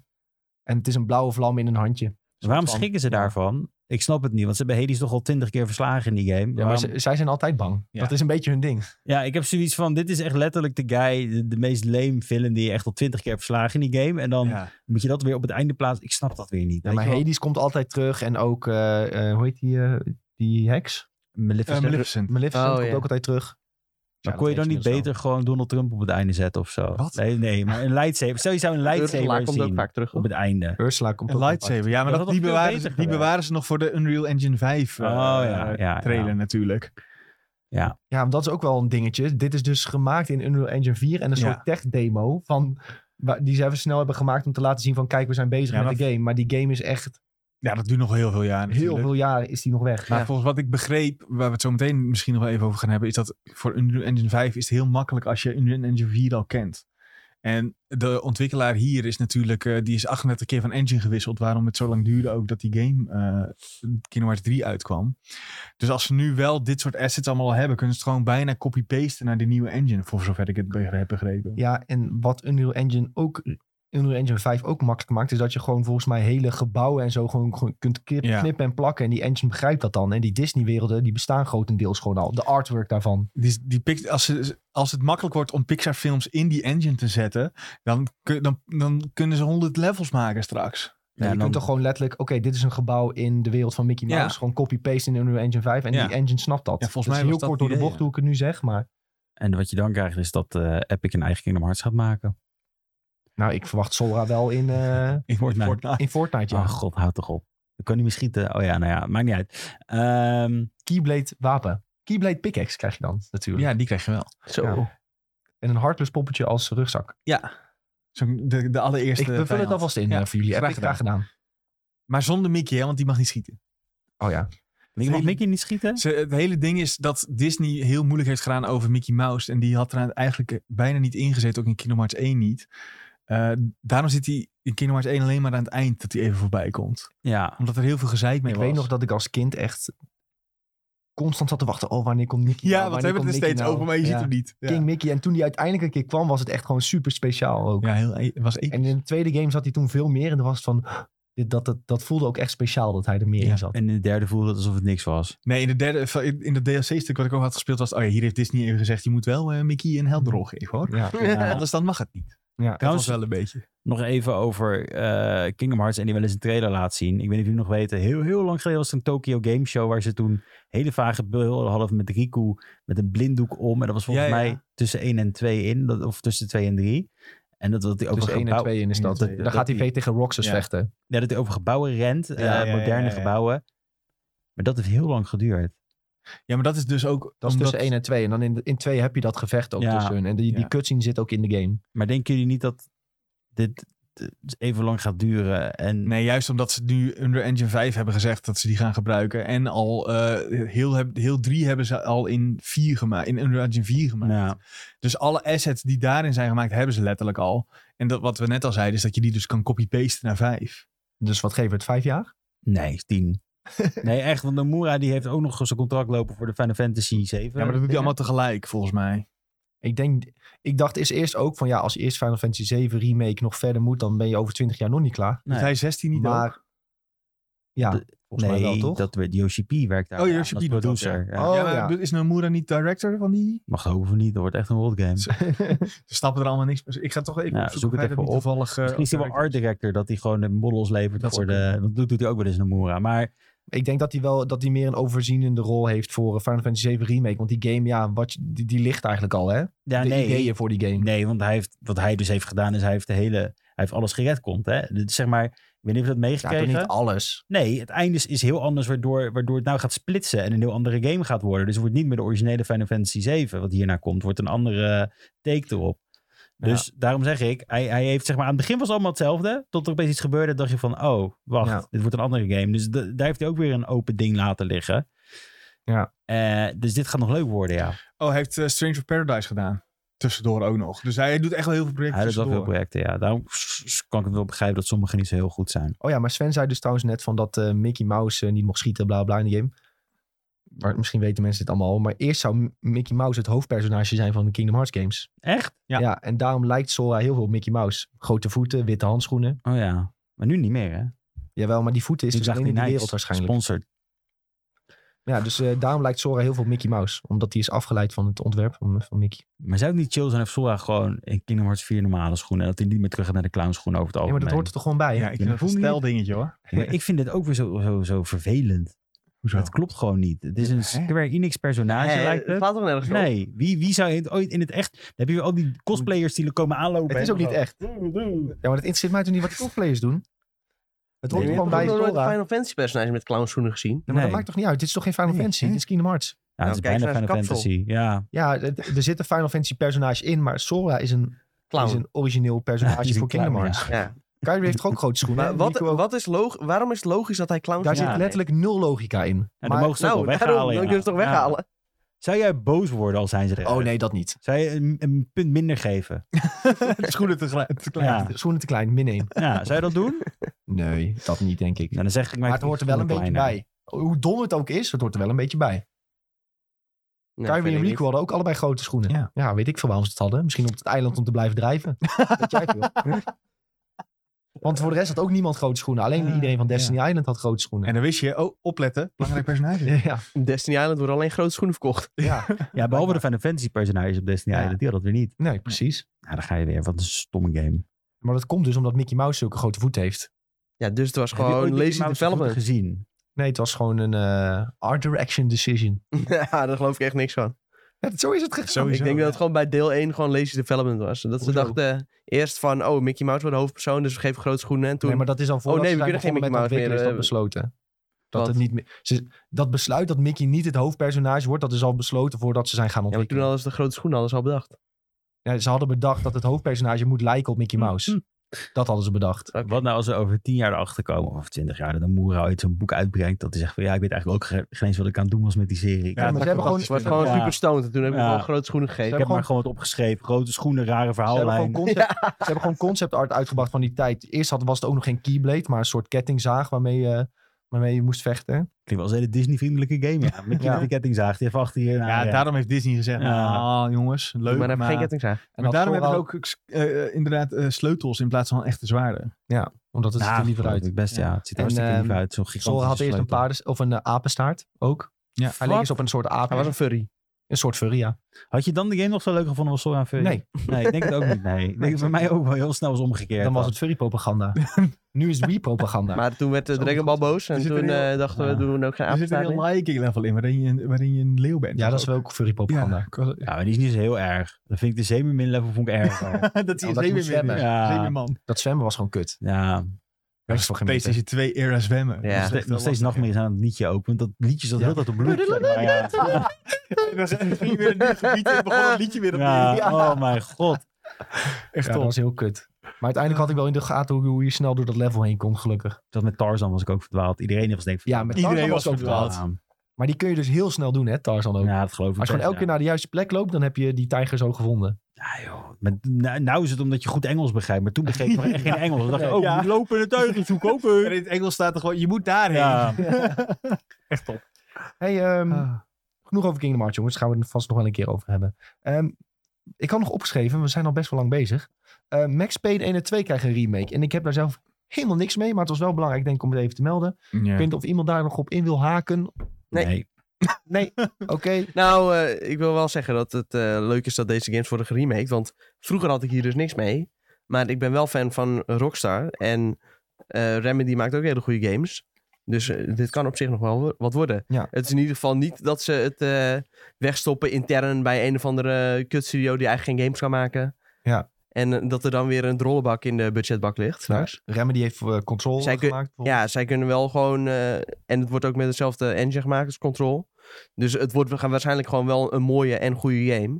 A: En het is een blauwe vlam in een handje.
D: Waarom
A: van-
D: schrikken ze daarvan? Ik snap het niet, want ze hebben Hades toch al twintig keer verslagen in die game.
A: Ja, maar
D: Waarom-
A: ze- zij zijn altijd bang.
C: Ja.
A: Dat is een beetje hun ding.
D: Ja, ik heb zoiets van, dit is echt letterlijk de guy, de, de meest lame villain die je echt al twintig keer hebt verslagen in die game. En dan
C: Ja.
D: moet je dat weer op het einde plaatsen. Ik snap dat weer niet.
A: Ja,
D: weet
A: maar
D: je wel.
A: Hades komt altijd terug. En ook, eh, eh, hoe heet die, eh, die heks?
D: Maleficent.
C: Eh, Maleficent.
A: Maleficent
B: Oh,
A: komt
B: ja.
A: ook altijd terug.
D: maar kon je dan
A: dus
D: niet beter gewoon Donald Trump op het einde zetten of zo?
C: Wat?
D: Nee, nee, maar een lightsaber. Stel je zou een
B: Ursula
D: lightsaber
B: komt ook
D: zien
B: vaak terug.
D: op het einde.
A: Ursula komt
C: Een
A: ook
C: lightsaber. Ja,
D: Dat
C: maar dat
D: had
C: die,
D: nog veel
C: bewaren
D: beter
C: ze, die
D: gewerkt.
C: bewaren ze nog voor de Unreal Engine 5 eh,
D: Oh ja, ja,
C: trailer
D: ja.
C: natuurlijk.
A: Ja, want dat is ook wel een dingetje. Dit is dus gemaakt in Unreal Engine 4 en een
C: Ja.
A: soort tech-demo van, wa- die ze even snel hebben gemaakt om te laten zien van kijk, we zijn bezig
C: Ja,
A: met de game. Maar die game is echt
C: Ja, dat duurt nog heel veel jaar
A: Heel
C: natuurlijk.
A: veel jaren is die nog weg.
C: Maar
B: Ja.
C: volgens wat ik begreep, waar we het zo meteen misschien nog wel even over gaan hebben, is dat voor Unreal Engine 5 is het heel makkelijk als je Unreal Engine 4 al kent. En de ontwikkelaar hier is natuurlijk, eh, die is 38 keer van engine gewisseld, waarom het zo lang duurde ook dat die game eh Kingdom Hearts 3 uitkwam. Dus als ze nu wel dit soort assets allemaal al hebben, kunnen ze het gewoon bijna copy-pasten naar de nieuwe engine, voor zover ik het be- heb begrepen.
A: Ja, en wat Unreal Engine ook. Unreal Engine 5 ook makkelijk maakt, is dat je gewoon volgens mij hele gebouwen en zo gewoon, gewoon kunt knip-
C: Ja.
A: knippen en plakken. En die engine begrijpt dat dan. En die Disney-werelden, die bestaan grotendeels gewoon al. De artwork daarvan.
C: Die, die Pix- als, ze- als het makkelijk wordt om Pixar films in die engine te zetten, dan, kun- dan, dan kunnen ze 100 levels maken straks.
A: Ja, je
D: en
A: kunt
D: dan-
A: toch gewoon letterlijk, oké, dit is een gebouw in de wereld van Mickey
C: Ja.
A: Mouse. Gewoon copy-paste in Unreal Engine 5 en
C: Ja.
A: die engine snapt dat.
C: Ja,
A: dat
C: volgens mij
A: is heel
C: was dat
A: kort
C: het
A: door de
C: idee,
A: bocht
C: ja.
A: hoe ik het nu zeg, maar
D: En wat je dan krijgt is dat eh, Epic een eigen Kingdom Hearts gaat maken.
A: nou, ik verwacht Sora wel in, eh,
C: In
D: Fortnite.
A: in Fortnite,
C: Ah,
A: ja.
D: Oh god, houd toch op. Dan kan hij misschien schieten. Oh ja, nou ja, maakt niet uit. Ehm,
A: Keyblade wapen. Keyblade pickaxe krijg je dan natuurlijk.
C: Ja, die krijg je wel.
B: Zo.
A: Ja. En een heartless poppetje als rugzak.
C: Zo'n- de, de allereerste.
A: Ik bevul het
C: vijand.
A: alvast in
C: Ja,
A: eh, voor jullie. Heb
C: graag
A: ik graag gedaan.
C: Maar zonder Mickey, hè, want die mag niet schieten.
A: Oh ja.
D: mag
C: hele-
D: Mickey niet schieten?
C: Ze, het hele ding is dat Disney heel moeilijk heeft gedaan over Mickey Mouse. En die had er eigenlijk bijna niet ingezet, ook in Kingdom Hearts 1 niet. Eh, daarom zit hij in Kingdom Hearts 1 alleen maar aan het eind dat hij even voorbij komt.
D: Ja.
C: Omdat er heel veel gezeik mee
A: ik
C: was.
A: weet nog dat ik als kind echt constant zat te wachten. Oh, wanneer komt Mickey?
C: Ja,
A: nou?
C: want we
A: Wanneer
C: hebben het er
A: komt
C: steeds
A: Mickey
C: over,
A: nou?
C: maar je
A: Ja.
C: ziet hem niet. Ja,
A: King Mickey. En toen hij uiteindelijk een keer kwam, was het echt gewoon super speciaal ook.
C: ja heel, het was één.
A: En in de tweede game zat hij toen veel meer. En dan was het van, dit, dat, dat, dat voelde ook echt speciaal dat hij er meer
C: Ja.
A: in zat.
D: En in de derde voelde het alsof het niks was.
C: Nee, in, de derde, in- in dat DLC-stuk wat ik ook had gespeeld was... Oh ja, hier heeft Disney even gezegd... je moet wel eh, Mickey een helprol geven, hoor.
A: Ja.
D: Ja.
C: Anders dan mag het niet.
A: Ja.
C: Dat was
D: Trouwens-
C: wel een beetje.
D: Nog even over eh, Kingdom Hearts en die wel eens een trailer laat zien. Ik weet niet of jullie nog weten. Heel, heel lang geleden was er een Tokyo Game Show waar ze toen hele vage beelden hadden met Riku met een blinddoek om. En dat was volgens
C: Ja, ja.
D: mij tussen 1 en 2 in, dat, of tussen 2 en 3. En dat, dat hij over
A: Tussen 1 en
D: gebouw-
A: 2 in is dat.
D: Dat-
A: Daar
D: dat
A: gaat hij
D: die-
A: weer tegen Roxas
C: Ja.
A: vechten.
D: ja, dat hij over gebouwen rent, eh,
C: ja, ja,
D: moderne
C: ja, ja.
D: gebouwen. Maar dat heeft heel lang geduurd.
C: Ja, maar dat is dus ook...
A: Dat is
C: omdat-
A: tussen 1 en 2. En dan in, in 2 heb je dat gevecht ook
D: Ja.
A: tussen hun. En die, die
C: Ja.
A: cutscene zit ook in de game.
D: Maar denken jullie niet dat dit eh, even lang gaat duren? En
C: Nee, juist omdat ze nu Under Engine 5 hebben gezegd dat ze die gaan gebruiken. En al eh, heel, heb- heel 3 hebben ze al in 4 gemaakt. In Under Engine 4 gemaakt.
D: Nou,
C: Dus alle assets die daarin zijn gemaakt, hebben ze letterlijk al. En dat, wat we net al zeiden, is dat je die dus kan copy-pasten naar 5.
A: Dus wat geven we het? Vijf jaar?
D: nee, tien. nee, echt, want Nomura die heeft ook nog zijn contract lopen voor de Final Fantasy 7.
C: Ja, maar dat doet hij allemaal tegelijk, volgens mij.
A: Ik, denk, ik dacht is eerst ook van ja, als je eerst Final Fantasy 7 remake nog verder moet, dan ben je over 20 jaar nog niet klaar.
C: Is Dus hij 16 niet
A: maar
C: ook?
A: ja,
D: De-
A: volgens
D: nee,
A: mij wel toch?
D: dat werd Yoshi P werkt daar
C: Oh,
D: aan
C: Yoshi
D: als
C: P doet dat,
D: producer. ja.
A: Oh,
C: ja, maar
A: ja.
C: Is Nomura niet director van die?
D: Mag hopen van niet, dat wordt echt een world game.
C: Zo- Ze snappen er allemaal niks. meer. Ik ga toch even
D: Ja,
C: opzoeken
D: zoek het
C: of hij
D: even
C: dat niet
D: op.
C: toevallig... eh,
D: Misschien is hij wel
C: director
D: art director, dat hij gewoon de models levert
C: Dat
D: voor
C: zou
D: de... Dat doet, doet hij ook wel eens Nomura, maar
A: Ik denk dat hij wel dat hij meer een overzienende rol heeft voor eh, Final Fantasy 7 remake. Want die game, ja, wat, je- die, die ligt eigenlijk al, hè?
D: ja,
A: de
D: nee.
A: ideeën voor die game.
D: Nee, want hij heeft, wat hij dus heeft gedaan is hij heeft de hele... Hij heeft alles gered komt, hè. Dus zeg maar, ik weet niet of je dat
A: ja, toch
D: meegekregen.
A: niet alles.
D: Nee, het einde is, is heel anders, waardoor, waardoor het nou gaat splitsen en een heel andere game gaat worden. Dus het wordt niet meer de originele Final Fantasy 7, wat hierna komt, wordt een andere take erop. Dus daarom zeg ik, hij, hij heeft zeg maar, aan het begin was het allemaal hetzelfde, tot er opeens iets gebeurde, dacht je van, oh, wacht,
A: Ja.
D: dit wordt een andere game. Dus de- daar heeft hij ook weer een open ding laten liggen.
A: Ja.
D: Eh, dus dit gaat nog leuk worden, ja.
C: Oh, hij heeft eh, Strange of Paradise gedaan. Tussendoor ook nog. Dus hij doet echt wel heel veel projecten
D: Hij doet wel veel
C: tussendoor.
D: projecten, ja. Daarom kan ik het wel begrijpen dat sommige niet zo heel goed zijn.
A: Oh ja, maar Sven zei dus trouwens net van dat eh, Mickey Mouse eh, niet mocht schieten, bla bla in de game. Maar misschien weten mensen dit allemaal al. Maar eerst zou M- Mickey Mouse het hoofdpersonage zijn van de Kingdom Hearts games.
D: Echt?
A: Ja,
C: Ja.
A: en daarom lijkt Sora heel veel op Mickey Mouse. Grote voeten, witte handschoenen.
D: Oh ja. Maar nu niet meer, hè?
A: Jawel, maar die voeten is
D: Nu
A: dus
D: zag
A: alleen
D: hij
A: in de wereld
D: Nike's
A: waarschijnlijk.
D: Sponsored.
A: Ja, dus eh, daarom lijkt Sora heel veel op Mickey Mouse. Omdat die is afgeleid van het ontwerp van, van Mickey.
D: Maar zou het niet chill zijn of Sora gewoon in Kingdom Hearts 4 normale schoenen... en dat hij niet meer terug gaat naar de clownschoenen over het
A: Ja, maar
D: algemeen?
A: dat hoort er toch gewoon bij? hè?
C: Ja, ik eh, vind het een
A: Voel je-
C: stel dingetje hoor.
D: Maar ik vind dit ook weer zo, zo, zo vervelend.
C: Hoezo?
D: Het klopt gewoon niet. Het is een Square Enix personage,
B: Hè,
D: lijkt
B: het
D: het.
B: slaat toch nergens op?
D: Nee, wie, wie zou het ooit in het echt... Dan heb je weer al die cosplayers die er komen aanlopen.
A: Het is ook niet echt. Ja, maar dat interesseert mij toch niet wat die cosplayers doen? Het hoort
D: Nee,
A: er gewoon
B: Ik heb
A: bij
B: nog nooit een
A: Sora.
B: Final Fantasy personage met clownschoenen gezien.
A: Ja, maar
D: Nee.
A: dat maakt toch niet uit? Dit is toch geen Final
C: Nee,
A: Fantasy?
C: hè?
A: Dit is Kingdom Hearts.
D: Ja, het Nou, is
B: Nou, kijk
D: bijna
B: eens naar
D: Final
B: zijn kapsel.
D: Fantasy. Ja,
A: Ja, het- er zit een Final Fantasy personage in, maar Sora is een,
B: Clown.
A: is een origineel
D: Ja, die
A: personage
D: is een
A: voor Kingdom
D: clown, ja.
A: Hearts.
B: Ja.
A: Kyrie heeft toch ook grote schoenen?
B: Maar
A: hè?
B: wat,
A: Nico ook.
B: wat is log waarom is het logisch dat hij clowns
A: Daar
B: Ja,
A: zit
B: nee.
A: letterlijk nul logica in.
D: En dan
A: Maar-
D: mogen ze het
B: Nou,
D: ook wel
B: daarom,
D: weghalen.
B: dan kun
D: ja.
B: je het toch
D: Ja.
B: weghalen?
D: Zou jij boos worden als zijn ze er?
A: Oh nee, dat niet.
D: Zou je een, een punt minder geven?
C: Schoenen te klein. Te klein.
D: Ja.
A: Schoenen te klein, min 1.
D: Ja, zou je dat doen?
A: Nee, dat niet, denk ik.
D: Nou, dan zeg ik
A: Maar het hoort er wel een beetje bij. Hoe dom het ook is, het hoort er wel een beetje bij.
B: Nee,
A: Kyrie
B: vind
A: en
B: ik
A: Rico hadden ook allebei grote schoenen. Ja.
C: Ja.
A: weet ik veel waarom ze het hadden. Misschien op het eiland om te blijven drijven. Weet jij veel. Want voor de rest had ook niemand grote schoenen. Alleen
C: Ah,
A: iedereen van Destiny Island had grote schoenen.
C: En dan wist je, oh, opletten, belangrijk personage.
A: ja,
B: niet. Destiny Island wordt alleen grote schoenen verkocht.
A: ja,
D: Ja, behalve de Final Fantasy personages op Destiny
A: Ja.
D: Island. Die hadden dat weer niet.
A: nee, precies.
D: Nou, dan ga je weer. Wat een stomme game.
A: Maar dat komt dus omdat Mickey Mouse zulke grote voet heeft.
B: Ja, dus het was
D: Heb je ooit
B: gewoon
D: Mickey
B: lazy
D: Mouse
B: development.
D: voeten gezien.
A: Nee, het was gewoon een eh, art direction decision.
B: ja, daar geloof ik echt niks van.
A: Ja, zo is het gegaan.
C: Sowieso.
B: ik denk dat het gewoon bij deel 1 gewoon lazy development was. Dat ze
A: Hoezo?
B: dachten eerst van, oh, Mickey Mouse wordt de hoofdpersoon, dus we geven grote schoenen. En toen,
A: Nee, maar dat is al voordat
B: Oh,
A: ze
B: nee, we
A: zijn
B: kunnen geen
A: begonnen
B: Mickey
A: met
B: Mouse
A: ontwikkelen is dat
B: meer, eh,
A: besloten. Dat,
B: Wat?
A: het niet meer, ze- dat besluit dat Mickey niet het hoofdpersonage wordt, dat is al besloten voordat ze zijn gaan
B: ja, maar toen
A: ontwikkelen.
B: hadden ze de grote schoenen alles al bedacht.
A: Ja, ze hadden bedacht dat het hoofdpersonage moet lijken op Mickey Mouse.
D: Hm.
A: Dat hadden ze bedacht.
B: Oké.
D: Wat nou als we over tien jaar erachter komen, of twintig jaar, dat een Moera ooit zo'n boek uitbrengt. Dat hij zegt van ja, ik weet eigenlijk ook ge- geen eens wat ik aan het doen was met die serie.
C: Ja,
D: ik,
A: maar
C: dat
A: ze hebben gewoon,
C: verwacht
A: ze
B: Het was gewoon
D: Ja.
B: super stoned. En toen hebben we
D: Ja.
B: gewoon grote schoenen
A: Ze
B: gegeven.
D: heb
A: hebben
D: maar gewoon wat opgeschreven. Grote schoenen, rare
A: hebben gewoon
D: verhaallijn.
A: concept, ze hebben gewoon concept art uitgebracht van die tijd. Eerst had, was het ook nog geen keyblade, maar een soort kettingzaag waarmee, je- waarmee je moest vechten.
D: Klinkt wel als een hele Disney-vriendelijke game. Ja, met
A: Ja.
D: die kettingzaag. Die heeft achter hier. nou,
C: Ja, daarom heeft Disney gezegd,
D: Ja.
C: ah, jongens, leuk.
B: maar
C: Maar,
B: hij heeft geen kettingzaag.
A: En
C: maar
A: dat
C: daarom hebben
A: vooral-
C: ze ook eh, inderdaad eh, sleutels in plaats van echte zwaarden.
A: Omdat het ziet
D: Nou,
A: er liever
D: geloof
A: uit.
D: ik Best, ja.
C: Ja.
D: Het ziet
A: En,
D: er hartstikke lief
A: ehm,
D: uit. Zo'n
A: Zora
D: gigantische
A: had eerst een,
D: sleutel.
A: paarden, of een eh, apenstaart ook.
C: Ja.
A: Hij leek eens op een soort aap.
B: Hij was een furry.
A: Een soort furry, ja.
D: Had je dan de game nog zo leuk gevonden als Sora Fury?
A: Nee,
D: Nee, ik denk het ook niet. Nee. Ik denk dat bij mij ook wel heel snel was omgekeerd.
A: dan was het furry-propaganda. nu is het Wii-propaganda.
B: Maar toen werd de
A: Zo
B: Dragon Ball boos. En
C: Er zit
B: toen
C: een heel-
B: eh, dachten we,
D: Ja.
B: doen we ook geen
C: Er zit een
B: apenstaart
C: heel
B: in.
C: liking level in, waarin je, waarin je een leeuw bent.
A: ja, dat is wel ook furry-propaganda.
C: Ja, ik was-
D: Ja, maar die is niet zo heel erg. Dan vind ik de zeemermin level vond ik erger.
C: dat
A: je
C: is een
A: moet zwemmen.
C: zeemermin.
D: Ja.
C: Zeemerman.
A: Dat zwemmen was gewoon kut.
D: ja,
A: Daar is voor geen meter.
C: PlayStation 2 era zwemmen.
B: Ja.
C: Dat is
D: nog
C: echt wel
D: steeds
C: lastig.
D: nachtmerries aan het liedje ook. Want dat liedje zat
A: Ja.
D: heel de tijd op bloed. Ja,
C: We gingen weer een nieuw gebied in, begon het liedje weer opnieuw.
D: ja.
C: Ja,
D: oh mijn god.
C: echt
A: Ja, dat
C: top.
A: was heel kut. Maar uiteindelijk had ik wel in de gaten hoe, hoe je snel door dat level heen komt, gelukkig.
D: Dat met Tarzan was ik ook verdwaald. Iedereen was denk ik
A: Ja, met
C: Iedereen
A: Tarzan
C: was
A: ook
C: verdwaald.
A: verdwaald. Maar die kun je dus heel snel doen, hè, Tarzan ook.
D: Ja, dat geloof ik
A: Als je gewoon
D: best,
A: elke keer naar de juiste plek loopt, dan heb je die tijger zo gevonden.
D: ja. Ja, joh. Maar nou, nou is het omdat je goed Engels begrijpt. Maar toen begreep ik nog echt geen Engels. Dan dacht ik,
A: Nee.
D: oh,
C: Ja.
D: we lopen in de tuin, zoeken ook.
C: En in het Engels staat er gewoon, je moet daarheen.
D: Ja.
C: Echt top.
A: hey, ehm, genoeg over Kingdom Hearts, jongens. Daar gaan we het vast nog wel een keer over hebben. Ehm, ik had nog opgeschreven, we zijn al best wel lang bezig. Eh, Max Payne 1 en 2 krijgen een remake. En ik heb daar zelf helemaal niks mee, maar het was wel belangrijk, denk ik, om het even te melden. Ik weet niet of iemand daar nog op in wil haken.
B: Nee.
A: Nee, oké.
B: Nou, eh, ik wil wel zeggen dat het eh, leuk is dat deze games worden geremaked. Want vroeger had ik hier dus niks mee. Maar ik ben wel fan van Rockstar. En eh, Remedy maakt ook hele goede games. Dus eh, dit kan op zich nog wel wo- wat worden.
A: Ja.
B: Het is in ieder geval niet dat ze het eh, wegstoppen intern bij een of andere kutstudio die eigenlijk geen games kan maken.
A: Ja.
B: En eh, dat er dan weer een drollebak in de budgetbak ligt.
A: Nou,
B: straks.
A: Remedy heeft eh, Control
B: Zij kun-
A: gemaakt.
B: Ja, zij kunnen wel gewoon. eh, en het wordt ook met dezelfde engine gemaakt als Control. Dus het wordt we gaan waarschijnlijk gewoon wel een mooie en goede game.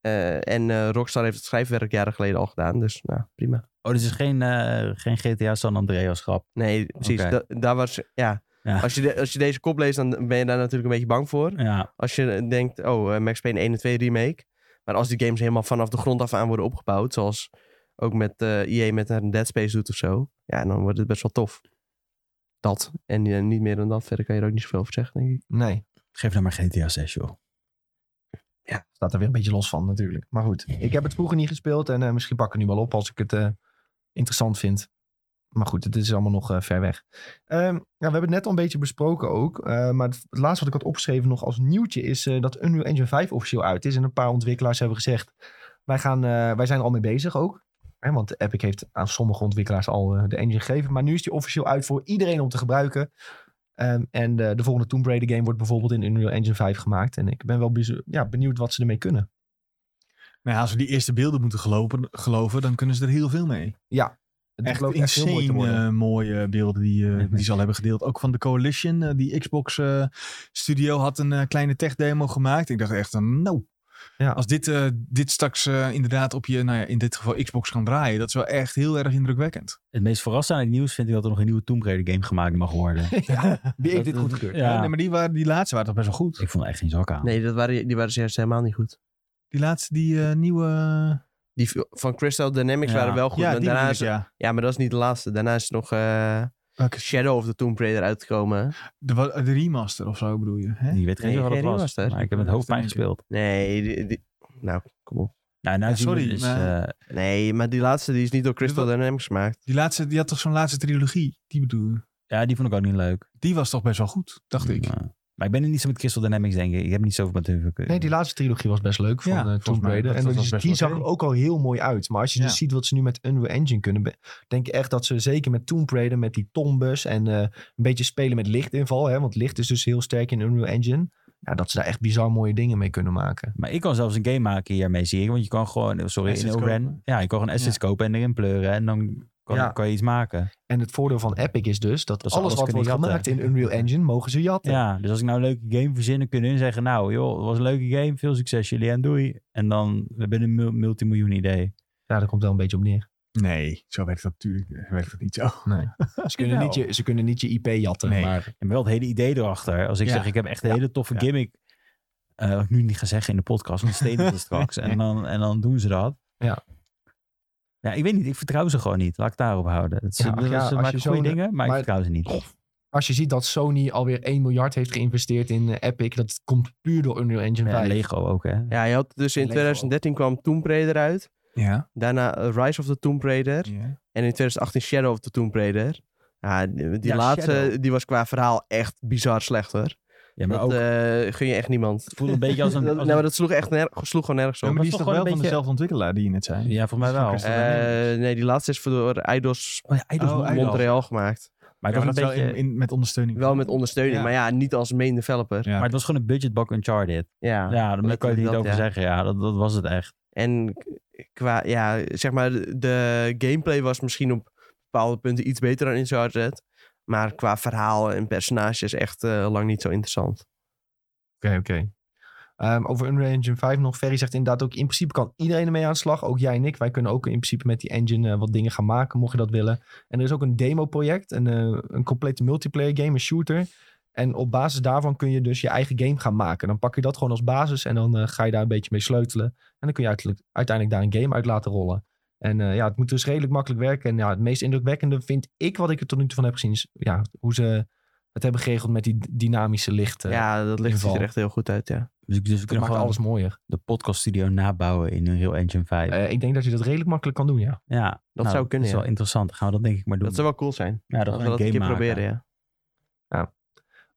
B: Eh, en eh, Rockstar heeft het schrijfwerk jaren geleden al gedaan. Dus nou, prima.
D: Oh, dit is geen, eh, geen GTA San Andreas grap.
B: Nee, precies.
D: Oké.
B: da- daar was. Ja.
D: Ja.
B: Als, je de- als je deze kop leest, dan ben je daar natuurlijk een beetje bang voor.
D: Ja,
B: Als je eh, denkt, oh, eh, Max Payne 1 en 2 remake. Maar als die games helemaal vanaf de grond af aan worden opgebouwd. Zoals ook met eh EA met een Dead Space doet of zo. Ja, dan wordt het best wel tof. Dat. En eh, niet meer dan dat. Verder kan je er ook niet zoveel over zeggen, denk ik.
A: Nee.
D: geef nou maar GTA 6, joh.
A: staat er weer een beetje los van natuurlijk. Maar goed, ik heb het vroeger niet gespeeld en eh, misschien pak ik het nu wel op als ik het eh, interessant vind. Maar goed, het is allemaal nog eh, ver weg. Ehm, ja, we hebben het net al een beetje besproken ook. eh, maar het, het laatste wat ik had opgeschreven nog als nieuwtje is eh, dat Unreal Engine 5 officieel uit is. En een paar ontwikkelaars hebben gezegd, wij, gaan, eh, wij zijn er al mee bezig ook. Hè, want Epic heeft aan sommige ontwikkelaars al eh, de engine gegeven. Maar nu is die officieel uit voor iedereen om te gebruiken. Ehm, en eh, de volgende Tomb Raider game wordt bijvoorbeeld in Unreal Engine 5 gemaakt. En ik ben wel bezo- ja, benieuwd wat ze ermee kunnen.
C: Nou, ja, als we die eerste beelden moeten gelopen, geloven, dan kunnen ze er heel veel mee.
A: Het
C: Echt
A: belooft heel mooi
C: insane
A: te worden.
C: eh, mooie beelden die, eh,
D: Nee, nee.
C: die ze al hebben gedeeld. Ook van de Coalition, eh, die Xbox eh, studio had een eh, kleine tech demo gemaakt. Ik dacht echt, nou,
A: Ja.
C: Als dit, eh, dit straks eh, inderdaad op je, nou ja, in dit geval Xbox kan draaien, dat is wel echt heel erg indrukwekkend.
D: Het meest verrassende aan het nieuws vind ik dat er nog een nieuwe Tomb Raider game gemaakt mag worden.
A: Wie eh. heeft
D: Dat-
A: dit goedgekeurd?
D: Ja.
C: Eh, Nee, maar die, waren, die laatste waren toch best wel goed?
D: Ik vond er echt geen zak aan.
B: Nee, dat waren, die waren juist helemaal niet goed.
C: Die laatste, die eh, nieuwe...
B: Die v- van Crystal Dynamics
D: Ja.
B: waren wel Oh, goed.
C: ja,
B: maar
C: die
B: daarna
C: bedoel
B: is-
C: ik,
B: ja.
C: ja.
B: maar dat is niet de laatste. Daarna is nog eh,
C: Welke?
B: Shadow of the Tomb Raider uitgekomen.
C: De, wa- de remaster of zo bedoel je, hè?
D: Je weet geen
B: Nee,
D: idee wat het
B: geen
D: was.
B: remaster.
D: Maar ik heb met hoofdpijn
C: Ja,
D: gespeeld.
B: Nee, die- die- nou, kom op.
D: Nou, nou
C: Ja,
D: zien we
C: sorry,
D: dus,
C: maar-
D: eh,
B: Nee, maar die laatste die is niet door Crystal Dynamics gemaakt.
C: Die laatste, die had toch zo'n laatste trilogie? Die bedoel je?
D: ja, die vond ik ook niet leuk.
C: Die was toch best wel goed, dacht ik.
D: Maar, maar ik ben er niet zo met Crystal Dynamics, denk ik. Ik heb er niet zoveel met hun.
A: Nee, die laatste trilogie was best leuk van
C: Ja,
A: eh,
C: volgens
A: Tomb
C: mij,
A: Raider.
C: dat-
A: En
C: dat
A: dus
C: was best
A: die
C: wel
A: zag er
C: oké.
A: ook al heel mooi uit. Maar als je
C: Ja.
A: dus ziet wat ze nu met Unreal Engine kunnen, be- denk ik echt dat ze zeker met Tomb Raider, met die tombes en eh, een beetje spelen met lichtinval. Hè, want licht is dus heel sterk in Unreal Engine. Ja, dat ze daar echt bizar mooie dingen mee kunnen maken.
D: Maar ik kan zelfs een game maken hiermee, zie ik. Want je kan gewoon, oh, sorry,
C: Assets
D: in ORAN.
C: kopen.
D: Ja, je kan gewoon assets kopen en erin pleuren. En dan kan,
A: Ja.
D: kan je iets maken.
A: En het voordeel van Epic is dus dat,
D: Dat ze
A: alles
D: alles
A: wat wordt
D: kunnen
A: gemaakt
D: jatten.
A: in Unreal Engine mogen ze jatten.
D: Ja, dus als ik nou een leuke game verzin, dan kunnen hun zeggen... Nou, joh, het was een leuke game. Veel succes jullie en doei. En dan, we hebben een mul- multimiljoen idee.
A: Ja, daar komt wel een beetje op neer.
C: Nee, zo werkt dat natuurlijk eh, werkt dat niet zo.
A: Ze kunnen,
C: Jawel.
A: niet, je, ze kunnen niet je IP jatten.
C: Nee.
A: Maar,
D: En wel het hele idee erachter. Als ik
C: Ja.
D: zeg, ik heb echt een
C: Ja.
D: hele toffe
C: Ja.
D: gimmick. eh, wat ik nu niet ga zeggen in de podcast, want steden het straks. En dan, en dan doen ze dat.
A: Ja.
D: Ja, ik weet niet. Ik vertrouw ze gewoon niet. Laat ik het daarop houden. Het,
A: Ja,
D: ze
A: ach ja, als
D: ze
A: je
D: maken goede
A: zo'n-
D: dingen, maar,
A: maar-
D: ik vertrouw ze niet.
A: als je ziet dat Sony alweer 1 miljard heeft geïnvesteerd in eh, Epic, dat komt puur door Unreal Engine
D: Ja,
A: 5.
D: Lego ook, hè.
B: Ja, je had dus in
A: Lego.
B: 2013 kwam Tomb Raider uit.
C: Ja.
B: Daarna eh, Rise of the Tomb Raider.
C: ja.
B: En in 2018 Shadow of the Tomb Raider. Ja, die die
D: Ja,
B: laatste
D: Shadow.
B: die was qua verhaal echt bizar slecht hoor.
D: Ja, maar
B: dat
D: ook,
B: eh, gun je echt niemand.
D: het voelde een beetje als een...
B: Dat-
D: als
B: nou,
D: een-
B: maar dat sloeg echt nerg- sloeg gewoon nergens
C: maar
B: op.
D: was
C: die is
D: toch gewoon
C: toch wel
D: een
C: van
D: beetje-
C: dezelfde ontwikkelaar die je net zei?
D: ja, volgens mij wel.
C: Christopher
B: Eh, nee, die laatste is voor door Eidos
D: Oh ja, Eidos
C: Oh,
D: Montreal.
C: Eidos.
B: Montreal gemaakt.
D: Maar, het was een
C: Ja, maar dat
D: beetje,
C: wel in, in- met ondersteuning.
B: Wel met ondersteuning,
C: Ja.
B: maar ja, niet als main developer.
C: Ja.
D: maar het was gewoon een budgetbak Uncharted.
B: Ja.
D: Ja, daar kan je
B: letterlijk
D: niet
B: dat,
D: over
B: ja.
D: zeggen. Ja, dat, dat was het echt.
B: En k- qua, ja, zeg maar, de gameplay was misschien op bepaalde punten iets beter dan in Uncharted. Maar qua verhaal en personages echt eh, lang niet zo interessant.
A: Oké, oké. Ehm, over Unreal Engine 5 nog. Ferry zegt inderdaad ook, in principe kan iedereen ermee aan de slag. Ook jij en ik. Wij kunnen ook in principe met die engine eh, wat dingen gaan maken, mocht je dat willen. En er is ook een demo-project, een, eh, een complete multiplayer game, een shooter. En op basis daarvan kun je dus je eigen game gaan maken. Dan pak je dat gewoon als basis en dan eh, ga je daar een beetje mee sleutelen. En dan kun je uiteindelijk, uiteindelijk daar een game uit laten rollen. En eh, ja, het moet dus redelijk makkelijk werken. En ja, het meest indrukwekkende vind ik, wat ik er tot nu toe van heb gezien, is ja, hoe ze het hebben geregeld met die d- dynamische lichten.
B: ja, dat ligt ziet
A: inval.
B: er echt heel goed uit, ja.
D: Dus, ik- dus we
A: dat
D: kunnen
A: maakt
D: gewoon
A: alles mooier.
D: de podcaststudio nabouwen in Unreal Engine 5.
A: Eh, ik denk dat je dat redelijk makkelijk kan doen, ja.
D: ja,
B: dat zou kunnen,
D: Nou, Dat is wel
B: ja.
D: interessant. Dan gaan we dat denk ik maar doen.
B: Dat zou wel cool zijn.
D: ja, dat
B: Als we
D: gaan we
B: dat een
D: game
B: keer
D: maken.
B: proberen, ja.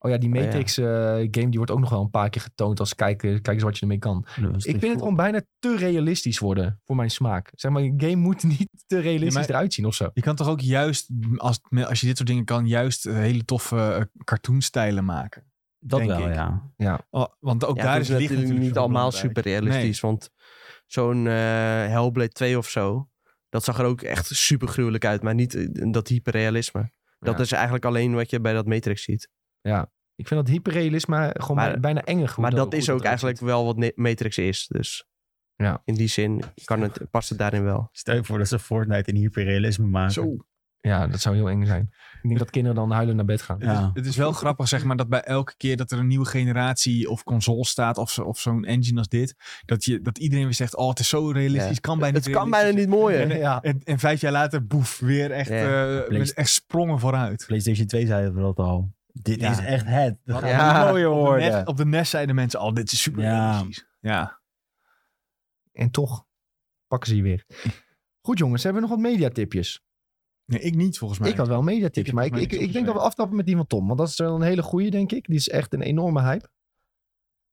A: Oh ja, die
B: ja.
A: Matrix-game die wordt ook nog wel een paar keer getoond als kijk, eh, kijk eens wat je ermee kan.
D: Dat was
A: Ik
D: de-
A: vind het gewoon bijna te realistisch worden voor mijn smaak. Zeg maar, een game moet niet te realistisch
C: Ja, maar-
A: eruit zien of zo.
C: Je kan toch ook juist, als, als je dit soort dingen kan, juist eh, hele toffe eh, cartoonstijlen maken.
D: Dat
C: denk
D: wel,
C: ik.
D: ja.
C: Oh, want ook
B: Ja,
C: daar
B: het
C: is
B: is
C: licht
B: natuurlijk
C: natuurlijk
B: niet
C: zo
B: allemaal
C: belangrijk.
B: super realistisch. Want zo'n eh Hellblade 2 of zo, dat zag er ook echt super gruwelijk uit. Maar niet eh, dat hyperrealisme. Dat
A: Ja.
B: is eigenlijk alleen wat je bij dat Matrix ziet.
A: Ik vind dat hyperrealisme gewoon
B: Maar-
A: bij- bijna enger. hoe
B: Maar dat,
A: hoe
B: is ook
A: eruit
B: eigenlijk
A: ziet.
B: wel wat ne- Matrix is. Dus
A: Ja.
B: in die zin kan het, past het daarin wel.
D: Stel je voor dat ze Fortnite in hyperrealisme maken.
C: Zo.
A: Ja, dat zou heel eng zijn. Ik denk dat kinderen dan huilen naar bed gaan.
D: Ja.
C: Het, is, het is wel grappig, zeg maar, dat bij elke keer dat er een nieuwe generatie of console staat of, zo- of zo'n engine als dit, dat, je, dat iedereen weer zegt, oh, het is zo realistisch,
B: Ja.
C: kan bijna
B: Het
C: niet
B: kan bijna
C: realistisch
B: niet mooier.
A: Ja.
C: zijn. En, en vijf jaar later, boef, weer echt,
B: Ja.
C: eh,
D: Play-
C: met echt sprongen vooruit.
D: PlayStation 2 zeiden we dat al. Dit
C: Ja.
D: is echt het. Dat
B: Ja.
D: gaat niet mooier
C: Op de,
D: worden.
C: nest, op de nest zeiden mensen al, dit is super
D: Ja.
C: realistisch. Ja.
A: En toch pakken ze je weer. Goed jongens, hebben we nog wat mediatipjes?
C: Nee, ik niet, volgens mij.
A: Ik had wel een
C: Ik
A: mediatipje,
C: heb
A: maar ik,
C: volgens
A: ik,
C: mij
A: ik denk
C: niks
A: dat we aftrappen met die van Tom. Want dat is wel een hele goeie, denk ik. Die is echt een enorme hype.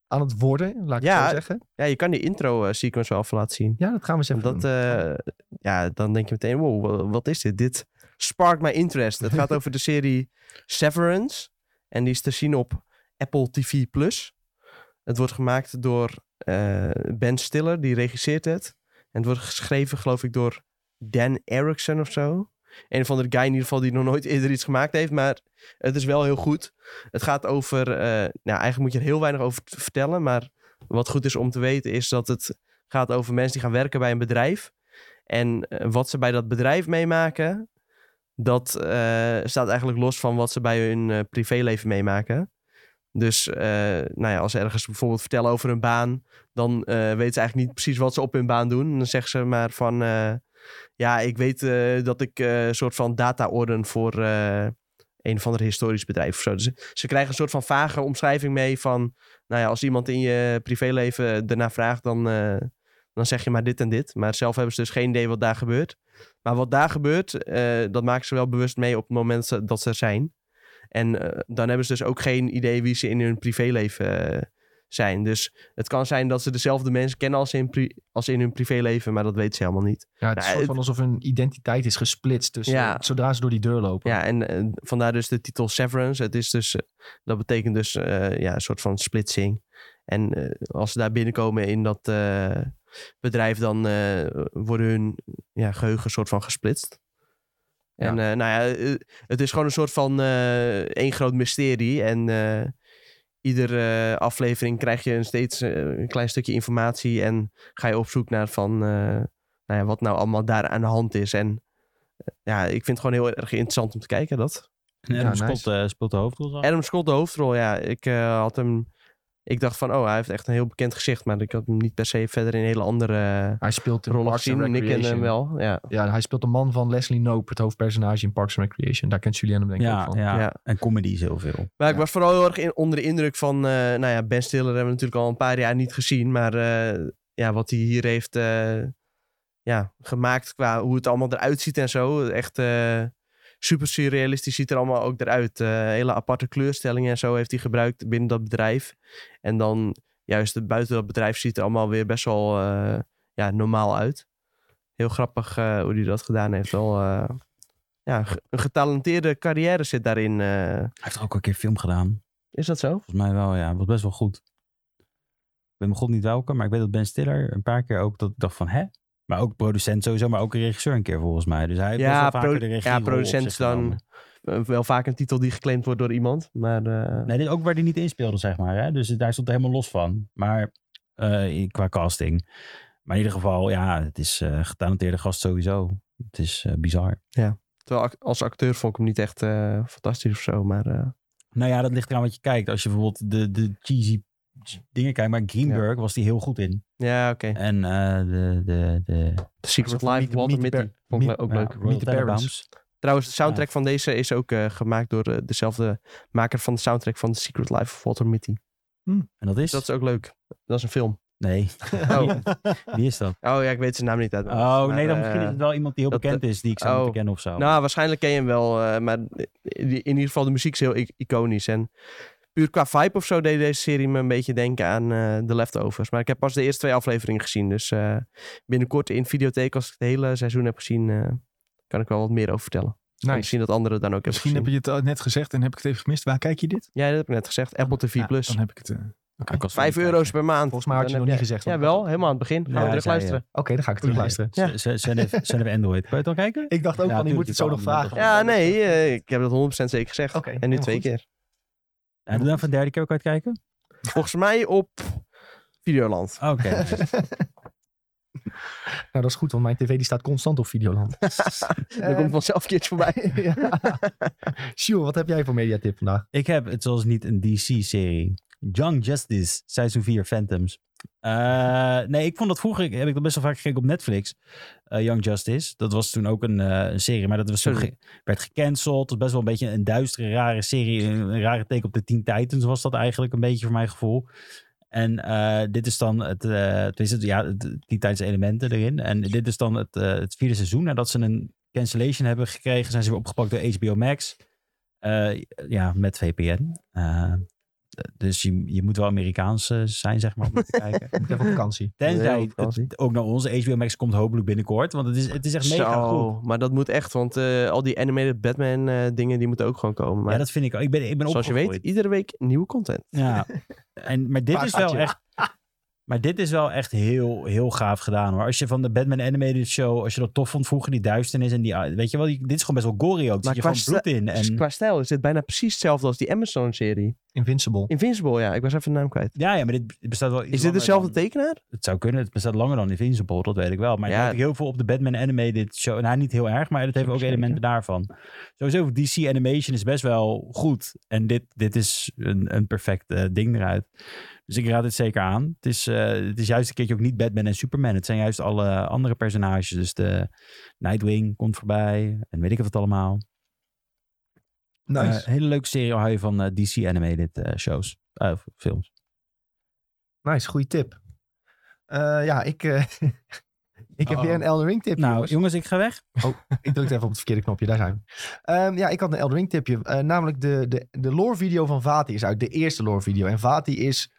A: Aan het worden, laat ik
B: Ja.
A: het zo zeggen.
B: Ja, je kan die intro-sequence wel even laten zien.
A: Ja, dat gaan we eens even
B: Dat,
A: doen.
B: eh, ja, dan denk je meteen, wow, wa- wat is dit? Dit sparkt my interest. Het gaat over de serie Severance. En die is te zien op Apple TV+. Het wordt gemaakt door eh, Ben Stiller, die regisseert het. En het wordt geschreven, geloof ik, door Dan Erickson of zo. Een van de guy in ieder geval die nog nooit eerder iets gemaakt heeft. Maar het is wel heel goed. Het gaat over, eh, nou eigenlijk moet je er heel weinig over t- vertellen. Maar Wat goed is om te weten is dat het gaat over mensen die gaan werken bij een bedrijf. En eh, wat ze bij dat bedrijf meemaken, dat eh, staat eigenlijk los van wat ze bij hun eh, privéleven meemaken. Dus eh, nou ja, als ze ergens bijvoorbeeld vertellen over hun baan, dan eh, weten ze eigenlijk niet precies wat ze op hun baan doen. En dan zeggen ze maar van, eh, ja, ik weet eh, dat ik eh, een soort van data orden voor eh, een of ander historisch bedrijf of zo. Dus ze krijgen een soort van vage omschrijving mee van, nou ja, als iemand in je privéleven daarna vraagt, dan, eh, dan zeg je maar dit en dit. Maar zelf hebben ze dus geen idee wat daar gebeurt. Maar wat daar gebeurt, eh, dat maken ze wel bewust mee op het moment ze- dat ze er zijn. En eh, dan hebben ze dus ook geen idee wie ze in hun privéleven eh, zijn. Dus het kan zijn dat ze dezelfde mensen kennen als in, pri- als in hun privéleven, maar dat weten ze helemaal niet.
A: Ja, het is
B: Nou,
A: soort van alsof hun identiteit is gesplitst. Dus
B: Ja.
A: zodra ze door die deur lopen.
B: Ja, en eh, vandaar dus de titel Severance. Het is dus, eh, dat betekent dus eh, ja, een soort van splitsing. En eh, als ze daar binnenkomen in dat eh, bedrijf, dan eh, worden hun ja, geheugen soort van gesplitst. En eh, nou ja, eh, het is gewoon een soort van eh, één groot mysterie. En eh, iedere eh, aflevering krijg je een steeds eh, een klein stukje informatie. En ga je op zoek naar van, eh, nou ja, wat nou allemaal daar aan de hand is. En ja, ik vind het gewoon heel erg interessant om te kijken dat.
D: En Adam
A: Ja, nice.
D: Scott eh, speelt de hoofdrol. zo.
B: Adam Scott, de hoofdrol, ja. Ik eh, had hem... Ik dacht van, oh, hij heeft echt een heel bekend gezicht. Maar ik had hem niet per se verder in hele andere eh,
A: Hij speelt in
B: rollen
A: Parks and
B: gezien. En eh, ik kende hem
A: Recreation.
B: wel, ja.
A: Ja, hij speelt de man van Leslie Nope, het hoofdpersonage in Parks and Recreation. Daar kent Julianne hem denk ik ook
D: Ja,
A: van.
D: ja.
B: Ja.
D: en comedies heel veel.
B: Maar ik was vooral heel erg in- onder de indruk van... eh, nou ja, Ben Stiller hebben we natuurlijk al een paar jaar niet gezien. Maar eh, ja, wat hij hier heeft eh, ja, gemaakt qua hoe het allemaal eruit ziet en zo. Echt eh, super surrealistisch ziet er allemaal ook eruit. Eh, hele aparte kleurstellingen en zo heeft hij gebruikt binnen dat bedrijf. En dan juist het- buiten dat bedrijf ziet er allemaal weer best wel eh, ja, normaal uit. Heel grappig eh, hoe hij dat gedaan heeft. Wel, eh, ja, ge- een getalenteerde carrière zit daarin. eh.
D: Hij heeft er ook al een keer film gedaan.
B: is dat zo?
D: Volgens mij wel, ja. Was best wel goed. Ik weet mijn god niet welke, maar ik weet dat Ben Stiller een paar keer ook dat ik dacht van, hè? Maar ook producent sowieso, maar ook een regisseur een keer volgens mij. Dus hij heeft best wel vaker
B: pro-
D: de regie
B: ja, producent is dan eh, wel vaak een titel die geclaimd wordt door iemand. Maar eh,
D: Nee, dit is ook waar hij niet in speelde, zeg maar. Hè? Dus daar stond hij helemaal los van. Maar eh, qua casting. Maar in ieder geval, ja, het is eh getalenteerde gast sowieso. Het is eh, bizar.
B: terwijl ac- als acteur vond ik hem niet echt eh, fantastisch of zo. Maar eh,
D: Nou ja, dat ligt eraan wat je kijkt. Als je bijvoorbeeld de, de cheesy dingen kijkt. Maar Greenberg was die heel goed in.
B: ja, oké.
D: En eh, de... de, de
B: The Secret
A: Alsof
B: Life,
A: Meet-
B: Walter
A: Meet the
B: Mitty.
A: Par-
B: Vond ik
A: Meet-
B: le- ook
D: ja,
B: leuk.
D: Royal
A: Meet the
D: Tenenbaums.
B: Trouwens, de soundtrack van deze is ook eh, gemaakt door eh, dezelfde maker van de soundtrack van The Secret Life of Walter Mitty.
D: En dat
B: Dus
D: is?
B: dat is ook leuk. Dat is een film.
D: Nee.
B: Oh,
D: Wie is dat?
B: oh ja, ik weet zijn naam niet uit. mijn
D: Oh,
B: hoofd, maar,
D: nee, dan
B: eh,
D: misschien is het wel iemand die heel
B: dat-
D: bekend is. Die ik zou
B: oh.
D: moeten kennen of zo.
B: Nou, waarschijnlijk ken je hem wel. eh, maar in ieder geval, de muziek is heel i- iconisch. En puur qua vibe of zo deed deze serie me een beetje denken aan eh The Leftovers. Maar ik heb pas de eerste twee afleveringen gezien. Dus eh, binnenkort in videotheek, als ik het hele seizoen heb gezien, eh, kan ik wel wat meer over vertellen. En
A: Nice.
B: Misschien dat anderen dan ook hebben
C: Misschien
B: gezien.
C: heb je het al net gezegd en heb ik het even gemist. Waar kijk je dit?
B: Ja, dat heb ik net gezegd. Apple TV+.
C: Ja,
B: Plus.
C: Dan heb ik het. eh,
D: Ja, ik was er
B: 5
D: niet
B: euro's per maand.
A: Volgens mij had je
B: Dan
A: nog
B: heb
A: niet
B: jij-
A: gezegd, want-
B: Jawel, helemaal aan het begin. Gaan
D: Ja,
B: we
D: hij
B: terug
D: zei,
B: luisteren.
A: Oké, dan ga ik terug luisteren.
D: bij. Zijn- Zijn er- zijn er Android? Kan je het al kijken?
A: Ik dacht ook
D: Ja,
A: van, je moet
D: tuurlijk,
A: het
D: je
A: zo nog
D: kan hem
A: vragen.
B: Ja,
D: net
B: nee, eh, ik heb dat 100% zeker gezegd.
A: Oké,
B: en nu
A: helemaal
B: twee
A: goed.
B: keer.
D: En doe dan van de derde keer ook uitkijken?
B: Volgens mij op Videoland.
D: Oké.
A: Nou, dat is goed, want mijn tv die staat constant op Videoland.
B: Dan komt vanzelf een keertje voorbij.
A: ja. Sjoerd, wat heb jij voor mediatip vandaag?
D: ik heb, het zoals niet, een DC-serie. Young Justice, seizoen 4, Phantoms. Eh, nee, ik vond dat vroeger, ik- heb ik dat best wel vaak gekeken op Netflix. eh, Young Justice, dat was toen ook een, eh, een serie, maar dat was toen
B: Sorry.
D: ge- werd gecanceld. Het was best wel een beetje een duistere, rare serie. Een, een rare teken op de Teen Titans was dat eigenlijk een beetje voor mijn gevoel. En eh, dit is dan het, eh tenminste, ja, het- Teen Titans elementen erin. En dit is dan het, eh, het vierde seizoen nadat ze een cancellation hebben gekregen. Zijn ze weer opgepakt door HBO Max. Eh, ja, met VPN. Eh, dus je, je moet wel Amerikaans eh, zijn, zeg maar, om dit te kijken.
A: Ik moet even op vakantie.
B: Heel
D: Tenzij
B: vakantie.
D: het ook naar onze HBO Max komt hopelijk binnenkort. Want het is, het is echt mega goed.
B: maar dat moet echt, want eh, al die animated Batman eh, dingen, die moeten ook gewoon komen. Maar
D: ja, dat vind ik ook. Ik ben, ik ben
B: zoals je weet,
D: opgegroeid.
B: iedere week nieuwe content.
D: Ja. En, maar dit is wel
A: Paardje.
D: echt... Maar dit is wel echt heel, heel gaaf gedaan hoor. Als je van de Batman Animated Show, als je dat tof vond vroeger, die duisternis en die, weet je wel, die- dit is gewoon best wel gory ook. Er
B: Maar
D: zit
B: qua
D: gewoon bloed in.
B: Dus
D: En,
B: qua stijl is dit bijna precies hetzelfde als die Amazon-serie.
A: Invincible.
B: Invincible, ja. Ik was even de naam kwijt.
D: ja, ja, maar dit bestaat wel
B: Is
D: iets
B: dit
D: langer
B: dezelfde
D: dan-
B: tekenaar?
D: Het zou kunnen, het bestaat langer dan Invincible, dat weet ik wel. Maar het
B: Ja.
D: lijkt heel veel op de Batman Animated Show. Nou, niet heel erg, maar het heeft ook
B: Zeker.
D: elementen daarvan. Sowieso, DC Animation is best wel goed. En dit, dit is een, een perfect eh, ding eruit. Dus ik raad het zeker aan. Het is, eh, het is juist een keertje ook niet Batman en Superman. Het zijn juist alle andere personages. Dus de Nightwing komt voorbij en weet ik wat allemaal.
A: Nice.
D: Eh, hele leuke serie hou je van eh, DC Animated eh, shows. Eh, of films.
A: nice, goede tip. Eh, ja, ik, eh, ik heb
C: Oh.
A: weer een Elden Ring tip.
D: nou,
A: jongens.
D: jongens, ik ga weg.
A: Ik drukte even op het verkeerde knopje, daar zijn we. Ehm, ja, ik had een Elden Ring tipje. Eh, namelijk de, de, de lore video van Vati is uit. De eerste lore video. En Vati is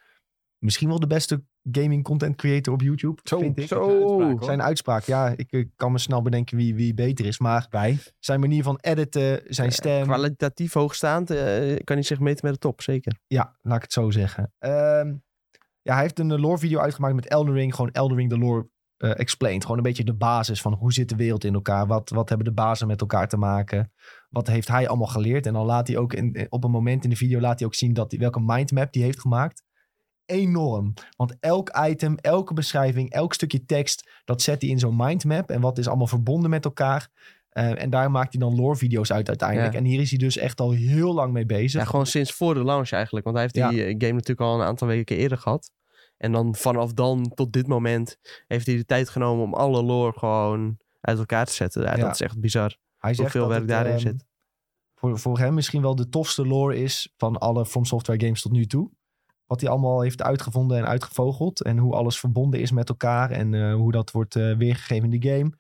A: misschien wel de beste gaming content creator op YouTube. vind ik. Zijn uitspraak, ja. Ik eh, kan me snel bedenken wie, wie beter is. Maar
D: Bij.
A: zijn manier van editen, zijn stem.
B: Ehm, Kwalitatief hoogstaand eh, kan hij zich meten met de top, zeker.
A: Ja, laat ik het zo zeggen. Ehm, ja, hij heeft een eh, lore video uitgemaakt met Elden Ring. Gewoon Elden Ring de lore eh, explained. Gewoon een beetje de basis van hoe zit de wereld in elkaar. Wat, wat hebben de bazen met elkaar te maken. Wat heeft hij allemaal geleerd. En dan laat hij ook in, eh, op een moment in de video laat hij ook zien dat hij, welke mindmap die heeft gemaakt. Enorm. Want elk item, elke beschrijving, elk stukje tekst, dat zet hij in zo'n mindmap. En wat is allemaal verbonden met elkaar. Eh, en daar maakt hij dan lore video's uit uiteindelijk.
B: Ja.
A: En hier is hij dus echt al heel lang mee bezig.
B: Ja, gewoon sinds voor de launch eigenlijk. Want hij heeft
A: Ja.
B: die eh, game natuurlijk al een aantal weken eerder gehad. En dan vanaf dan tot dit moment heeft hij de tijd genomen om alle lore gewoon uit elkaar te zetten. Ja,
A: Ja.
B: Dat is echt bizar.
A: Hij zegt
B: Hoeveel
A: dat
B: werk
A: het,
B: daarin
A: ehm,
B: zit.
A: Voor, voor hem misschien wel de tofste lore is van alle From Software games tot nu toe. Wat hij allemaal heeft uitgevonden en uitgevogeld. En hoe alles verbonden is met elkaar. En eh, hoe dat wordt eh, weergegeven in de game.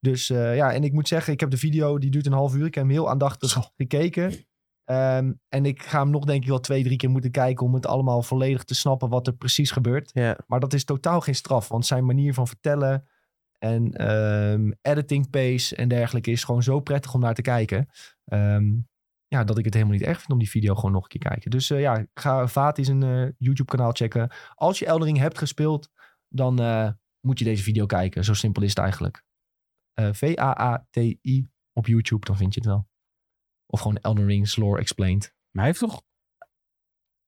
A: Dus eh, ja, en ik moet zeggen, ik heb de video, die duurt een half uur. Ik heb hem heel aandachtig gekeken. Ehm, en ik ga hem nog denk ik wel twee, drie keer moeten kijken om het allemaal volledig te snappen wat er precies gebeurt.
B: Ja.
A: Maar dat is totaal geen straf. Want zijn manier van vertellen en ehm, editing pace en dergelijke is gewoon zo prettig om naar te kijken. Ehm, ja, dat ik het helemaal niet erg vind om die video gewoon nog een keer te kijken. Dus eh, ja, ga Vati zijn eh, YouTube kanaal checken. Als je Eldering hebt gespeeld, dan eh, moet je deze video kijken. Zo simpel is het eigenlijk. Eh, V-A-A-T-I op YouTube, dan vind je het wel. Of gewoon Elden Ring's Lore Explained.
D: Maar hij heeft toch...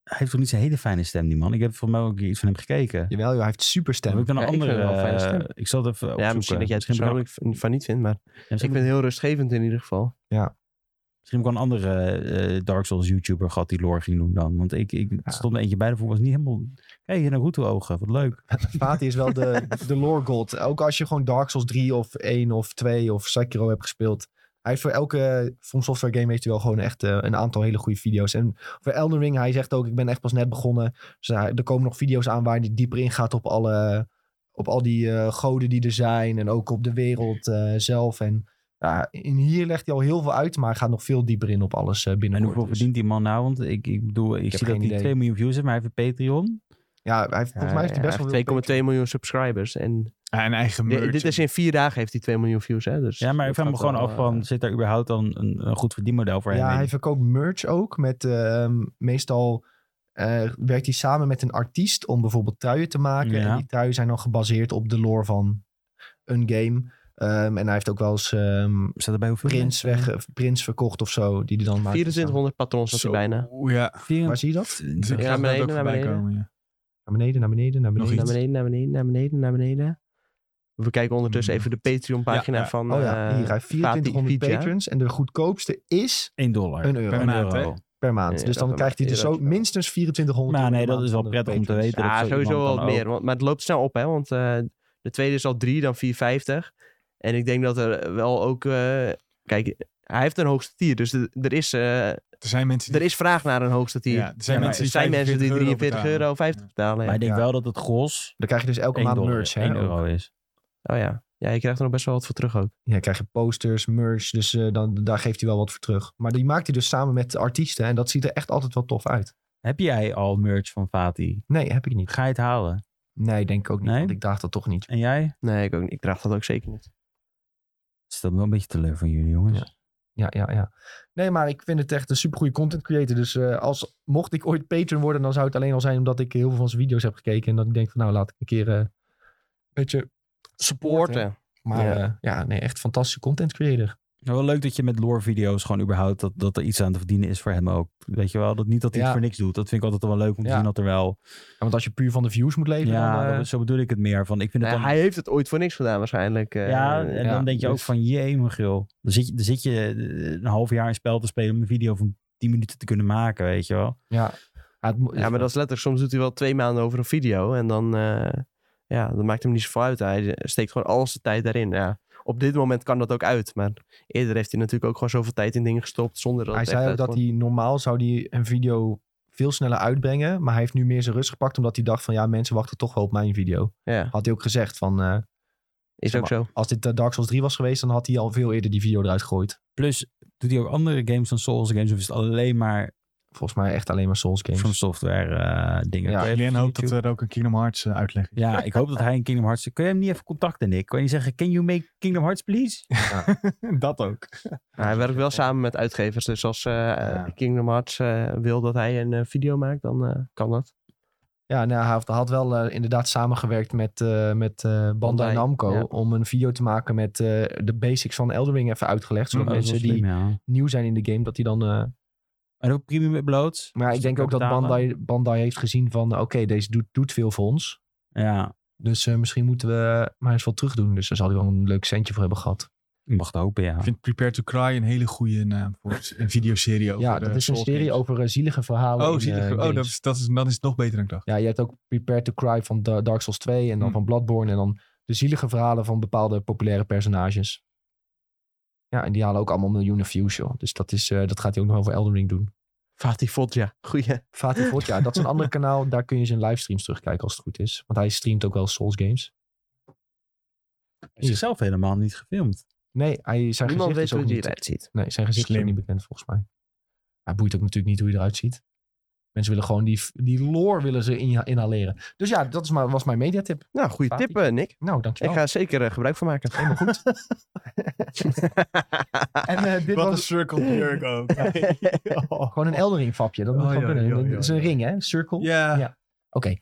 D: Hij heeft toch niet zijn hele fijne stem, die man? Ik heb voor mij ook iets van hem gekeken. Heb
A: Jawel, joh, hij heeft super stem.
D: ik dan een
B: Ja, ik vind
D: andere...
B: het wel een fijne stem.
D: eh, ik zal het even
B: Ja,
D: opzoeken.
B: misschien dat jij het
D: heb ik
B: persoonlijk v- van niet vindt, maar
D: ook-
B: ik vind het heel rustgevend in ieder geval.
D: Misschien heb ik wel een andere eh, Dark Souls YouTuber gehad die lore ging doen dan. Want ik, ik er stond er eentje bij, daarvoor was niet helemaal... Kijk, hier naar Ruto ogen, wat leuk.
A: Vati is wel de, de lore god. Ook als je gewoon Dark Souls 3 of 1 of 2 of Sekiro hebt gespeeld. Hij heeft voor elke From Software game heeft hij wel gewoon echt eh, een aantal hele goede video's. En voor Elden Ring, hij zegt ook, ik ben echt pas net begonnen. Dus hij- er komen nog video's aan waar hij dieper ingaat op, alle, op al die eh, goden die er zijn. En ook op de wereld eh, zelf. En ja, in hier legt hij al heel veel uit, maar hij gaat nog veel dieper in op alles eh
D: En
A: binnenkort.
D: hoeveel
A: Dus-
D: verdient die man nou? Want ik, ik bedoel, ik,
A: heb
D: zie dat
A: geen
D: hij
A: idee.
D: 2 miljoen views heeft, maar hij heeft een Patreon.
B: Dus
A: Ja, hij heeft, volgens mij heeft hij best
B: Ja,
A: wel
B: hij heeft
A: veel
B: 2,2 miljoen subscribers. En
C: Ja, een eigen
B: di-
C: merch.
B: dit is in vier dagen heeft hij 2 miljoen views. Hè? Dus
D: Ja, maar
B: dat
D: ik vraag me
B: gaat
D: gewoon
B: wel,
D: af van,
B: eh,
D: zit daar überhaupt dan een, een goed verdienmodel voor hem
A: Ja,
D: in?
A: hij verkoopt merch ook. Met, ehm, meestal eh, werkt hij samen met een artiest om bijvoorbeeld truien te maken.
D: Ja.
A: En die truien zijn dan gebaseerd op de lore van een game. Ehm, en hij heeft ook wel eens ehm
D: Staat er bij hoeveel?
A: prins, weg, eh, prins verkocht of zo. Die hij dan maakt.
B: 2400 patrons was hij
C: Zo,
B: bijna.
C: Ja.
A: Waar zie je dat?
C: Dus ik
B: Ja,
C: zag dat
B: naar beneden,
C: ook
B: naar
C: voorbij
B: beneden.
C: komen, ja.
A: Naar beneden, naar beneden, naar
C: Nog
A: beneden.
B: Naar
C: iets.
B: beneden, naar beneden, naar beneden, naar beneden. We kijken ondertussen even de Patreon pagina
C: Ja, ja.
B: van
A: Oh ja,
B: eh,
A: hier. Hij heeft
B: Fatih
A: 2400
B: Vidya.
A: patrons. En de goedkoopste is
D: 1 dollar.
A: een euro
C: Per
D: Een
C: maand,
D: euro.
C: hè?
A: per maand.
B: Ja,
A: dus dan
B: dat-
A: krijgt hij er
B: ja,
A: zo
B: dat is wel-
A: minstens 2400 euro
D: Maar Nou, nee,
A: per
D: dat is wel
A: maand van de
D: prettig om te
A: patrons.
D: weten.
B: Ja,
D: dat zo
B: sowieso
D: iemand
B: wel
D: dan
B: wat meer. Want, maar het loopt snel op, hè? Want eh, de tweede is al 3, dan 4,50. En ik denk dat er wel ook. eh, kijk, hij heeft een hoogste tier. Dus er er is, eh,
C: Er zijn mensen
B: er
C: die...
B: is vraag naar een hoogste tier.
C: Ja, er zijn
D: maar
C: mensen
B: er
C: die
B: zijn mensen die 43
C: betalen.
B: euro 50 betalen.
D: Maar
B: Ja.
D: ik denk
A: Ja.
D: wel dat het gros
A: Dan krijg je dus elke
D: 1
A: maand
D: dollar,
A: merch. hè,
D: 1
A: ook.
D: euro is.
B: Oh ja. Ja, je krijgt er nog best wel wat voor terug ook.
A: Ja, dan krijg je posters, merch. Dus eh, dan, daar geeft hij wel wat voor terug. Maar die maakt hij dus samen met de artiesten. En dat ziet er echt altijd wel tof uit.
D: Heb jij al merch van Fati?
A: Nee, heb ik niet.
D: Ga je het halen?
A: Nee, denk ik ook niet.
D: Nee?
A: Want ik draag dat toch niet.
D: En jij?
B: Nee, ik ook niet. Ik draag dat ook zeker niet.
D: Het is dat wel een beetje teleur van jullie, jongens.
A: Ja. ja, ja, ja. Nee, maar ik vind het echt een supergoeie content creator. Dus eh, als, mocht ik ooit patron worden, dan zou het alleen al zijn omdat ik heel veel van zijn video's heb gekeken. En dat ik denk van nou, laat ik een keer eh, een beetje supporten.
B: Sporten.
A: Maar
B: Ja.
A: ja. ja, nee, echt fantastische content creator.
D: Nou, wel leuk dat je met lore video's gewoon überhaupt dat, dat er iets aan te verdienen is voor hem ook. Weet je wel, dat niet dat hij
A: Ja.
D: het voor niks doet. Dat vind ik altijd wel leuk om te
A: Ja.
D: zien dat er wel.
A: Ja, want als je puur van de views moet leven,
D: ja,
A: dan... eh,
D: dat- zo bedoel ik het meer. Van, ik vind het
B: Nou,
D: dan,
B: hij heeft het ooit voor niks gedaan waarschijnlijk. eh,
D: ja, en
A: ja,
D: dan denk je ook
A: dus-
D: van jee, mijn gril. Dan zit, je, dan zit je eh, een half jaar een spel te spelen om een video van 10 minuten te kunnen maken, weet je wel.
A: ja. Ja, het mo-
B: Ja, maar dat is letterlijk. Soms doet hij wel twee maanden over een video. En dan, eh, ja, dat maakt hem niet zoveel uit. Hij eh, steekt gewoon al zijn tijd daarin. Ja. Op dit moment kan dat ook uit. Maar eerder heeft hij natuurlijk ook gewoon zoveel tijd in dingen gestopt. Zonder dat
A: Hij
B: het
A: zei
B: echt
A: ook dat
B: uitkwam.
A: hij normaal zou hij een video veel sneller uitbrengen. Maar hij heeft nu meer zijn rust gepakt. Omdat hij dacht van ja, mensen wachten toch wel op mijn video.
B: Ja,
A: Had hij ook gezegd van eh,
B: is
A: zeg
B: ook
A: maar,
B: zo.
A: als dit eh, Dark Souls 3 was geweest, dan had hij al veel eerder die video eruit gegooid.
D: Plus, doet hij ook andere games dan Souls games? Of is het alleen maar
A: Volgens mij echt alleen maar Souls games.
D: from software eh, dingen?
A: Ja,
D: Kun je
C: Glenn
D: even
C: hoopt dat
D: YouTube-
C: er ook een Kingdom Hearts eh, uitleg is.
D: Ja, ik hoop dat hij in Kingdom Hearts... Kun je hem niet even contacten, Nick? Kun je niet zeggen, can you make Kingdom Hearts, please?
C: dat ook.
B: Maar hij werkt wel samen met uitgevers. Dus als eh,
C: Ja.
B: Kingdom Hearts eh, wil dat hij een eh, video maakt, dan eh, kan dat.
A: Ja, nou, hij had, had wel eh, inderdaad samengewerkt met, eh, met eh, Bandai,
B: Bandai,
A: Namco.
B: ja.
A: Om een video te maken met eh, de basics van Elden Ring even uitgelegd. Zodat
D: Oh, dat is
A: mensen
D: wel
A: die
D: slim, ja.
A: nieuw zijn in de game, dat die dan... eh,
D: En ook premium uploads.
A: maar ja, ik
D: Dus
A: denk
D: die
A: ook dat
D: kan betalen.
A: Bandai, Bandai heeft gezien van... Oké, deze doet, doet veel voor ons.
D: Ja,
A: Dus eh, misschien moeten we maar eens wat terugdoen. Dus daar zal hij wel een leuk centje voor hebben gehad.
D: ik mag het hopen, ja.
C: Ik vind Prepare to Cry een hele goede naam voor een videoserie over
A: ja,
C: de
A: dat is een
C: Souls
A: serie
C: games.
A: over eh, zielige verhalen.
C: Oh,
A: in,
C: zie je.
A: eh,
C: oh dat,
A: games.
C: is, dat, is, dat is nog beter dan ik dacht.
A: Ja, je hebt ook Prepare to Cry van Da- Dark Souls 2 en dan
C: Hm.
A: van Bloodborne. En dan de zielige verhalen van bepaalde populaire personages. Ja, en die halen ook allemaal miljoenen views, joh. Dus dat, is, eh, dat gaat hij ook nog over Elden Ring doen.
B: Fatih Fodja. Goeie.
A: Fatih Ford, ja, dat is een ander kanaal. Daar kun je zijn livestreams terugkijken als het goed is. Want hij streamt ook wel Souls games.
D: Hij is zelf helemaal niet
C: Oh,
D: gefilmd.
A: Nee, hij, zijn
B: Niemand
A: gezicht
B: weet
A: is
B: hoe
A: ook
B: die
A: niet
B: eruit ziet.
A: Nee, zijn gezicht is ook
C: Slim.
A: niet bekend volgens mij. Hij boeit ook natuurlijk niet hoe hij eruit ziet. Mensen willen gewoon die, die lore willen ze in, inhaleren. Dus ja, dat is maar, was mijn mediatip.
B: Nou, goede
A: Fatih.
B: tip, eh, Nick.
A: Nou,
B: Ik
A: dankjewel.
B: ga er zeker eh, gebruik van maken. Helemaal goed.
A: En eh, dit
C: Wat een
A: was
C: circle jerk ook.
A: gewoon een Eldering fapje. Dat moet
C: Oh,
A: gewoon
C: ja,
A: kunnen.
C: ja, ja,
A: Het is een
C: ja.
A: ring, hè? Een cirkel.
C: Ja.
A: Ja. Oké.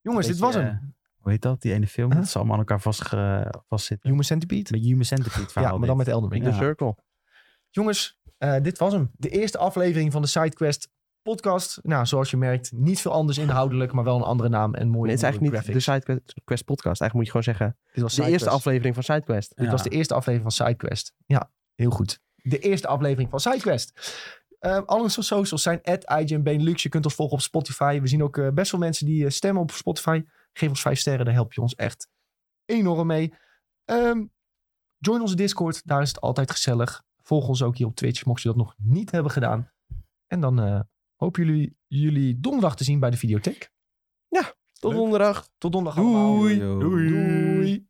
A: Jongens, dit was
B: eh,
A: hem.
D: eh, Hoe heet dat? Die ene film? Dat ze allemaal aan elkaar vast, vastzitten.
A: Human Centipede.
D: Met Human Centipede verhaal.
A: Ja, maar dan
D: dit.
A: met Eldering.
B: De Circle.
A: Jongens, eh, dit was hem. De eerste aflevering van de SideQuest podcast. Nou, zoals je merkt, niet veel anders inhoudelijk, maar wel een andere naam en mooie
B: Nee, het is eigenlijk niet de
A: graphics.
B: SideQuest podcast. Eigenlijk moet je gewoon zeggen,
A: Dit was
B: de eerste
A: SideQuest.
B: aflevering van SideQuest.
A: Dit
D: Ja.
A: was de eerste aflevering van SideQuest. Ja, heel goed. De eerste aflevering van SideQuest. Eh al onze socials zijn at Je kunt ons volgen op Spotify. We zien ook eh, best wel mensen die eh, stemmen op Spotify. Geef ons vijf sterren, daar help je ons echt enorm mee. Ehm, join onze Discord, daar is het altijd gezellig. Volg ons ook hier op Twitch, mocht je dat nog niet hebben gedaan. En dan eh, hopen jullie, jullie donderdag te zien bij de videotheek.
B: Tot
C: Leuk.
B: donderdag.
A: Tot donderdag
B: Doei.
A: allemaal.
D: Yo.
A: Doei.